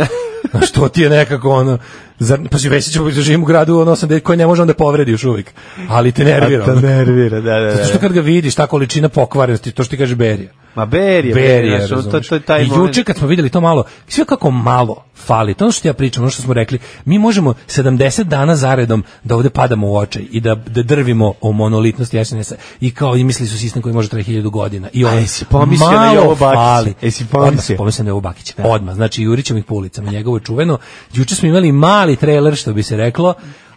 Znaš, što ti je nekako, ono, zar, pa si Vesić, pa živim u gradu, ono, 80 koji ne može onda povredi još uvijek, ali te nervira. to ono. nervira, da, da, da. Zato što kad ga vidiš, ta količina pokvarenosti, to što ti kaže Berija. Ma Berija, Berija, znaš, ono, to, razumeš. to je taj I moment. juče kad smo videli to malo, sve kako malo fali, to je ono što ti ja pričam, ono što smo rekli, mi možemo 70 dana zaredom da ovde padamo u očaj i da, da drvimo o monolitnosti SNS-a i kao i misli su sistem koji može trajati hiljadu godina. I on, jesi pomislio na Jovo Bakića? Jesi pomislio? Odmah sam pomislio na Jovo Bakića, odmah, znači jurićem ih po ulicama, njegovo je čuveno. Juče smo imali mali trailer, što bi se reklo,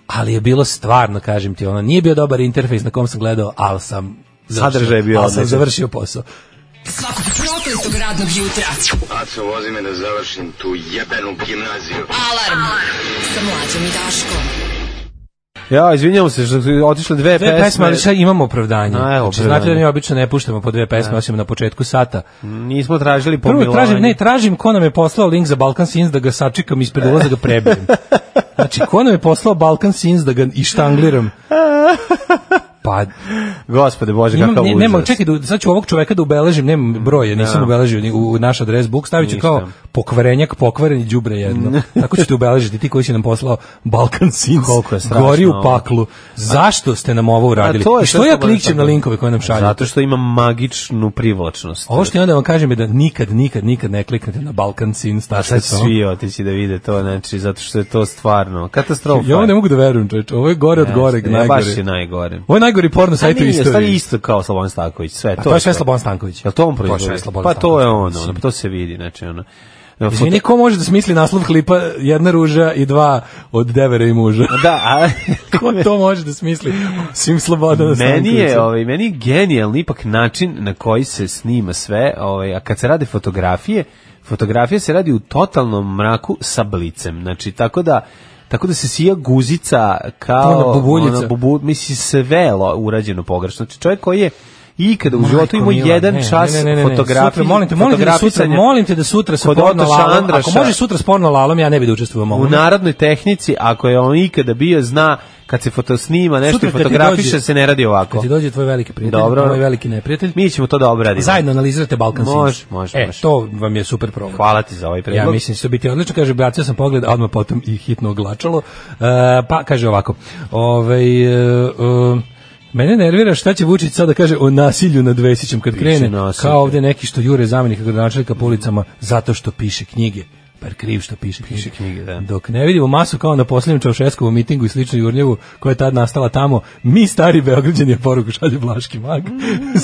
ali je bilo stvarno, kažem ti, ono, nije bio dobar interfejs na kom sam gledao, ali sam završio- Sadržaj je bio ali sam odličan. završio posao. Svakog prokletog radnog jutra. Aco, vozi me da završim tu jebenu gimnaziju. Alarm. Sa mlađom i Daškom. Ja, izvinjavam se što su otišle dve, Dve pesme, ali sad imamo opravdanje. A, evo, znači, znate da mi opravdanje. obično ne puštamo po dve pesme, osim na početku sata. Nismo tražili pomilovanje. Prvo tražim, ne, tražim ko nam je poslao link za Balkan Sins da ga sačekam ispred ulaza da ga prebijem. Znači, ko nam je poslao Balkan Sins da ga ištangliram? Pa, Gospode Bože, imam, kakav ne, užas. nema, čekaj, da, sad ću ovog čoveka da ubeležim, nemam broje, nisam ubeležio ni u naš adres book, stavit ću Ništa. Mm. kao pokvarenjak, pokvareni đubre jedno. Tako ću te ubeležiti, ti koji si nam poslao Balkan Sins, Koliko je strašno gori u ovo. paklu. Zašto ste nam ovo uradili? I što sve ja što klikćem na moram- linkove koje nam šaljete? Zato što ima magičnu privlačnost. Ovo što ja da vam kažem je da nikad, nikad, nikad ne kliknete na Balkan Sin Sad će stačica. svi otići da vide to, znači, zato što je to stvarno katastrofa. Ja ovo ne mogu da verujem, čoveč. Ovo je gore od Jeste, goreg, ja, najgore. Pa- Baš je najgore. Ovo je najgori porno sajt u nije, stvari istoriji. isto kao Slobodan Stanković, sve. A to je sve Slobodan Stanković. Jel to on To je proizvodi? sve Slobodan Pa to je Stanković, ono, ono, to se vidi, znači ono. Izvini, ko može da smisli naslov klipa jedna ruža i dva od devere i muža? Da, a Ko to može da smisli? Svim Slobodana meni Stankovića. je, ovaj, meni je genijalni ipak način na koji se snima sve, ovaj, a kad se rade fotografije, fotografija se radi u totalnom mraku sa blicem, znači tako da Tako da se sija guzica kao Ona bubuljica. bubu, misli sve lo- urađeno pogrešno. Znači čovjek koji je ikada u Majko životu imao mila, jedan ne, čas ne, ne, ne, ne, fotografi- sutra, molim te, molim te da sutra, fotografisanja molim te da sutra sa kod porno Otoša lalom, ako Andraša. može sutra s porno lalom, ja ne bi da učestvujem u u ovom. narodnoj tehnici, ako je on ikada bio, zna kad se fotosnima, nešto Sutra i kad ti fotografiše, dođe- se ne radi Kad ovako. ti dođe tvoj veliki prijatelj, Dobro. moj veliki neprijatelj, Mi ćemo to da obradimo. zajedno analizirate Balkan Sins. Može, može, E, može. to vam je super provod. Hvala ti za ovaj predlog. Ja mislim da će to biti odlično, kaže, bacio sam pogled, a odmah potom i hitno oglačalo. E, pa, kaže ovako, ovaj, e, e, Mene nervira šta će Vučić sada kaže o nasilju nad Vesićem kad krene, nasilje. kao ovde neki što jure zamenika gradonačelnika po ulicama zato što piše knjige. super kriv što piše knjige. knjige, da. Dok ne vidimo masu kao na posljednjem Čaušeskovom mitingu i sličnoj Jurnjevu koja je tad nastala tamo, mi stari Beograđani je poruku šalje Blaški mag.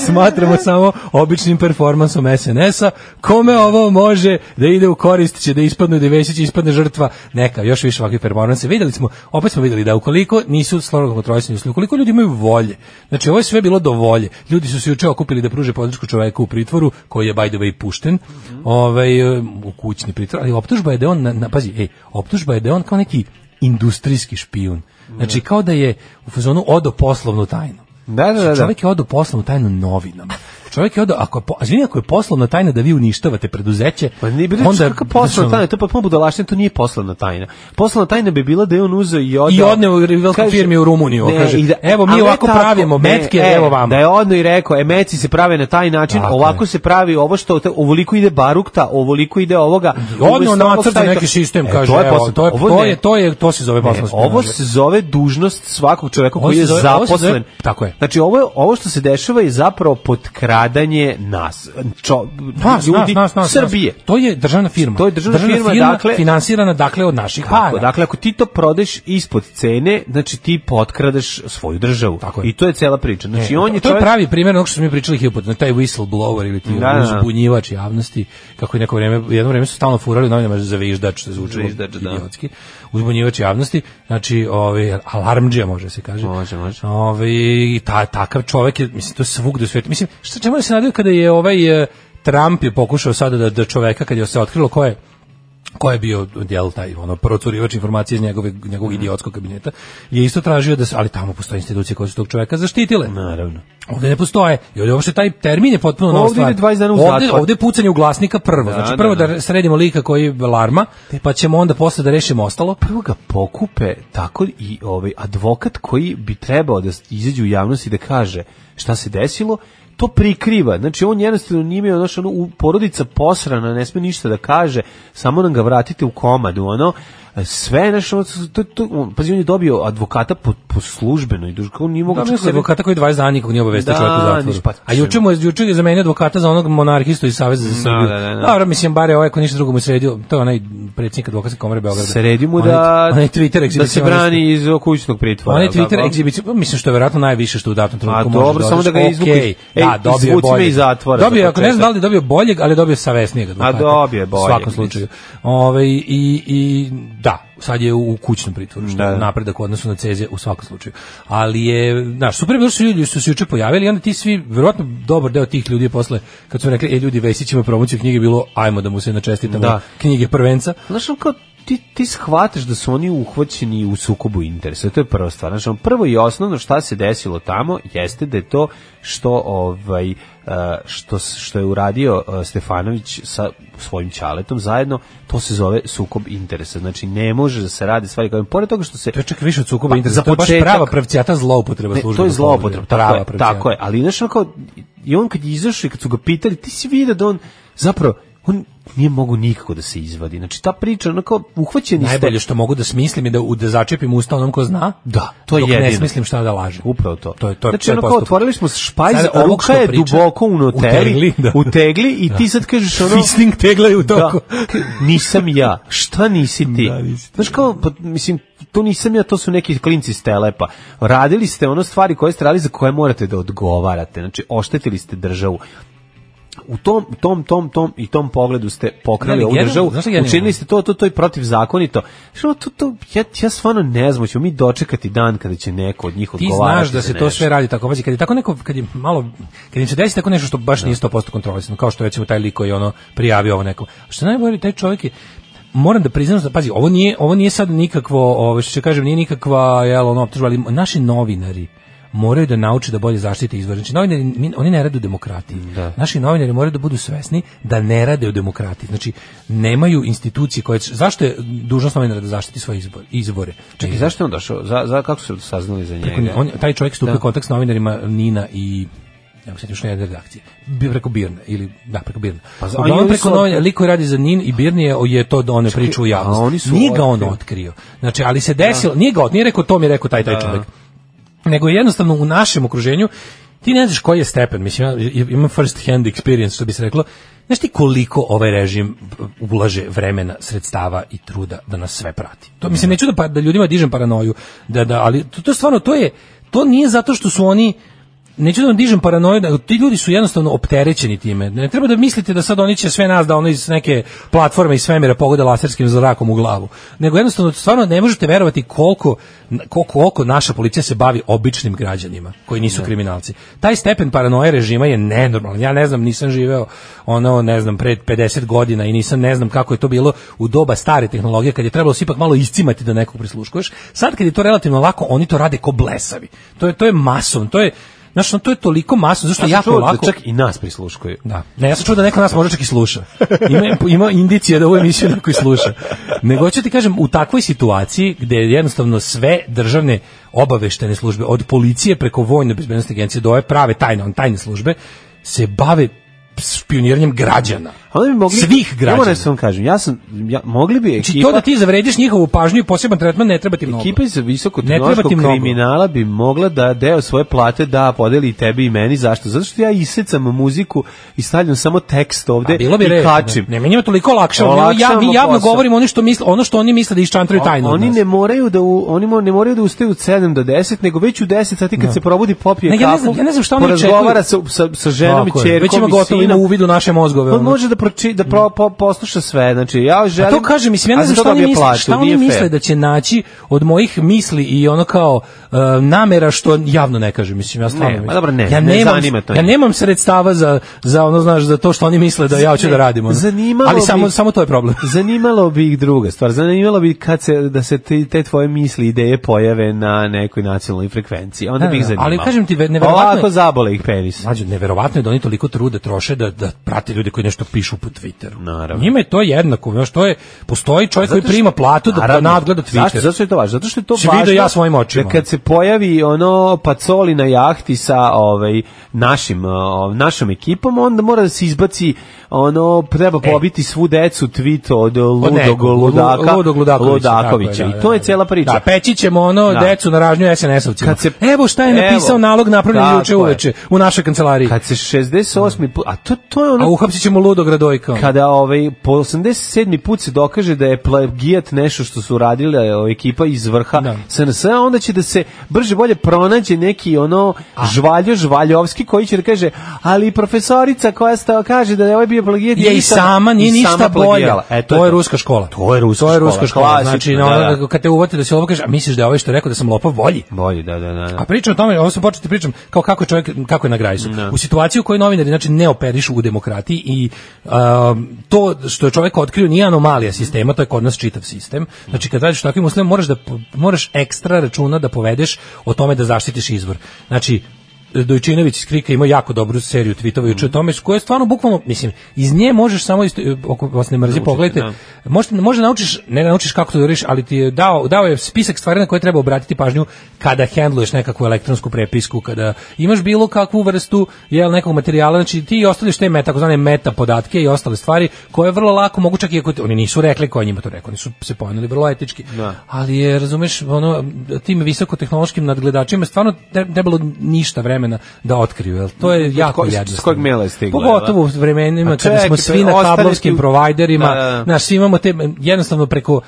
Smatramo samo običnim performansom SNS-a. Kome ovo može da ide u korist će da ispadnu da Vesić ispadne žrtva neka, još više ovakvih performansa. Videli smo, opet smo videli da ukoliko nisu slobodno kontrolisani, ukoliko ljudi imaju volje, znači ovo je sve bilo do volje. Ljudi su se juče okupili da pruže podršku čoveku u pritvoru koji je by the way pušten, ovaj, e, u kućni pritvor, ali optužba je da je on, na, na, pazi, ej, optužba je da je on kao neki industrijski špijun. Znači kao da je u fazonu odo poslovnu tajnu. Znači, Da, da, da, da. Čovjek je odao poslovnu tajnu novinama. Čovjek je odao, ako je, po, a izvini, ako je poslovna tajna da vi uništavate preduzeće, Pa nije bilo onda kako znači, poslovna ono, tajna, to je potpuno budalaština, to nije poslovna tajna. Poslovna tajna bi bila da je on uzeo i odao. I odneo u rivalskoj Kaže- firmi u Rumuniju, kaže, evo, mi ali ne e, ovako pravimo metke, evo vama. Da je odno i rekao, e, metci se prave na taj način, Tako ovako je. se pravi ovo što, te, ovoliko ide barukta, ovoliko ide ovoga. Odneo umjesto ovog nacrta šta je to- neki sistem, E, kaže, to je evo, poslovna- to je, ovo to ne. je, to je, to se zove E, poslovna tajna. ovo se zove dužnost svakog čovjeka Ovo koji se je zove- ovo se zove- zaposlen. tako je. Znači ovo je- ovo što se dešava je zapravo potkradanje nas, čo, Nas, ljudi nas, nas, nas, Srbije. nas. To je državna firma. To je državna firma, dakle- finansirana dakle od naših Tako, para. dakle, ako ti to prodeš ispod cene, znači ti potkradeš svoju državu. Tako je. I to je cela priča. Znači, E, on je to je čovjek... pravi primjer onog što smo mi pričali hipotno, taj whistleblower ili ti Da, da, da. uzbunjivač javnosti, kako je neko vreme, jedno vreme su stalno furali u novinama za viždač, što zvuči Zviždač, da. idiotski, uzbunjivač javnosti, znači ovaj, alarmđija može se kaže. Može, može. Ovaj, i ta, takav čovjek je, mislim, to je svugde u svijetu. Mislim, šta, čemu se nadaju kada je ovaj... eh, Trump je pokušao sada da, da čoveka, kad je se otkrilo ko je ko je bio djel taj ono procurivač informacije iz njegove njegovog idiotskog kabineta je isto tražio da se ali tamo postoje institucije koje su tog čovjeka zaštitile. Naravno. Ovde ne postoje. I ovde uopšte taj termin je potpuno nova Ovde stvar. ide 20 dana u ovde, zatvor. ovde je pucanje u glasnika prvo. Da, znači da, prvo da, da. sredimo lika koji je larma, pa ćemo onda posle da rešimo ostalo. Prvo ga pokupe tako i ovaj advokat koji bi trebao da izađe u javnost i da kaže šta se desilo, to prikriva. Znači, on jednostavno nije imao, znaš, ono, u- porodica posrana, ne sme ništa da kaže, samo nam ga vratite u komadu, ono, sve, znaš, ono, to, to, on, pazi, on je dobio advokata po, po službenoj duži, on nije mogao Da, čak mislim, sebe- Znači, advokata koji 20 dana nikog nije obavestio Da, čovjek u niš, zatvoru. pa- A juče mu je juče je zamenio advokata za onog monarhistu iz Saveza za Srbiju. da, da, da. Dobro, mislim bare ovaj ko ništa drugo mu sredio, to je onaj predsjednik advokatske komore Beograda. Sredi mu Onaj- da, onaj Twitter da se egzibicionista. brani iz kućnog pritvora. On je jel tako? Twitter egzibicij, pa mislim što je verovatno najviše što u datom trenutku A može. dobro, samo da ga izvuku iz- Ej, da, dobio je izvuci me bolje. iz zatvora Dobio, je, za ako ne znam početak. da li je dobio boljeg, ali je dobio savesnijeg advokata. dobio je boljeg, U svakom mislim. slučaju. Ove, i, i da, sad je u, u kućnom pritvoru, što Da, da. je napredak u odnosu na Cezije u svakom slučaju. Ali je, znaš, super je bilo što su ljudi su se juče pojavili i onda ti svi, verovatno dobar deo tih ljudi je posle, kad su rekli, e ljudi, Vesić ima promociju knjige, bilo, ajmo da mu se načestitamo Da. knjige prvenca. Znaš, ono kao, ti, ti shvataš da su oni uhvaćeni u sukobu interesa, to je prva stvar. Znaš, ono, prvo i osnovno šta se desilo tamo jeste da je to što, ovaj, eh, što, s- što je uradio eh, Stefanović sa svojim čaletom zajedno, to se zove sukob interesa. Znači, ne može da se radi stvari kao... Pored toga što se... To je čak više od sukoba Pa, interesa, za to je baš početak- prava pravcijata zloupotreba Ne, službenog to je položaja. zloupotreba, Prava tako je, pravcijata. tako je. Ali znaš, ono kao, i on kad je izašao i kad su ga pitali, ti si vidio da on zapravo, on nije mogu nikako da se izvadi. Znači, ta priča, ono kao, uhvaćeni ste. Najbolje što mogu da smislim je da, u- da začepim usta onom ko zna. Da, to je dok ne jedino. smislim šta da lažem. Upravo to. To je to. je- znači, to je ono kao, postupak. otvorili smo špajz, Sada a ovog ruka što je priča- duboko u tegli, noteli, da. u tegli i ti sad kažeš ono... Fisting tegla je u toku. Da. Nisam ja. Šta nisi ti? Da, nisi ti. Znaš kao, pa, mislim, to nisam ja, to su neki klinci iz Telepa. Radili ste ono stvari koje ste radili za koje morate da odgovarate. Znači, oštetili ste državu. U tom, u tom, tom, tom i tom pogledu ste pokrali Ne, ali ovu jedan- državu, znaš šta jedan učinili imam? ste to, to, to i protivzakonito. Što to, to, ja, ja stvarno ne znam, ćemo mi dočekati dan kada će neko od njih Ti odgovarati. znaš da za se to nešto. sve radi tako, pazi, kad je tako neko, kad je malo, kad im se desi tako nešto što baš nije 100% kontrolisano, kao što recimo taj lik koji je ono prijavio ovo nekom. A Što je najbolje, taj čovjek je, moram da priznam, da, pazi, ovo nije, ovo nije sad nikakvo, ovo, što ću kažem, nije nikakva, jel, ono, optužba, ali naši novinari, moraju da nauče da bolje zaštite izvor. Znači, novinari, mi- oni ne rade u demokratiji. Naši novinari moraju da budu svesni da ne rade u demokratiji. Znači, nemaju institucije koje... će- Zašto je dužnost novinara da zaštiti svoje izbor, izvore? Čekaj, zašto je on došao? Za, za, kako su saznali za njega? preko nje- on, taj čovjek stupio u kontakt s novinarima Nina i ja mislim što je jedna redakcija. Bi- Preko Birne ili da preko Birne. Pa za- a Uglavnom oni preko su- novina, liko radi za Nin i Birni je, je to da one priču u javnost. a oni su nije ga on otkrio. otkrio. Znači, ali se desilo, nije ga ot, nije rekao to mi je rekao taj taj čovjek. Nego je jednostavno u našem okruženju ti ne znaš koji je stepen, mislim, ja imam first hand experience, što bi se reklo, znaš ti koliko ovaj režim ulaže vremena, sredstava i truda da nas sve prati. To, mislim, neću da, pa- da ljudima dižem paranoju, da, da, ali to, to je stvarno, to je, to nije zato što su oni, neću da vam dižem paranoju, da, ti ljudi su jednostavno opterećeni time. Ne treba da mislite da sad oni će sve nas da ono iz neke platforme iz svemira pogode laserskim zrakom u glavu. Nego jednostavno stvarno ne možete verovati koliko koliko koliko naša policija se bavi običnim građanima koji nisu kriminalci. Taj stepen paranoje režima je nenormalan. Ja ne znam, nisam živeo ono, ne znam, pred 50 godina i nisam ne znam kako je to bilo u doba stare tehnologije kad je trebalo se ipak malo iscimati da nekog prisluškuješ. Sad kad je to relativno lako, oni to rade ko blesavi. To je to je masovno, to je Znaš, no, to je toliko masno, zašto je Ja sam jako čuo da lako... čak i nas prisluškuju. Da. Ne, ja sam čuo da neko nas možda čak i sluša. Ima, ima indicija da ovu emisiju neko i sluša. Nego hoću ti kažem, u takvoj situaciji gde jednostavno sve državne obaveštene službe, od policije preko vojne bezbednosti agencije do ove prave tajne, on tajne službe, se bave špioniranjem građana. A Onda bi mogli, Svih Ja moram građana. da sam kažem, ja sam, ja, mogli bi Znači ekipa, to da ti zavrediš njihovu pažnju i poseban tretman ne treba ti mnogo. ekipa iz visoko Ne treba ti mnogo. kriminala bi mogla da deo svoje plate da podeli i tebi i meni. Zašto? Zato što ja isecam muziku i stavljam samo tekst ovde A Pa bilo bi i red. kačim. Ne, menjamo toliko lakše. Ja, Olakšamo ja, mi javno posao. govorimo ono što, misle, ono što oni misle da iščantraju tajno. od oni nas. ne moraju da u, oni mo- ne moraju da ustaju od 7 do 10, nego već u 10 sati kad se probudi popije Ne, kafu. ja ne znam- ja ne znam šta oni porazgovara sa, sa, sa ženom i Tako je. ćerkom. Već ima i gotovo ima sinom. uvid u naše mozgove. On ono. može da proči, da pro, po, posluša sve. Znači ja želim. A to kaže, mislim, ja a ne znam za to šta oni dobije misle, platu, šta oni nije fair. misle da će naći od mojih misli i ono kao e, namera što javno ne kaže, mislim, ja stvarno Ne, ma mislim. dobro, ne, ja ne nemam, zanima to Ja njih. nemam sredstava za, za ono, znaš, za to što oni misle da ja hoću da radim. ono. Zanimalo Ali bi- samo, samo to je problem. Zanimalo bi ih druga stvar. Zanimalo bi kad se da se te, te tvoje misli i ideje pojave na nekoj nacionalnoj frekvenciji. Onda Da, bi ih da, zanimalo. ali kažem ti, ve- neverovatno je- Ovako zabole ih penis. Mlađo, neverovatno je da oni toliko truda troše da, da prate ljude koji nešto pišu po Twitteru. Naravno. Njima je to jednako, znaš, to je, postoji čovjek koji Zato što- prima platu da, da Naravno. nadgleda Twitter. Zašto, zašto je to važno? Zato što je to Si važno. vidio Znači, ja svojim očima. Da kad se pojavi ono pacoli na jahti sa ovaj našim o, našom ekipom, onda mora da se izbaci ono treba pobiti svu decu tvit od ludog E. nekog, Lu- ludaka, Ludog Ludakovića. Ludakovića. tako I to je cela priča. Da, peći ćemo ono Da. decu na ražnju SNS-ovcima. Kad se- Evo šta je napisao Evo. nalog napravljen Tako juče je. uveče u našoj kancelariji. Kad se 68. put, a to, to je A ono uhapsit ćemo ludog Radojka. kada ovaj po 87. put se dokaže da je plagijat nešto što su radile o, ekipa iz vrha Da. SNS, a onda će da se brže bolje pronađe neki ono žvaljo žvaljovski koji će da kaže ali profesorica koja sta kaže da je ovaj bio plagijat je i ništa- sama nije i ništa sama bolja. plagirala. E, to je ruska škola. To je ruska To je škola, ruska škola. klasično, Znači, da, ono, da. kad te uvati da si lopo kaže, a misliš da je ovaj što je rekao da sam lopov bolji? Bolje, da, da, da. da. A priča o tome, ovo sam početi pričam, kao kako je čovjek, kako je na grajsu. U situaciji u kojoj novinari znači, ne operišu u demokratiji i um, to što je čovjek otkrio nije anomalija sistema, to je kod nas čitav sistem. Znači kad radiš u takvim uslovima moraš, da, po- moraš ekstra računa da povedeš o tome da zaštitiš izvor. Znači, Dojčinović iz Krika ima jako dobru seriju tvitova juče o tome, s koje je stvarno bukvalno, mislim, iz nje možeš samo, isto, ako vas ne mrzi, pogledajte, možete, možda naučiš, ne naučiš kako to da radiš, ali ti je dao, dao je spisak stvari na koje treba obratiti pažnju kada handluješ nekakvu elektronsku prepisku, kada imaš bilo kakvu vrstu jel, nekog materijala, znači ti ostavljaš te meta, takozvane meta podatke i ostale stvari koje vrlo lako mogu čak i ako ti- oni nisu rekli ko je njima to rekao, oni su se pojavili vrlo etički, ali je, razumeš, ono, tim visokotehnološkim nadgledačima je stvarno ne- trebalo ništa vremena da otkriju, jel? to je jako ko- s- s jednostavno. kojeg maila je stiglo, Pogotovo u jel da? vremenima A kada čekaj, smo svi na ostali kablovskim su- providerima, Da, da, da. znaš, svi imamo te, jednostavno preko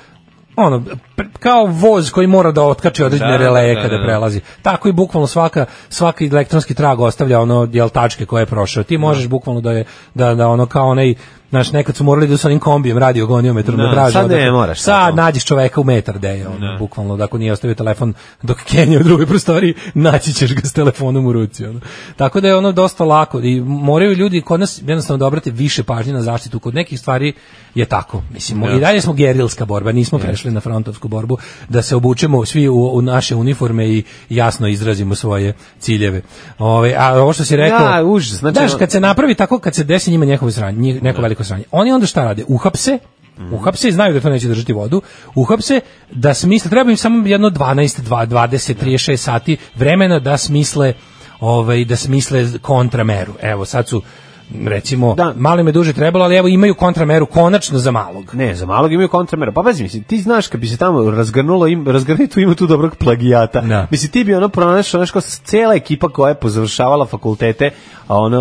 ono, pre- kao voz koji mora da otkači određene Da, releje da, da, kada da. prelazi. Tako i bukvalno svaka, svaki elektronski trag ostavlja ono, jel, tačke koje je prošao. Ti možeš bukvalno da je, da, da ono kao onaj, znaš, nekad su morali da su onim kombijem radio goniometrom da Da, traže. sad ne odakle- moraš Sad tako. nađeš čoveka u metar da je, ono, bukvalno, da ako nije ostavio telefon dok Kenje u drugoj prostoriji, naći ćeš ga s telefonom u ruci. Ono. Tako da je ono dosta lako i moraju ljudi kod nas jednostavno da obrate više pažnje na zaštitu. Kod nekih stvari je tako. Mislim, i dalje smo gerilska borba, nismo prešli na frontovsku borbu, da se obučemo svi u, u naše uniforme i jasno izrazimo svoje ciljeve. Ove, a ovo što si rekao... Ja, užas, znači, Znaš, ono- kad se napravi tako, kad se desi njima njehovo sranje, njih- neko veliko sranje, oni onda šta rade? Uhapse, Mhm. uhapse i znaju da to neće držati vodu, uhapse da smisle, treba im samo jedno 12, 2, 20, 36 sati vremena da smisle ovaj, da smisle kontrameru. Evo, sad su recimo, Da. mali me duže trebalo, ali evo imaju kontrameru konačno za malog. Ne, za malog imaju kontramera. Pa pazi, mislim, ti znaš kad bi se tamo razgrnulo, im, razgrni tu ima tu dobrog plagijata. Da. Mislim, ti bi ono pronašao, znaš, kao s- cela ekipa koja je pozavršavala fakultete, a ono...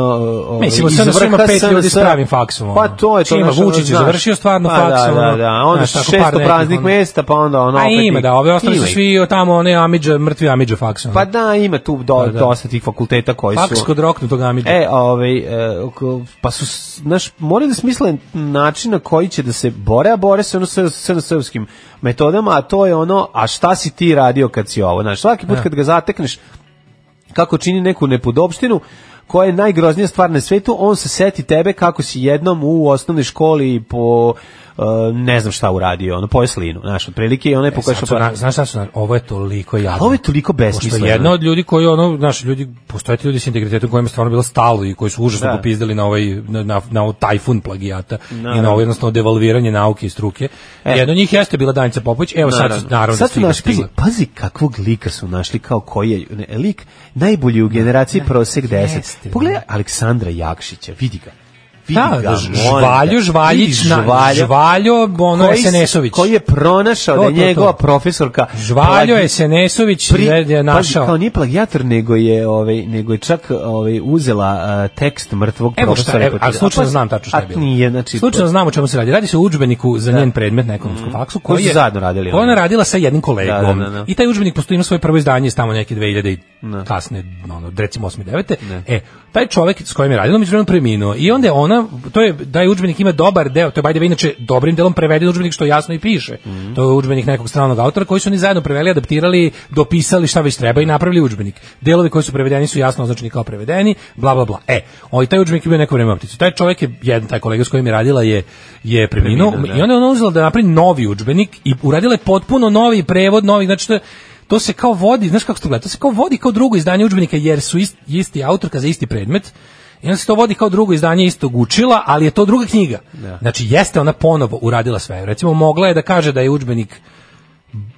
o- Mislim, iz sad nas ima vrha pet ljudi s SNS. pravim faksom, ono. Pa to je to. Čima znaš, ono, Vučić je znaš. završio stvarno pa, faks, Da, da, ono, da. a Onda znaš, tako par 600 nekih, praznih ono. mesta, pa onda ono... A opet ima, ih- da, ove ostali ima su ih. svi tamo, one Amidža, mrtvi Amidža faks. ono. Pa da, ima tu do, da. dosta tih fakulteta koji su... faks kod roknutog Amidža. E, ovaj, e, oko- pa su, s- znaš, moraju da smisle način na koji će da se bore, a bore se ono sa srpskim metodama, a to je ono, a šta si ti radio kad si ovo? Znaš, svaki put kad ga zatekneš, kako čini neku nepodopštinu, koja je najgroznija stvar na svetu, on se seti tebe kako si jednom u osnovnoj školi po e, ne znam šta uradio, ono, pojeo slinu, znaš, otprilike i onaj E, Sad pokašao... su na- Znaš šta su, na- ovo je toliko jadno. ovo je toliko besmisleno. Pošto je jedna od ljudi koji ono, znaš, ljudi, postoje ti ljudi s integritetom kojima je stvarno bilo stalo i koji su užasno Da. popizdali na ovaj na, na, na ovaj tajfun plagijata i na Naravno. ovo jednostavno devalviranje nauke i struke. E. Jedno od njih jeste bila Danica Popović, evo Pa sad su, naravno da sad su su igra našli, pazi, stigle. pazi kakvog lika su našli kao koji je ne, lik najbolji u generaciji prosek 10. jeste, Pogledaj Aleksandra Jakšića, vidi ga. Vidi Da, ga, da, molim te. žvalju, žvaljić, Vidi na- žvaljo, ono, koji se- SNS-ović. Koji je pronašao To, da je to, to. njegova profesorka Žvaljo plagi- je Senesović pri- je- je pazi, našao. kao nije plagijator, nego je, ovaj, nego je čak ovaj, uzela uh, tekst mrtvog Evo šta, profesora. evo, a slučajno pa- znam tačno šta je bilo. A nije, znači... Mhm. slučajno znam o čemu se radi. Radi se o udžbeniku za njen predmet na ekonomskom faksu Koji koji su je zajedno radili Ona oni. radila sa jednim kolegom. Da, da, da, da. I taj udžbenik postoji ima svoje prvo izdanje iz tamo neke 2000 i kasne, ono, recimo 8. 9. E, taj čovek s kojim je radila međuvremeno preminuo. I onda je ona to je da je udžbenik ima dobar deo, to je by the way, inače dobrim delom preveden udžbenik što jasno i piše. Mhm. To je udžbenik nekog stranog autora koji su oni zajedno preveli, adaptirali, dopisali šta već treba i napravili udžbenik. Delovi koji su prevedeni su jasno označeni kao prevedeni, bla bla bla. E, ovaj taj udžbenik je bio neko vreme u optici. Taj čovek je jedan taj kolega s kojim je radila je je preminuo Preminuo, da. i onda je ona uzela da napravi novi udžbenik i uradila je potpuno novi prevod, novi, znači to je- to se kao vodi, znaš kako se to gleda, to se kao vodi kao drugo izdanje udžbenika jer su ist, isti autorka za isti predmet. I onda se to vodi kao drugo izdanje istog učila, ali je to druga knjiga. Znači, jeste ona ponovo uradila sve. Recimo, mogla je da kaže da je udžbenik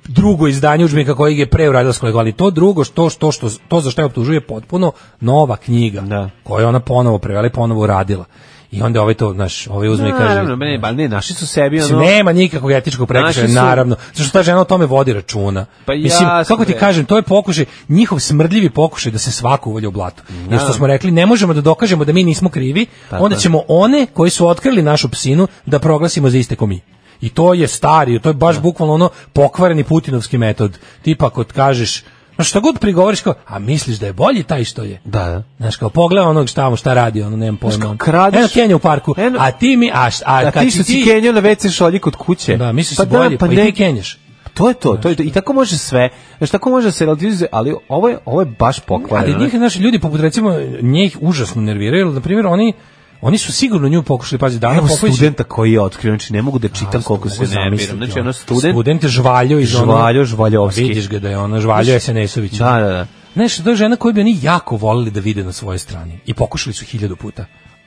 drugo izdanje udžbenika kojeg je pre uradila s kolegom, ali to drugo što što što to za što je optužuje je potpuno nova knjiga Da. koju je ona ponovo prevela i ponovo uradila. I onda ovaj to, znaš, ovaj uzme i kaže Pa Naravno, ne, ba, ne, našli su sebi ono... Mislim, Znači, nema nikakvog etičkog prekršaja, Naši su- naravno. Zato što ta žena o tome vodi računa. Pa Mislim, jasno, kako ti bre. kažem, to je pokušaj, njihov smrdljivi pokušaj da se svako uvalja u blato. Jer što smo rekli, ne možemo da dokažemo da mi nismo krivi, onda ćemo one koji su otkrili našu psinu da proglasimo za iste ko mi. I to je stari, to je baš bukvalno ono pokvareni putinovski metod. Tipa kod kažeš, no šta god prigovoriš kao, a misliš da je bolji taj što je? Da, da. Znaš kao pogleda onog šta mu šta radi, ono nemam pojma. kao, ono. kradeš- Eno Kenja u parku. Eno- a ti mi a, š- a, A kad ti što si si kenjao na WC šolji kod kuće. Da, misliš Pa si bolje, pa, i ne- ti kenjaš. To je to, to je to. I tako može sve. Znaš, tako može se relativizuje, ali ovo je, ovo je baš Ali pokvareno. njih, naši ljudi, poput recimo, njih užasno nerviraju, jer, na primjer, oni, oni su sigurno nju pokušali, pazi, dana Evo Popović- studenta koji je otkrio, znači ne mogu da čitam koliko Mogu se nerviram. zamisliti, Znači, ono. ono student... Student je žvaljo iz ono- Žvaljo, žvaljovski. Pa Vidiš ga da je ona žvaljo SNS-ović. Da, da, da. Znaš, to je žena koju bi oni jako volili da vide na svojoj strani. I pokušali su hiljadu puta.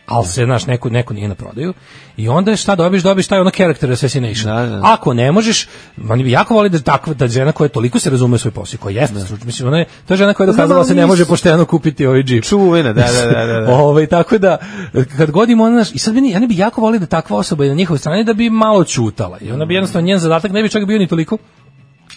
Ali se, znaš, neko, neko nije na prodaju. I onda je šta dobiješ, dobiješ taj ono character assassination. Da, da. Ako ne možeš, oni bi jako volili da, takva, da žena koja toliko se razume u svoj posao, koja jeste stručna, mislim, ona je, to je žena koja je dokazala Znam, da se ne ali može nisu- pošteno kupiti ovaj džip. Čuvena, da, da, da, da, da. Ovaj, tako da, kad godimo, ona, znaš, i sad meni, ja ne bi jako volio da takva osoba je na njihovoj strani da bi malo čutala. I ona bi jednostavno, njen zadatak ne bi čak bio ni toliko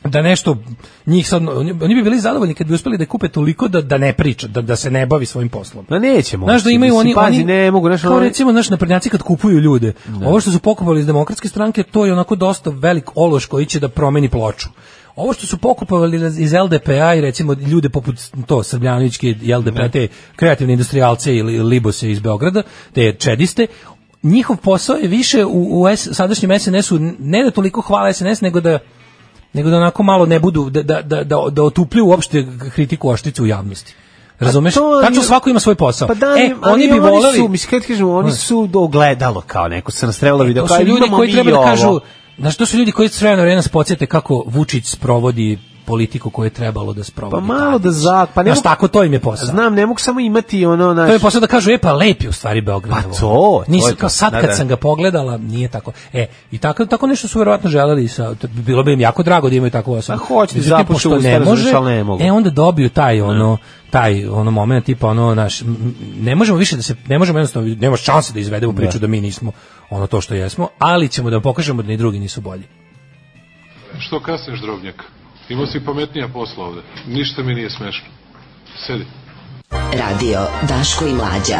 da nešto njih sad, oni, oni bi bili zadovoljni kad bi uspeli da kupe toliko da, da ne priča, da, da se ne bavi svojim poslom. Ma neće moći. Znaš da imaju mislim, oni, pazi, oni ne mogu, znaš, kao ono- recimo naš naprednjaci kad kupuju ljude. Ovo što su pokupovali iz demokratske stranke, to je onako dosta velik ološ koji će da promeni ploču. Ovo što su pokupovali iz LDP-a i recimo ljude poput to Srbljanovićke i LDP, te kreativne industrijalce ili Libose iz Beograda, te čediste, njihov posao je više u, u S, sadašnjem SNS-u ne da toliko hvala SNS, nego da nego da onako malo ne budu, da, da, da, da, da otuplju uopšte kritiku oštricu u javnosti. Razumeš? Pa to ali- Tačno svako ima svoj posao. Pa da, e, oni bi voleli... voleli... E, Su, mislim, kad ti kažemo, oni su do ogledalo kao neko se nastrelalo video. to kao, su ljudi pa imamo koji mi treba da ovo. kažu... Znaš, to su ljudi koji sve na vreme nas podsjete kako Vučić sprovodi politiku koju je trebalo da sprovodi. Pa malo Tadić. da za- pa ne Znaš, mogu- tako to im je posao. Znam, ne mogu samo imati ono, znaš, To je posao da kažu, e pa lep je u stvari Beograd. Pa evo. to, to Nisam je to. kao sad Da, kad da. sam ga pogledala, nije tako. E, i tako, tako nešto su verovatno želeli. Sa, t- bilo bi im jako drago da imaju takvu osobu. A Pa hoće da Međutim, zapuše pošto usta, razumeš, ali ne mogu. E, onda dobiju taj ono taj ono moment tipa ono naš ne možemo više da se ne možemo jednostavno nema šanse da izvedemo priču da. mi nismo ono to što jesmo, ali ćemo da vam pokažemo da ni drugi nisu bolji. Što kasniš, drobnjak? Imao si pametnija posla ovde. Ništa mi nije smešno. Sedi. Radio Daško i Mlađa.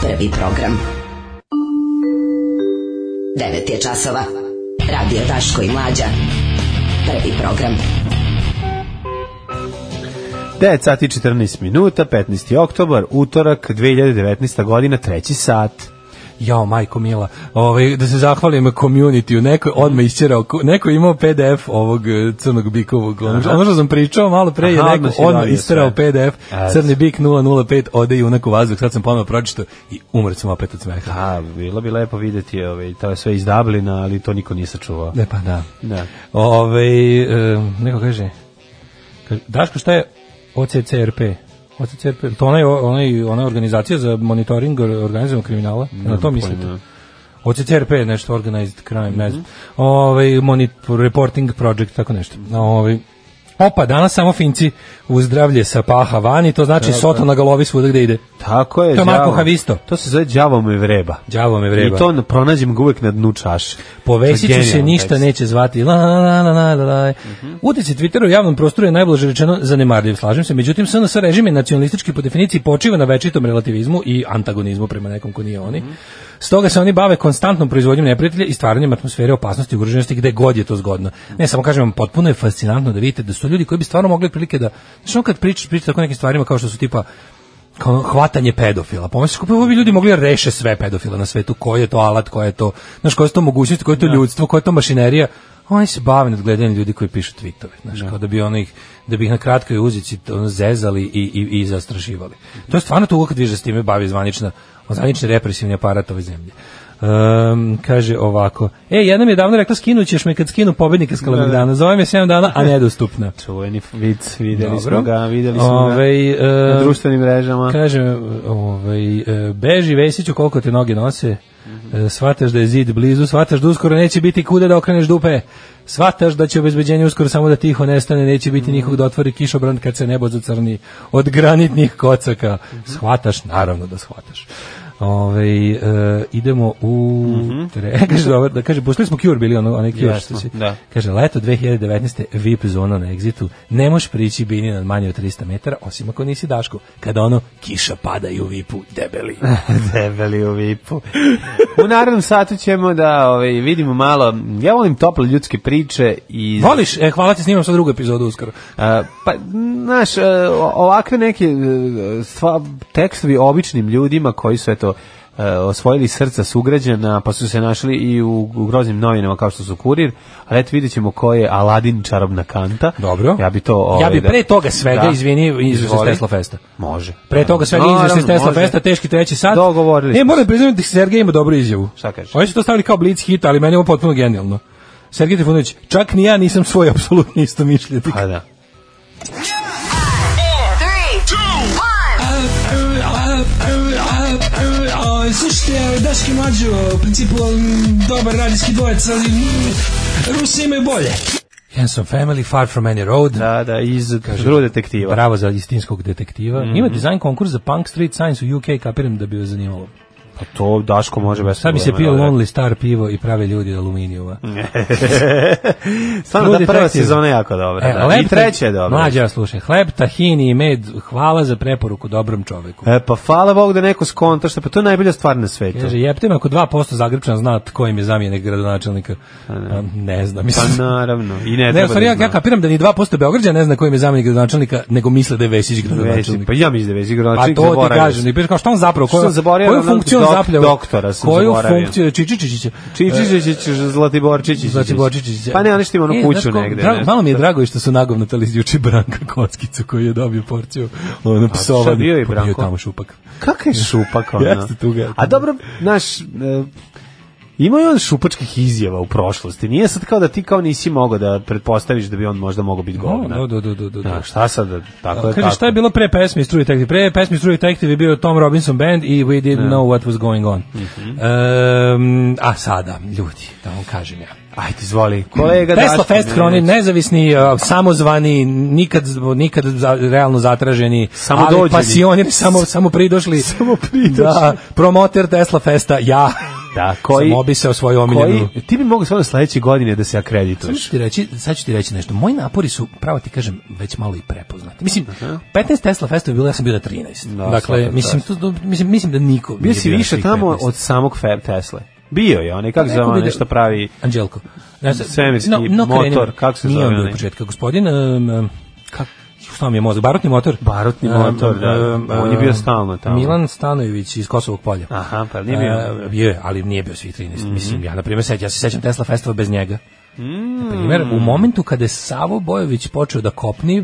Prvi program. 9 je časova. Radio Daško i Mlađa. Prvi program. 9 sati i 14 minuta, 15. oktobar, utorak, 2019. godina, treći sat. Jao, majko mila, ovaj, da se zahvalim community-u, neko je odme isćerao, ko- neko je imao PDF ovog e, crnog bikovog, ono što- ono što sam pričao malo pre je Aha, neko odmah si odme dobio isćerao sve. PDF, Eto. crni bik 005, ode i unak u vazduh, sad sam ponovno pročito i umret sam opet od smeha. A, bilo bi lepo videti, ovaj, to je sve iz Dublina, ali to niko nije sačuvao. Ne pa da. Da. Ove, e, neko kaže, kaže, Daško šta je OCCRP? OCCRP, to ona je, ona je, ona je organizacija za monitoring organizovanog kriminala, na pa to mislite? pojma. OCCRP je nešto organized crime, ne Mhm. znam. Ovaj monit reporting project tako nešto. Ovaj Opa, danas samo Finci u zdravlje sa paha vani, to znači soto na galovi svuda gde ide. Tako je. To je Marko đavo- Havisto. To se zove Đavo me vreba. Đavo me vreba. I to na- pronađem ga uvek na dnu čaše. Povesit To je ću se, genijalan ništa tekst. neće zvati. La, la, la, la, la, la, la. Utjeci Twittera u javnom prostoru je najblaže rečeno zanemarljiv, slažem se. Međutim, SNS režim je nacionalistički po definiciji počiva na večitom relativizmu i antagonizmu prema nekom ko nije oni. Stoga se oni bave konstantnom proizvodnjom neprijatelja i stvaranjem atmosfere opasnosti i ugroženosti gde god je to zgodno. Ne, samo kažem vam, potpuno je fascinantno da vidite da su ljudi koji bi stvarno mogli prilike da... Znaš, ono kad pričaš, pričaš tako o nekim stvarima kao što su tipa kao ono, hvatanje pedofila. Pomisliš kako bi ovi ljudi mogli da reše sve pedofila na svetu, koji je to alat, koja je to, znaš, koja su to mogućnosti, koje je to ljudstvo, koja je to mašinerija. Oni se bave nad gledanjem ljudi koji pišu tweetove, znaš, kao da bi ono ih, da bi ih na kratkoj uzici ono, zezali i, i, i zastrašivali. To je stvarno to kad više s time bavi zvanična, zvanični represivni aparat ove zemlje. Um, kaže ovako E, jedna mi je davno rekla skinućeš me kad skinu pobednika s Kalemegdana Zovem je 7 dana, a nedostupna Čuveni vic, videli Dobro. smo ga, videli smo Ovaj, ga na e, društvenim mrežama. Kaže, ovaj, e, beži Vesiću koliko te noge nose, e, shvataš da je zid blizu, shvataš da uskoro neće biti kude da okreneš dupe, shvataš da će obezbeđenje uskoro samo da tiho nestane, neće biti nikog da otvori kišobran kad se nebo zacrni od granitnih kocaka. Shvataš, naravno da shvataš. Ove, e, idemo u... tre- kaže, dobar, da kaže, pustili smo Cure, bili ono, onaj Cure što Jesmo, si- da. Kaže, leto 2019. VIP zona na egzitu, ne možeš prići bini na manje od 300 metara, osim ako nisi Daško, kada ono, kiša pada i u VIP-u, debeli. Eh. Debeli u vipu. U narednom satu ćemo da ovaj, vidimo malo, ja volim tople ljudske priče i... Voliš? E, hvala ti, snimam sad drugu epizodu uskoro. A, pa, znaš, e, o- ovakve neke e, stva, tekstovi običnim ljudima koji su, eto, e, osvojili srca sugrađana, pa su se našli i u, u groznim novinama kao što su Kurir, ali eto vidjet ćemo ko je Aladin čarobna kanta. Dobro. Ja bi to... ja ovaj, bi da- pre toga svega, Da. izvini, izvršao Izvoli. Tesla Festa. Može. Pre toga svega Naravno, izveštaj iz Tesla može. Festa, teški treći sat. Dogovorili Ne, smo moram priznati da Sergej ima dobru izjavu. Šta kaže? Oni su to stavili kao blitz hit, ali meni je ovo potpuno genijalno. Sergej Trifunović, čak ni ja nisam svoj apsolutni istomišljenik. Pa da. Slušajte, Daški Mađo, u principu dobar radijski dvojec, ali Rusi imaju bolje. Handsome Family, Far From Any Road. Da, da, iz drugog detektiva. Bravo za istinskog detektiva. Mhm. Ima dizajn konkurs za Punk Street Science u UK, kapiram da bi vas zanimalo. Pa to Daško može bez Sad bi se pio problema, da, da. Lonely Star pivo i prave ljudi od aluminijuma. Stvarno True da prva Detective. sezona je jako E, dobra. da. I treća je dobra. Mlađa, slušaj, hleb, tahini i med, hvala za preporuku dobrom čoveku. E, pa hvala Bog da neko skonta što pa to je najbolja stvar na svetu. Kaže, jepte me ako 2% Zagrepčana zna tko im je zamjenik gradonačelnika. A, Ne znam, mislim. Pa naravno. I ne, Ne, treba u stvari, da ja, zna. ja kapiram da ni 2% Beograđana ne zna koji im je zamjenik gradonačelnika, nego misle da je Vesić Vesi, gradonačelnik. pa ja mislim da je Vesić Pa gradonačelnik. to ti zaboravio kažem, sam. i piše kao šta on zapravo, Što koju, sam zaboravio, koju ono, funkciju on dok- zapljao? doktora sam koju zaboravio. funkciju, Čičičića. Čičičić, Zlatiborčić. Zlatiborčić. Pa ne, oni što ima onu E, kuću znaš ko, negde. dra- nešto. malo mi je drago i što su nagovnatali juče Branka Kockicu koji je dobio porciju ono psovanja. bio je Pa Branko? tamo šupak. ono? Kakav je šupak ona? Jeste tu ga. A dobro, naš... E, Ima je on šupačkih izjava u prošlosti. Nije sad kao da ti kao nisi mogao da pretpostaviš da bi on možda mogao biti govna. Da, da, da, da, da. Da, šta sad, da- tako je Kaže, Pa tako. šta je bilo pre pesme Struje Detective? Pre pesme Struje Detective je bio Tom Robinson Band i We Didn't Know What Was Going On. Mhm. Em, a sada, ljudi, da vam kažem ja. Ajde, izvoli. Kolega Tesla Daško Fest Milinović. Hroni, nezavisni, uh, samozvani, nikad, nikad za, realno zatraženi, Samo ali dođeni. pasionir, samo, samo pridošli. Samo pridošli. Da, promoter Tesla Festa, ja. Da, koji... Sam obisao svoju omiljenu. Koji, ti bi mogao stvarno sledeće godine da se Sad akredituješ. ću ti reći, sad ću ti reći nešto. Moji napori su, pravo ti kažem, već malo i prepoznati. Mislim, 15 Tesla festova je bilo, ja sam bio na 13. Da, dakle, svaka mislim, tu, mislim, mislim da niko Bio nije si bio na više svih tamo 15. od samog Fe- Tesle. Bio je onaj, kako se Pa zove, Neko ono bi da- nešto pravi... Anđelko. Znači, Svemirski motor, kako se zove Nije on bio onaj? od početka. Gospodin, um, um, kak, šta mi je mozak, barutni motor? Barutni Um, motor, da. um, On je bio um, stalno tamo. Milan Stanojević iz Kosovog polja. Aha, pa nije bio. E, bio je, ali nije bio svih 13. Mhm. Mislim, ja, na primjer, seć, ja se sećam Tesla festova bez njega. Mm. Na primjer, u momentu kada je Savo Bojović počeo da kopni,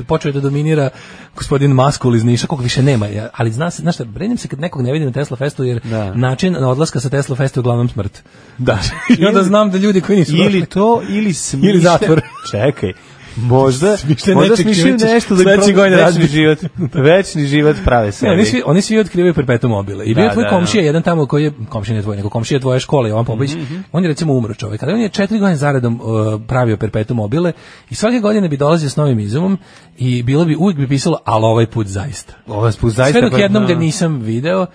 e, počeo je da dominira gospodin Maskul iz Niša, kog više nema. Ja- Ali zna se, znaš šta, brenim se kad nekog ne vidim na Tesla festu, jer Da. način odlaska sa Tesla festu je uglavnom smrt. Da. I onda znam da ljudi koji nisu Ili došli- to, ili smišlja... Ili zatvor. Čekaj, možda, Smišlja možda nečeg smišljaju čime ćeš nešto da im sledeće probaju godine večni razbiti. život. Večni život prave Ne, oni sebi. svi, oni svi otkrivaju perpetuum mobile. I bio Da, je tvoj da, Mhm, komšija, jedan tamo koji je, komšija ne tvoj, nego komšija tvoje škole, Jovan Popović, on je recimo umro čovjek, ali on je četiri godine zaredom uh, pravio perpetuum mobile i svake godine bi dolazio s novim izumom i bilo bi, uvijek bi pisalo, ali ovaj put zaista. Ovo spust zaista... Sve dok pa- jednom ga da. nisam video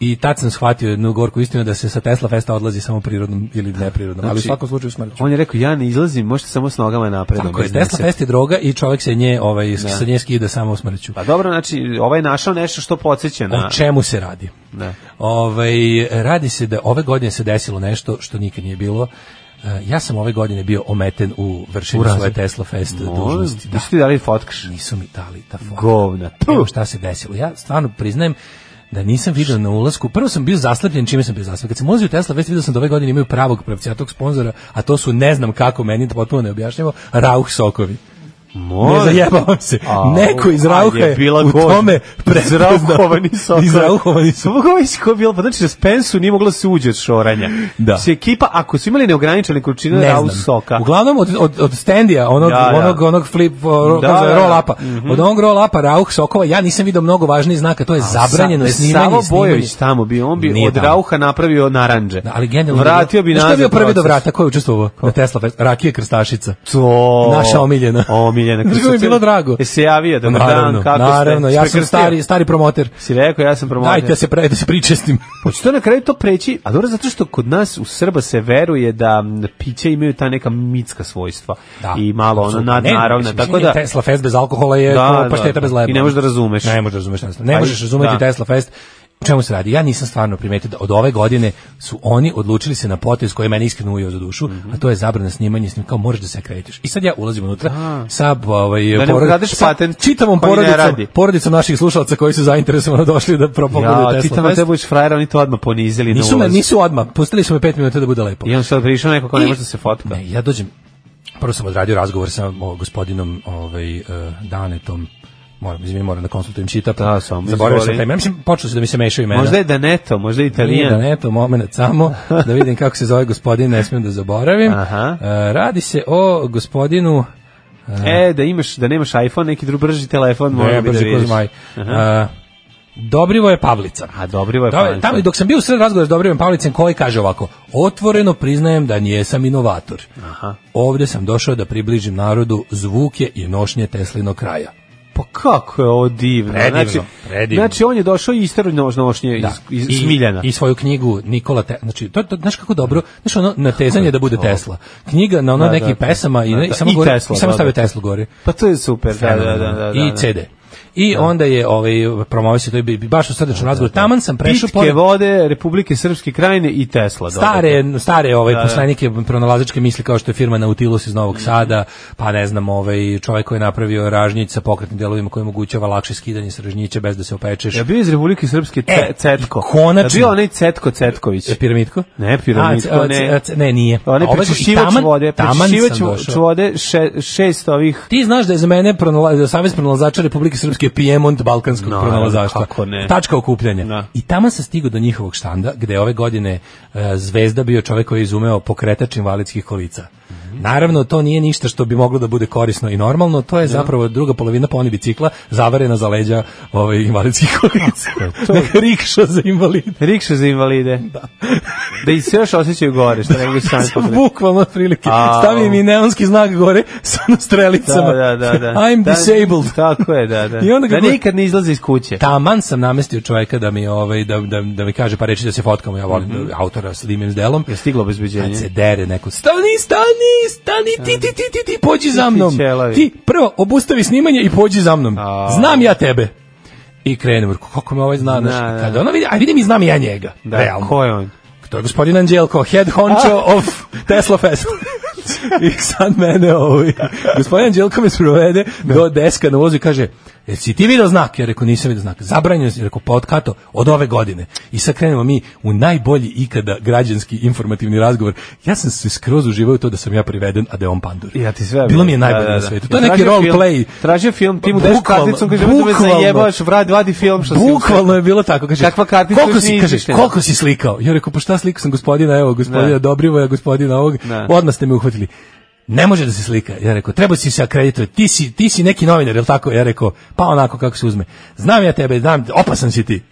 i tad sam shvatio jednu gorku istinu da se sa Tesla festa odlazi samo prirodnom ili neprirodnom, ali u Znači, svakom slučaju smrću. On je rekao, ja ne izlazim, možete samo s nogama napred. Tako je, bez Tesla dece. fest je droga i čovjek se nje, ovaj, sa nje skida samo smrću. Pa dobro, znači, ovaj je našao nešto što podsjeća na... O čemu se radi? Da. Ovaj, radi se da ove godine se desilo nešto što nikad nije bilo. E, Ja sam ove godine bio ometen u vršenju svoje Tesla Fest dužnosti. Da, Nisu ti dali fotkaš? nisu mi dali ta fotka. Govna. Evo šta se desilo. Ja stvarno priznajem da nisam video na ulasku. Prvo sam bio zaslepljen, čime sam bio zaslepljen. Kad sam ulazio u Tesla Fest, video sam da ove godine imaju pravog pravcijatog sponzora, a to su, ne znam kako, meni je to potpuno neobjašnjivo, Rauh sokovi. Ne Može. zajebavam se. A, Neko iz a, Rauha je bila u gost. tome prepoznao. Izrauhovani sokovi. Izrauhovani sokovi. Ovo je ko bilo, pa znači na Spensu nije moglo da se uđe od šoranja. Da. Se ekipa, ako su imali neograničene količine ne Raus znam. soka, Uglavnom od, od, od standija, onog, Da, da. onog, onog flip, o, Da, kako se zove, da, Mhm. da. roll upa. Od onog roll upa, rauh sokova, ja nisam vidio mnogo važnijih znaka, to je zabranjeno je Sa- snimanje. Savo snimanje. Bojović tamo bi, on bi Nije od tamo. Rauha napravio naranđe. Da, ali generalno... Vratio bi Znaš Šta je nazad bio prvi do proces. vrata, ko je učestvovao na Tesla Fest? Rakija Krstašica. To. Naša omiljena. Omiljena. Znaš kako mi je bilo drago? E se javio, dobar Pa naravno, dan, kako ste? naravno, ja sam Prekrstio? stari, stari promoter. Si rekao, ja sam promotor. Dajte da se, pre, da se pričestim. Hoće to na kraju to preći, a dobro zato što kod nas u Srba se veruje da m, pića imaju ta neka mitska svojstva i malo ono apsolutno. nadnaravna, Ne, mislim, tako da... Tesla Fest bez alkohola je Da, da, da, pašteta da. bez leba. I ne možeš da razumeš. Ne možeš da razumeš. Tesla. Ne Pa i- možeš razumeti da. Tesla Fest. O čemu se radi? Ja nisam stvarno primetio da od ove godine su oni odlučili se na potez koji je meni iskreno ujeo za dušu, Mhm. a to je zabrana snimanja, snim kao moraš da se akreditiš. I sad ja ulazim unutra sa ovaj ne ukradeš sa patent čitavom koji ne porodicom, radi. porodicom naših slušalaca koji su zainteresovano došli da propogledaju Ja, ti Tesla tamo Fest. te budeš frajer, oni to odmah ponizili Nisu na me, ulaz. nisu odmah, pustili su me 5 minuta da bude lepo. I on sad prišao neko ko ne I- može da se fotka. Ne, ja dođem, prvo sam odradio razgovor sa o, gospodinom ovaj, e, Danetom, moram, izvinim, moram da konsultujem čitap. Da, samo Zaboravio sam izvoli. taj ime. Mislim, počelo se da mi se mešaju imena. Možda je Daneto, možda je Nije Italijan. da ne, to moment samo da vidim kako se zove gospodin, ne smijem da zaboravim. Aha. E, radi se o gospodinu E, da imaš, da nemaš iPhone, neki drugi brži telefon, Ne, možda bi da brže ko vidiš. zmaj. E, Dobrivoje Pavlica. A ovaj Dobrivoje Dobre- Pavlica. Tamo, i dok sam bio u sred razgovora s Dobrivojem Pavlicem, koji kaže ovako, otvoreno priznajem da nijesam inovator. Aha. Ovde sam došao da približim narodu zvuke i nošnje Teslinog kraja. Pa kako je ovo divno. Predivno, znači, predivno. Znači, on je došao i isteru nošnje da. iz, iz, iz Miljana. I, I svoju knjigu Nikola Te, znači to, to znaš kako dobro, znaš ono natezanje da bude Tesla. Knjiga na ono Da, da, nekih da. pesama i, Da, ne- da. i samo I gore, Tesla, i samo da, stavio da. Tesla gore. Pa to je super, da, da, da. da, da I CD. I onda je ovaj promovio se to je bi- baš u srdečnom razgovoru. Taman sam prešao Pičke vode, Republike Srpske krajine i Tesla. dobro. stare stare ovaj poslanike pronalazačke misli kao što je firma Nautilus iz Mhm. Novog Sada, pa ne znam, ovaj čovjek koji je napravio ražnjić sa pokretnim delovima koji omogućava lakše skidanje sa ražnjića bez da se opečeš. Ja bio iz Republike Srpske ce, E, Cetko. i konačno. Ja bio onaj Cetko Cetković. E, Piramidko? Ne, piramidko, A, c- a, ne. c- a, c- ne, nije. Onaj A ovaj- prečišćivač i taman- vode, taman sam prečišćivač došao. vode še, šest ovih Ti znaš da je za mene pronala, Savez pronalazača Republike Srpske Srpske Pijemont balkanskog Naravno, pronalazaštva. kako ne. Tačka okupljanja. Da. I tamo se stigo do njihovog štanda, gde je ove godine e, zvezda bio čovek koji je izumeo pokretač invalidskih kolica. Mhm. Naravno, to nije ništa što bi moglo da bude korisno i normalno, to je zapravo druga polovina poni bicikla zavarena za leđa ovaj, invalidskih kolica. Neka rikša za invalide. Rikše za invalide. Da. da i se još osjećaju gore, što ne mogu sami Sam pokrenuti. bukvalno otprilike. Au. Stavi mi neonski znak gore sa ono strelicama. Da, da, da, da. I'm Da, disabled. Tako je, da, da. I onda da kako- nikad ne izlazi iz kuće. Taman sam namestio čoveka da mi ovaj da da da mi kaže pa reči da se fotkamo, ja volim Mhm. da autora s limim delom. Je stiglo Kad se obezbeđenje. dere neko, stani, stani, stani, ti, ti, ti, ti, ti, pođi za ti mnom. ćelavi. Ti, prvo, obustavi snimanje i pođi za mnom. A. Znam ja tebe. I krenem, rekao, kako me ovaj zna, znaš, Da, da. kad ona vidi, a vidim i znam i ja njega, Da, realno. ko je on? To je gospodin Anđelko, head honcho of Tesla Fest. I sad mene ovaj, gospodin Anđelko me sprovede do deska na vozu i kaže, jel si ti video znak? Ja rekao, nisam video znak. Zabranjeno je, rekao, pa od kato, od ove godine. I sad krenemo mi u najbolji ikada građanski informativni razgovor. Ja sam se skroz uživao u to da sam ja priveden, a da je on pandur. Ja ti sve. Bilo mi je da, najbolje da, na da. svetu. To je I neki tražio role film- play. Tražio film, ti mu daš Bukvalno, karticu, kaže, da me bukvalno. zajebavaš, vrati, vadi film što si Bukvalno je bilo tako, kaže. Kakva kartica koliko još si, nije kaže, izmišljena. koliko si slikao? Ja rekao, pa šta slikao sam gospodina, evo, gospodina Da. Dobrivoja, gospodina ovog. Da. Odmah ste me uhvatili. Ne može da se slika. Ja rekao, treba si se akreditovati. Ti si, ti si neki novinar, jel tako? Ja rekao, pa onako kako se uzme. Znam ja tebe, znam, opasan si ti.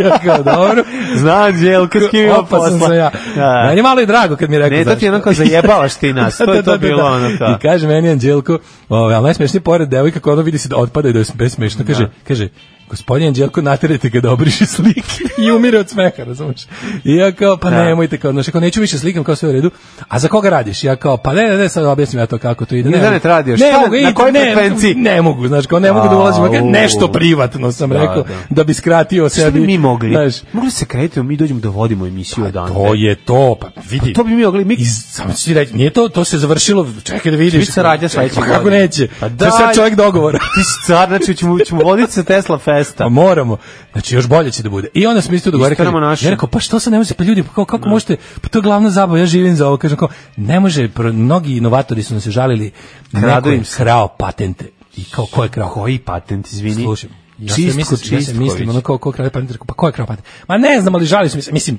ja kao, dobro. Zna Anđelka s kim ima Opasan posla. sam ja. Da. Meni je malo i drago kad mi je rekao Ne, to ti je zašto. onako zajebavaš ti nas. To je to bilo ono to. I kaže meni Anđelko, ovaj, ali najsmešnije pored devojka koja ono vidi se da otpada i da je bez smešno, kaže, kaže, gospodin Anđelko, naterajte ga da obriši slike i umire od smeha, razumeš? I ja kao, pa Da. nemojte, kao, znaš, kao, neću više slikam, kao sve u redu, a za koga radiš? Ja kao, pa ne, ne, ne, sad objasnim ja to kako to ide. Ni da mogu. ne radiš, Ne šta, mogu, na i- kojoj ne, frekvenciji? Ne mogu, znaš, kao, ne mogu da ulazim, A, kao, nešto u. privatno sam Da, rekao, da. da bi skratio Šta sebi. bi mi mogli? Znaš, Pa Mogli se kretiti, mi dođemo da vodimo emisiju odande. to je to, pa vidi. To bi mi mogli, mi I samo ću ti reći, nije to, to se završilo, čekaj da vidiš. Biće saradnja sledeće Pa Kako godine. neće? Pa To je sad daj. čovjek dogovora. Ti si car, znači ćemo, ćemo voditi sa Tesla Festa. Pa moramo. Znači još bolje će da bude. I onda smo isto dogovorili. Isteramo kaže, naše. Ja rekao, pa što se ne može, pa ljudi, pa kao, kako možete, pa to je glavna zabava, ja živim za ovo. Kažem kao, ne može, pro- mnogi inovatori su nam se žalili, neko Kradu je im se. krao patente. I kao, ko je krao? Koji patent, izvini? Slušaj, ja se čistko, mislim, ja se Čistković. mislim, ono kao ko kralj patent, pa ko je kralj patent? Ma ne znam, ali žalim se, mislim, mislim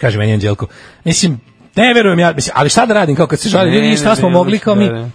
kaže meni Anđelko, mislim, ne verujem ja, mislim, ali šta da radim, kao kad se žalim, Ne, ljudi, ne, šta smo ne, mogli, kao mi, da, da.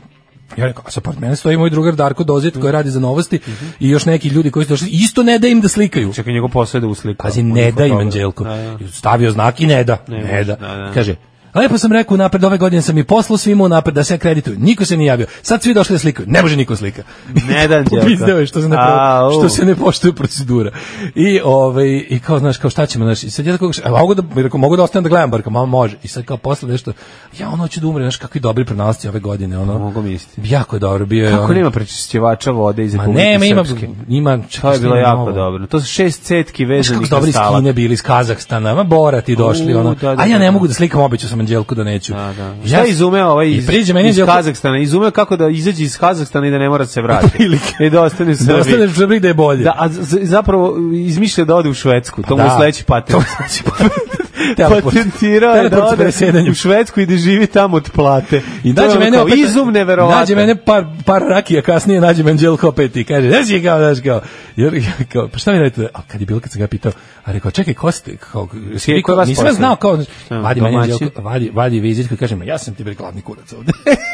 Ja rekao, a sa part mene stoji moj drugar Darko Dozet koji radi za novosti i još neki ljudi koji su došli, isto ne da im da slikaju. Čekaj, njegov posao je Znači, da uslika. Pazi, ne da im Fotograf. Anđelko. Da, da. Stavio znak i ne da. Ne Ne, može, da. da, da. Kaže, Lepo sam rekao napred, ove godine sam i poslao svima napred da se akredituju. Niko se nije javio. Sad svi došli da slikaju. Ne može niko slika. Ne da Anđelko. Popizdeo je što se ne, Au. što se ne poštuje procedura. I, ovaj, I kao, znaš, kao šta ćemo, znaš, i sad ja tako, a mogu da, rekao, mogu da ostanem da gledam, bar kao, ma, može. I sad kao posle nešto, ja ono hoću da umre, znaš, kakvi dobri pronalazci ove godine, ono. Mogu misliti. Jako je dobro, bio je Kako ono- nema prečišćivača vode iz Ma Republike nema, ima, Srpske? ima, To čekaj, je šta bilo ima jako novo? dobro. To su šest cetki Znaš vezanih kako dobri na iz stalak. Kine bili iz Kazahstana, ma Bora ti došli, U, ono. da, da, a ja da, ne da. mogu da slikam, obećao sam Anđelku da neću. Da, da. Ja Šta je izumeo ovaj I iz, priđe meni iz Anđelko, Kazahstana? Izumeo kako da izađe iz Kazahstana i da ne mora da se vrati. Otprilike. I da ostane u da Srbiji. ostaneš u Srbiji da je bolje. Da, a z- zapravo izmišlja da ode u Švedsku. To mu je Da. sledeći To patent. je sledeći patent. Teleport. Patentirao je da Teleport s ode presedanjem. u Švedsku i da živi tamo od plate. I To je nađe ono mene kao opet, Izum neverovatan. Nađe mene par, par rakija kasnije, nađe me Anđelko opet i kaže, znaš je kao, znaš kao, jer, ja kao, pa šta mi radite? A kad je bilo, kad sam ga pitao, a rekao, čekaj, ko ste, kao, jesi Ko vi je ko- vas nisam ja poslao? znao, kao, znaš, Šta, vadi mene domaći? Anđelko, vadi, vadi vizitku i kaže, ma ja sam ti bre glavni kurac ovde.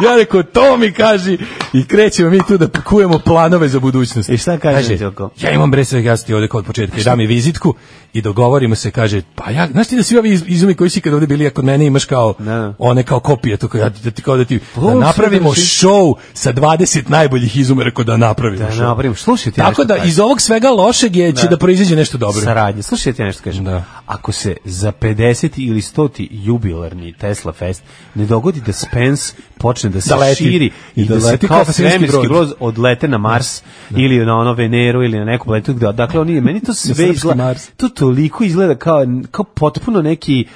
ja rekao, to mi kaži i krećemo mi tu da pakujemo planove za budućnost. I šta kaže Anđelko? Ja imam bre sve gasti ovde kod početka i da mi vizitku i dogovorimo se, kaže, pa ja, znaš ti da svi ovi iz- izumi koji si kad ovde bili, a kod mene imaš kao, Da. Pa, one kao kopije, to kao, ja, da ti kao da ti, ovo da sve napravimo drži. show sa 20 najboljih izumera kao da napravimo Da show. napravim. Slušaj ti Tako nešto da kažem. iz ovog svega lošeg je, će da, proizađe nešto dobro. Saradnje. Slušaj, ja ti nešto kažem. Da. Ako se za 50. ili 100. jubilarni Tesla Fest ne dogodi da Spence počne da se Da leti. širi i, da, se leti kao kao svemirski svemirski brod. broz odlete na Mars ili na ono Veneru ili na neku planetu. Da, dakle, oni, meni to sve srpski izgleda, Mars. to toliko izgleda kao, kao potpuno neki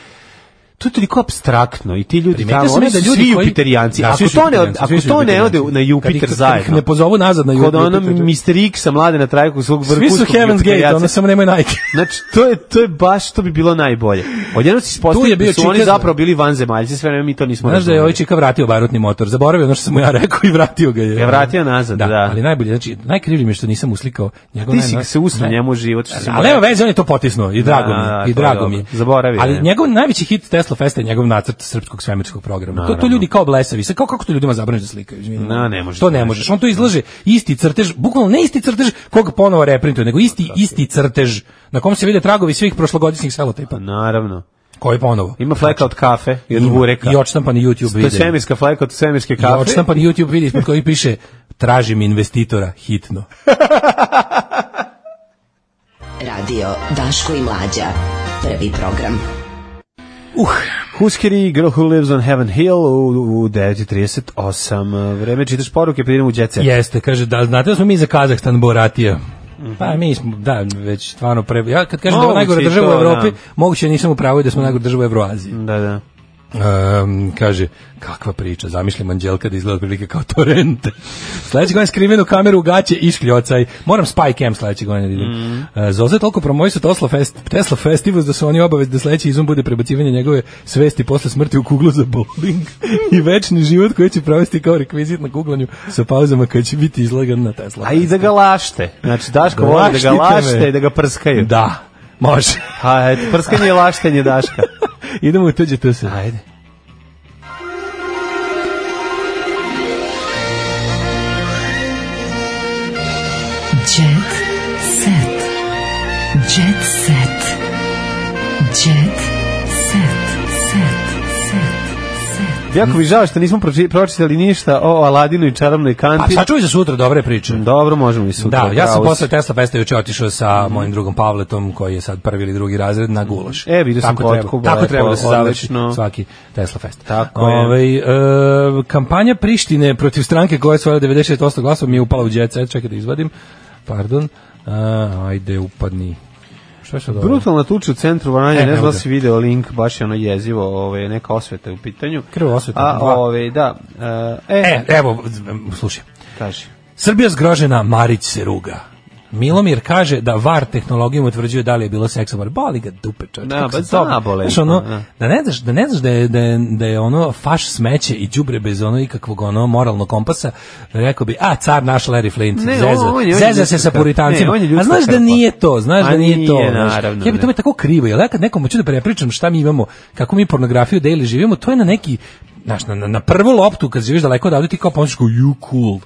to je toliko abstraktno i ti ljudi Primetio tamo, sam oni ja su da ljudi svi koji- Jupiterijanci. Da, svi ako su to ne, Jupiterijanci, ako svi su to ne ode Jupiterijanci. na Kad ih- Jupiter kad ih zajedno. ne pozovu nazad na Kod Jupiter. ono Mr. X-a mlade na traju kog svog Svi su vrhunskog Heaven's Gate, Jupiterijanca. ono samo nemaju Nike. Znači, to je, to je baš, to bi bilo najbolje. Odjedno se Tu ispostavio je bio da su oni čitav- zapravo bili vanzemaljci, sve vreme mi to nismo Znaš da je ovaj čika vratio barutni motor, zaboravio ono što sam mu ja rekao i vratio ga je. Ga je vratio nazad, da. Ali najbolje, znači, najkrivlji mi je što nisam uslikao njegov Ti si najno- se usno naj- njemu u život. Što si mu ovaj Ali nema rekao. veze, on je to potisnuo i drago Da, mi, da, je, to je i drago dobro. mi. je. Zaboravio je. Ali njegov najveći hit Tesla Festa je njegov nacrt srpskog svemirskog programa. To to ljudi kao blesavi. Sad kako kako to ljudima zabraniš da slikaju, izvinim. Na, ne može. To ne možeš. On to izlaže isti crtež, bukvalno ne isti crtež koga ponovo reprintuje, nego isti isti crtež na kom se vide tragovi svih prošlogodišnjih selotejpa. Naravno. Koji ponovo? Ima fleka od kafe i od Znači, Ima. bureka. I odštampani YouTube To je video. svemirska fleka od svemirske I kafe. odštampan YouTube vidi ispod koji piše tražim investitora hitno. Radio Daško i Mlađa. Prvi program. Uh, Huskeri, Girl Who Lives on Heaven Hill u, u 9.38. Vreme čitaš poruke, pa idemo u djece. Jeste, kaže, da, znate da smo mi za Kazahstan boratija. Pa mi smo, da, već stvarno pre... Ja kad kažem da je ovo Mhm. Moguće najgora i država u to, Evropi, da. moguće da nisam u pravu i da smo najgora država u Evroaziji. Da, da. Um, kaže, kakva priča, zamišljam Anđelka da izgleda otprilike kao torrente. Sljedeće godine skrivenu kameru u gaće i škljocaj. Moram Spy Cam sljedeće godine da idem. Uh, Zoza je toliko promoji su Tesla, Fest, Tesla Festivus da su oni obavezni da sljedeći izum bude prebacivanje njegove svesti posle smrti u kuglu za bowling i večni život koji će provesti kao rekvizit na kuglanju sa pauzama kada će biti izlagan na Tesla. A i da ga lašte. Znači, Daško voli da Laštite ga lašte me. i da ga prskaju. Da, može. A, eto, prskanje i laštenje Daška. Idemo u tuđe tu se. Ajde. Jet set. Jet set. Jet set. Set. Set. Jako mi žao što nismo proči- pročitali ništa o Aladinu i čarobnoj Pa kanti. sačuj za sutra dobre priče. Dobro, možemo i sutra. Da, ja sam bravo posle Tesla Festa juče otišao sa mojim drugom Pavletom, koji je sad prvi ili drugi razred, na gulaš. E, vidio sam Tako treba- fotku, Tako lepo, treba da se završi odlično. svaki Tesla Fest. Tako je. Ovaj, e, kampanja Prištine protiv stranke koja je svojala 96% glasova mi je upala u jet set, čekaj da izvadim. Pardon. A, ajde, upadni. Šta je sad ovo? Brutalna tuča u centru Vranja, ne E, znam evo da ga. si video link, baš je ono jezivo, ove, neka osveta je u pitanju. Krvo osveta, A, dva. ove, da, e, E, evo, slušaj. kaži. Srbija zgrožena, Marić se ruga. Milomir kaže da VAR tehnologijom utvrđuje da li je bilo seksa, ali boli ga dupe čovječ. Da, kako ba, se to- zna, bole. Znaš, ono, Da. da ne znaš, da, ne znaš da, je, da, je, da je ono faš smeće i đubre bez ono ikakvog ono moralnog kompasa, rekao bi, a car naš Larry Flint, Ne, zeza, on- on je- on je zeza se sa ljudska- ne, puritancima. on je ljudska a znaš da krpa. nije to, znaš A da nije, to. nije, znaš. naravno, Ja bi to ne. mi je tako krivo, jer ja kad nekom hoću da prepričam šta mi imamo, kako mi pornografiju daily živimo, to je na neki, znaš, na, na, na prvu loptu kad živiš daleko odavde ti kao pomisliš kao, you cool.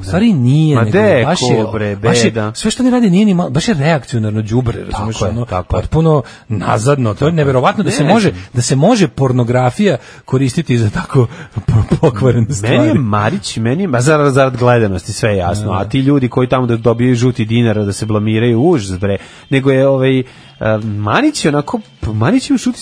U stvari nije, Ma nego de, baš je, cool, bre, baš je- beda. sve što oni rade nije ni malo, baš je reakcionarno đubre, razumeš, je, ono, tako je. potpuno nazadno, to je neverovatno da se Ne, može da se može pornografija koristiti za tako po- pokvarene stvari. Meni je Marić, meni je, ma zarad, zarad gledanosti, sve je jasno, a ti ljudi koji tamo da dobiju žuti dinara, da se blamiraju, užas bre, nego je ovaj, e, Marić je onako, Marić je u šuti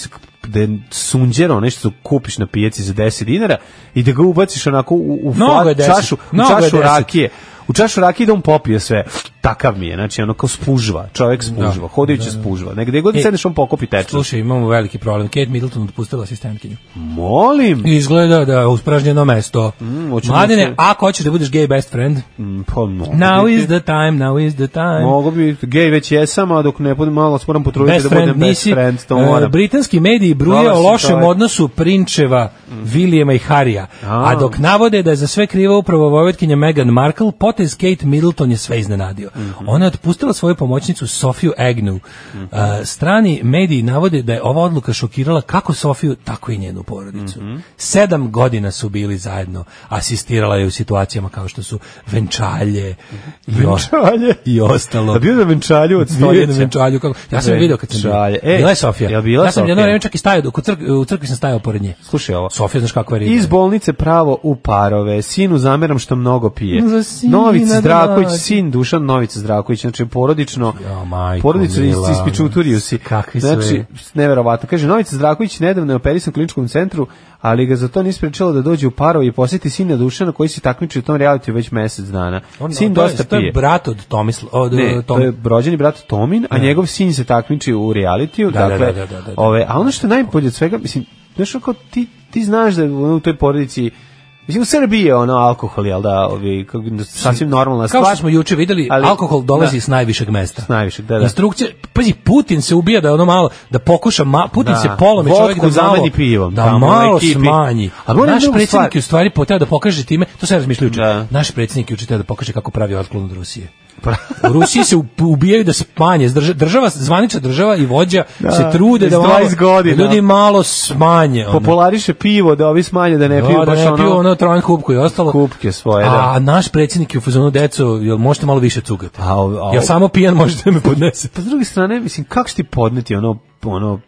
da je sunđero, nešto kupiš na pijaci za 10 dinara i da ga ubaciš onako u, u Mnogo flat- je 10, čašu, u mnogo je čašu 10. rakije. U čašu rakije da on popije sve. Takav mi je, znači ono kao spužva, čovjek spužva, hodajući spužva. Negde god E, sedneš on pokopi teču. Slušaj, imamo veliki problem. Kate Middleton otpustila asistentkinju. Molim, Izgleda da je uspražnjeno mesto. hoćemo Mm, da se- Mladine, ako hoćeš da budeš gay best friend, pa, mogu now biti. is the time, now is the time. Mogu bi, gej već jesam, a dok ne budem malo, se moram potruditi Best da friend budem best nisi. friend, to E, moram. britanski mediji bruje Dobar o si lošem čovek. odnosu Prinčeva, Vilijema i Harija. Mhm. A. A. dok navode da je za sve kriva upravo vojvotkinja Meghan Markle, potez Kate Middleton je sve iznenadio. Mhm. Ona je otpustila svoju pomoćnicu Sofiju Agnew. E, strani mediji navode da je ova odluka šokirala kako Sofiju, tako i njenu porodicu. Mhm. Sedam godina su bili zajedno. Asistirala je u situacijama kao što su venčalje, i o- Venčalje? i ostalo. Da bio na venčalju od Bio je na stoljeća. venčalju kako. Ja sam Venčalje. video kad sam bio. E, bila je Sofija. jel bila ja sam jedno Sofija? vreme čak i stajao dok u, crk, u crkvi sam stajao pored nje. Slušaj ovo. Sofija znaš kakva je riba. Iz bolnice pravo u parove, sinu zameram što mnogo pije. Za sina Novic da Zdravković, dođe. sin Dušan Novic Zdravković, znači porodično, Ja, majko porodično is- mila, ispičuturio si. kakvi sve. Znači, neverovatno. Kaže, Novic Zdravković nedavno je operisan u kliničkom centru, ali ga za to nije sprečilo da dođe u parove i posjeti sina Dušana koji se takmiči u tom realitiju već mesec dana. On- sin to je- dosta To je pije. brat od Tomisla, od eh, Ne, Tom. to je e, rođeni brat Tomin, a njegov sin se takmiči u realitiju, Da, da, dakle, da, da, da, da. ove, a ono što je najbolje od svega, mislim, znaš, ako ti, ti znaš da u toj porodici, mislim, u Srbiji je ono alkohol, jel da, ovi, kako, sasvim normalna stvar. Kao što smo juče videli, ali- alkohol dolazi da. s najvišeg mesta. S najvišeg, da, da. Instrukcija, pazi, Putin se ubija da ono malo, da pokuša, ma, Putin Da. se polomi Vodku čovjek da malo, zameni pivom, da tamo, malo ekipi. smanji. A moram naš drugu predsjednik stvar. je u stvari poteo da pokaže time, to sam ja razmišljao juče, Da. naš predsjednik juče teo da pokaže kako pravi otklon od Rusije. U Rusiji se up- ubijaju da smanje, Zdrž- država, zvanična država i vođa se trude iz da malo, 20 godina. da ljudi malo smanje. ono. populariše pivo da ovi smanje da ne Da, piju da baš ne ono, piju ono trojan kupku i ostalo. kupke svoje A da. naš predsjednik je u fazonu deco, jel možete malo više cugati? A, a- a- Jel samo pijan možete da me podnesete? pa s druge strane mislim kako će ti podneti ono ono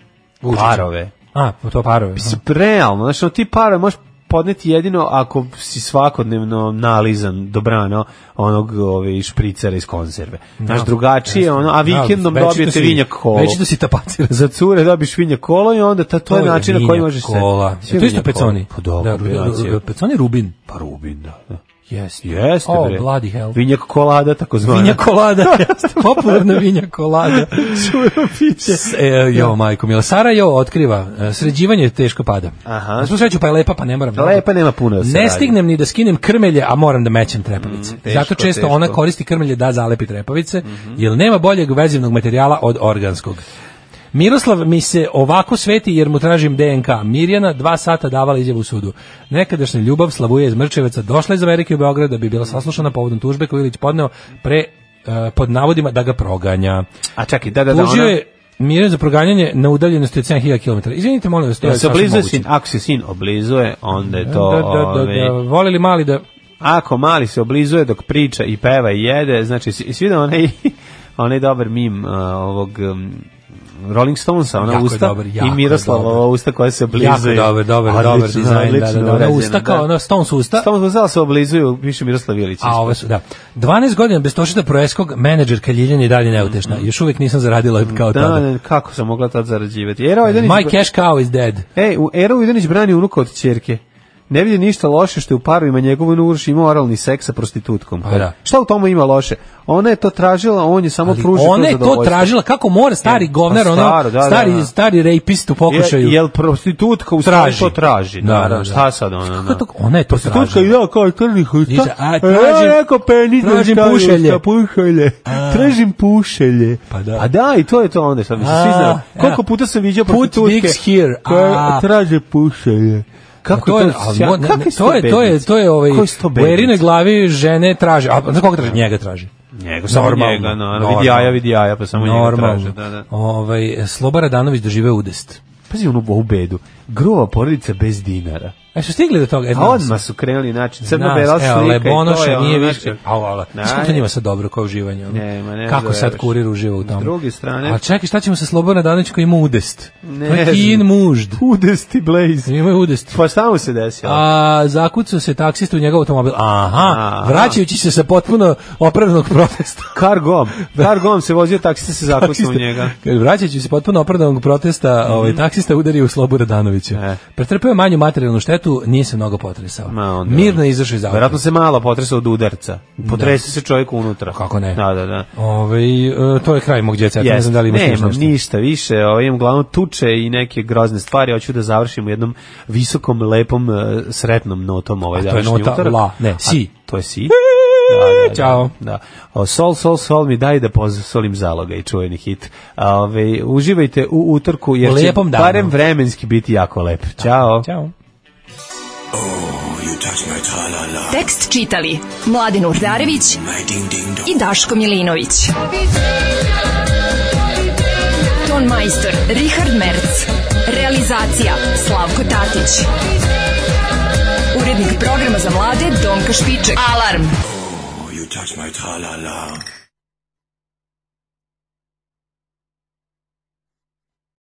Vučića. parove A, to parove. mislim realno znači ono, ti parove možeš podneti jedino ako si svakodnevno nalizan dobrano onog ove špricera iz konzerve. Znaš, drugačije, ono, a vikendom dobijete vinjak kolo. Već da si tapacira. za cure dobiš vinja kolo i onda ta, to, je način na koji možeš se... kola. Sve Je to isto vinjak peconi. kola. Pa dobro, Da, kombinacija. ru- ru- peconi Rubin. Pa Rubin, da. da. Jeste. Jeste, oh, bre. bloody hell. Vinjak kolada, tako zvana. Vinja kolada, jeste, popularna vinja kolada. S- E, jo, majko mila. Sarajevo otkriva, e, sređivanje teško pada. Aha. Na svu sreću pa je lepa, pa ne moram. da- Lepa nema puno da se Ne radi. Mm, stignem ni da skinem krmelje, a moram da mećem trepavice. teško, Zato često teško. Mhm. ona koristi krmelje da zalepi trepavice, jer nema boljeg vezivnog materijala od organskog. Miroslav mi se ovako sveti jer mu tražim DNK. Mirjana dva sata davala izjavu u sudu. Nekadašnja ljubav Slavuja iz Mrčeveca došla iz Amerike u Beograd da bi bila saslušana povodom tužbe koju je Ilić podneo pre e, pod navodima da ga proganja. A čekaj, E, da, da, da, Tužio ona... je Mirjana za proganjanje na udaljenosti od 7000 km. Izvinite, molim vas, to je Da se sasvim oblizuje moguće. sin, ako se sin oblizuje, onda je to... Da, da, da, da, ovaj, voli li mali da Ako mali se oblizuje dok priča i peva i jede, znači, si- jesi vidio onaj, onaj dobar mim a, ovog... um, Rolling Stonesa, ona Jako je usta dobar, jako i je Miroslavova dobar. usta koja se Jako oblizuje. dobar, dobar, Odlično, dobar dizajn, da, da, odlično da, ona urađeno, usta kao, ono, Stones usta. Stones usta ali se oblizuju, piše Miroslav Ilić. A ove su, da. 12 godina bez Tošita Proeskog, menadžer Kaljiljana je dalje neutešna. Još uvijek nisam zaradila kao Mm, da, tada. ne, kako sam mogla tad zarađivati. Ero Idanić, My cash cow is dead. Ej, u Ero Idanić brani unuka od ćerke. Ne vidi ništa loše što je u parovima njegov nuruš imao oralni seks sa prostitutkom. Pa da. Šta u tomu ima loše? Ona je to tražila, on je samo Ali pružio ona je to zadovoljstvo. tražila, kako more stari E, govnar, pa ono, staro, da, da, stari, da. stari rapist u pokušaju. Je, jel prostitutka u stvari traži. to traži? Da, naravno. ono, da, da. Šta sad ona? Kako to- ona je to Prostitutka tražila. ide kao crni husta. Ništa, a, E, tražim- ja rekao penis, da tražim stavim, pušelje. šta, pušelje. Tražim pušelje. Pa da. A da, i to je to onda. Sad, mislim, A, svi znaju. Koliko evo. puta sam vidio Put prostitutke dicks here. A. koje traže pušelje. Kako Pa to je, to, ali sja- mo- ne, kakvi ne, su to je, to je, bednici? to je ovaj, Koji su to u bednici? Erinoj glavi žene traže, a znaš koga traži? Njega traži. Njega, samo Normalno, njega, naravno. normalno. Vidi jaja, vidi jaja, pa samo njega traže. Normalno. Da, da. Ovaj, Slobara Danović dožive udest. Pazi ono u bedu. Grova porodica bez dinara. E, su stigli do toga? E, A znam se. Pa odmah su krenuli, znači, crno-bela Nas, slika. Evo, i to je Lebonoša ono, e, nije znači, više. Au, ala. Da, Znaš kako to njima sad dobro kao uživanje? ono? Nema, nema Kako sad zavereš. kurir uživa u S tome? druge strane- A čekaj, šta ćemo sa Slobodan Danić koji ima udest? Ne To je znam. kin mužd. Udesti Blaze. Ima udest. Pa šta mu se desilo? A zakucao se taksista u njegov automobil. Aha, Aha. vraćajući se sa potpuno opravdanog protesta. Kargom. Kargom se vozio, taksista se zakusio u Taksista- njega. Kaže, Vraćajući se potpuno opravdanog protesta, ovaj taksista udari u Slobu Radanovića. Mhm. E. Pretrpeo je manju materijalnu štetu, nije se mnogo potresao. Ma, onda- Mirno je izašao iz auta. Verovatno se malo potresao od udarca. Potrese se čovjek unutra. Kako ne? Da, da, da. Ovaj, e, to je kraj mog djeca, ja ne znam da li imaš Nemam još nešto. ništa više, ovaj, imam glavno tuče i neke grozne stvari, hoću da završim u jednom visokom, lepom, eh, sretnom notom ovaj A to je današnji nota utorak. la, ne, A si. To je si. 哎 Da, da, da, Ćao. Da. O, sol, sol, sol mi daj da pozolim zaloga i čuveni hit. A, Ovaj, uživajte u utorku jer će Lijepom danu. barem vremenski biti jako lep. Ćao. Ćao. Tekst čitali Mladin Urdarević i Daško Milinović. Ton majstor Richard Merc. Realizacija Slavko Tatić. Urednik programa za mlade Donka Špiček. Alarm! You touch my tra-la-la.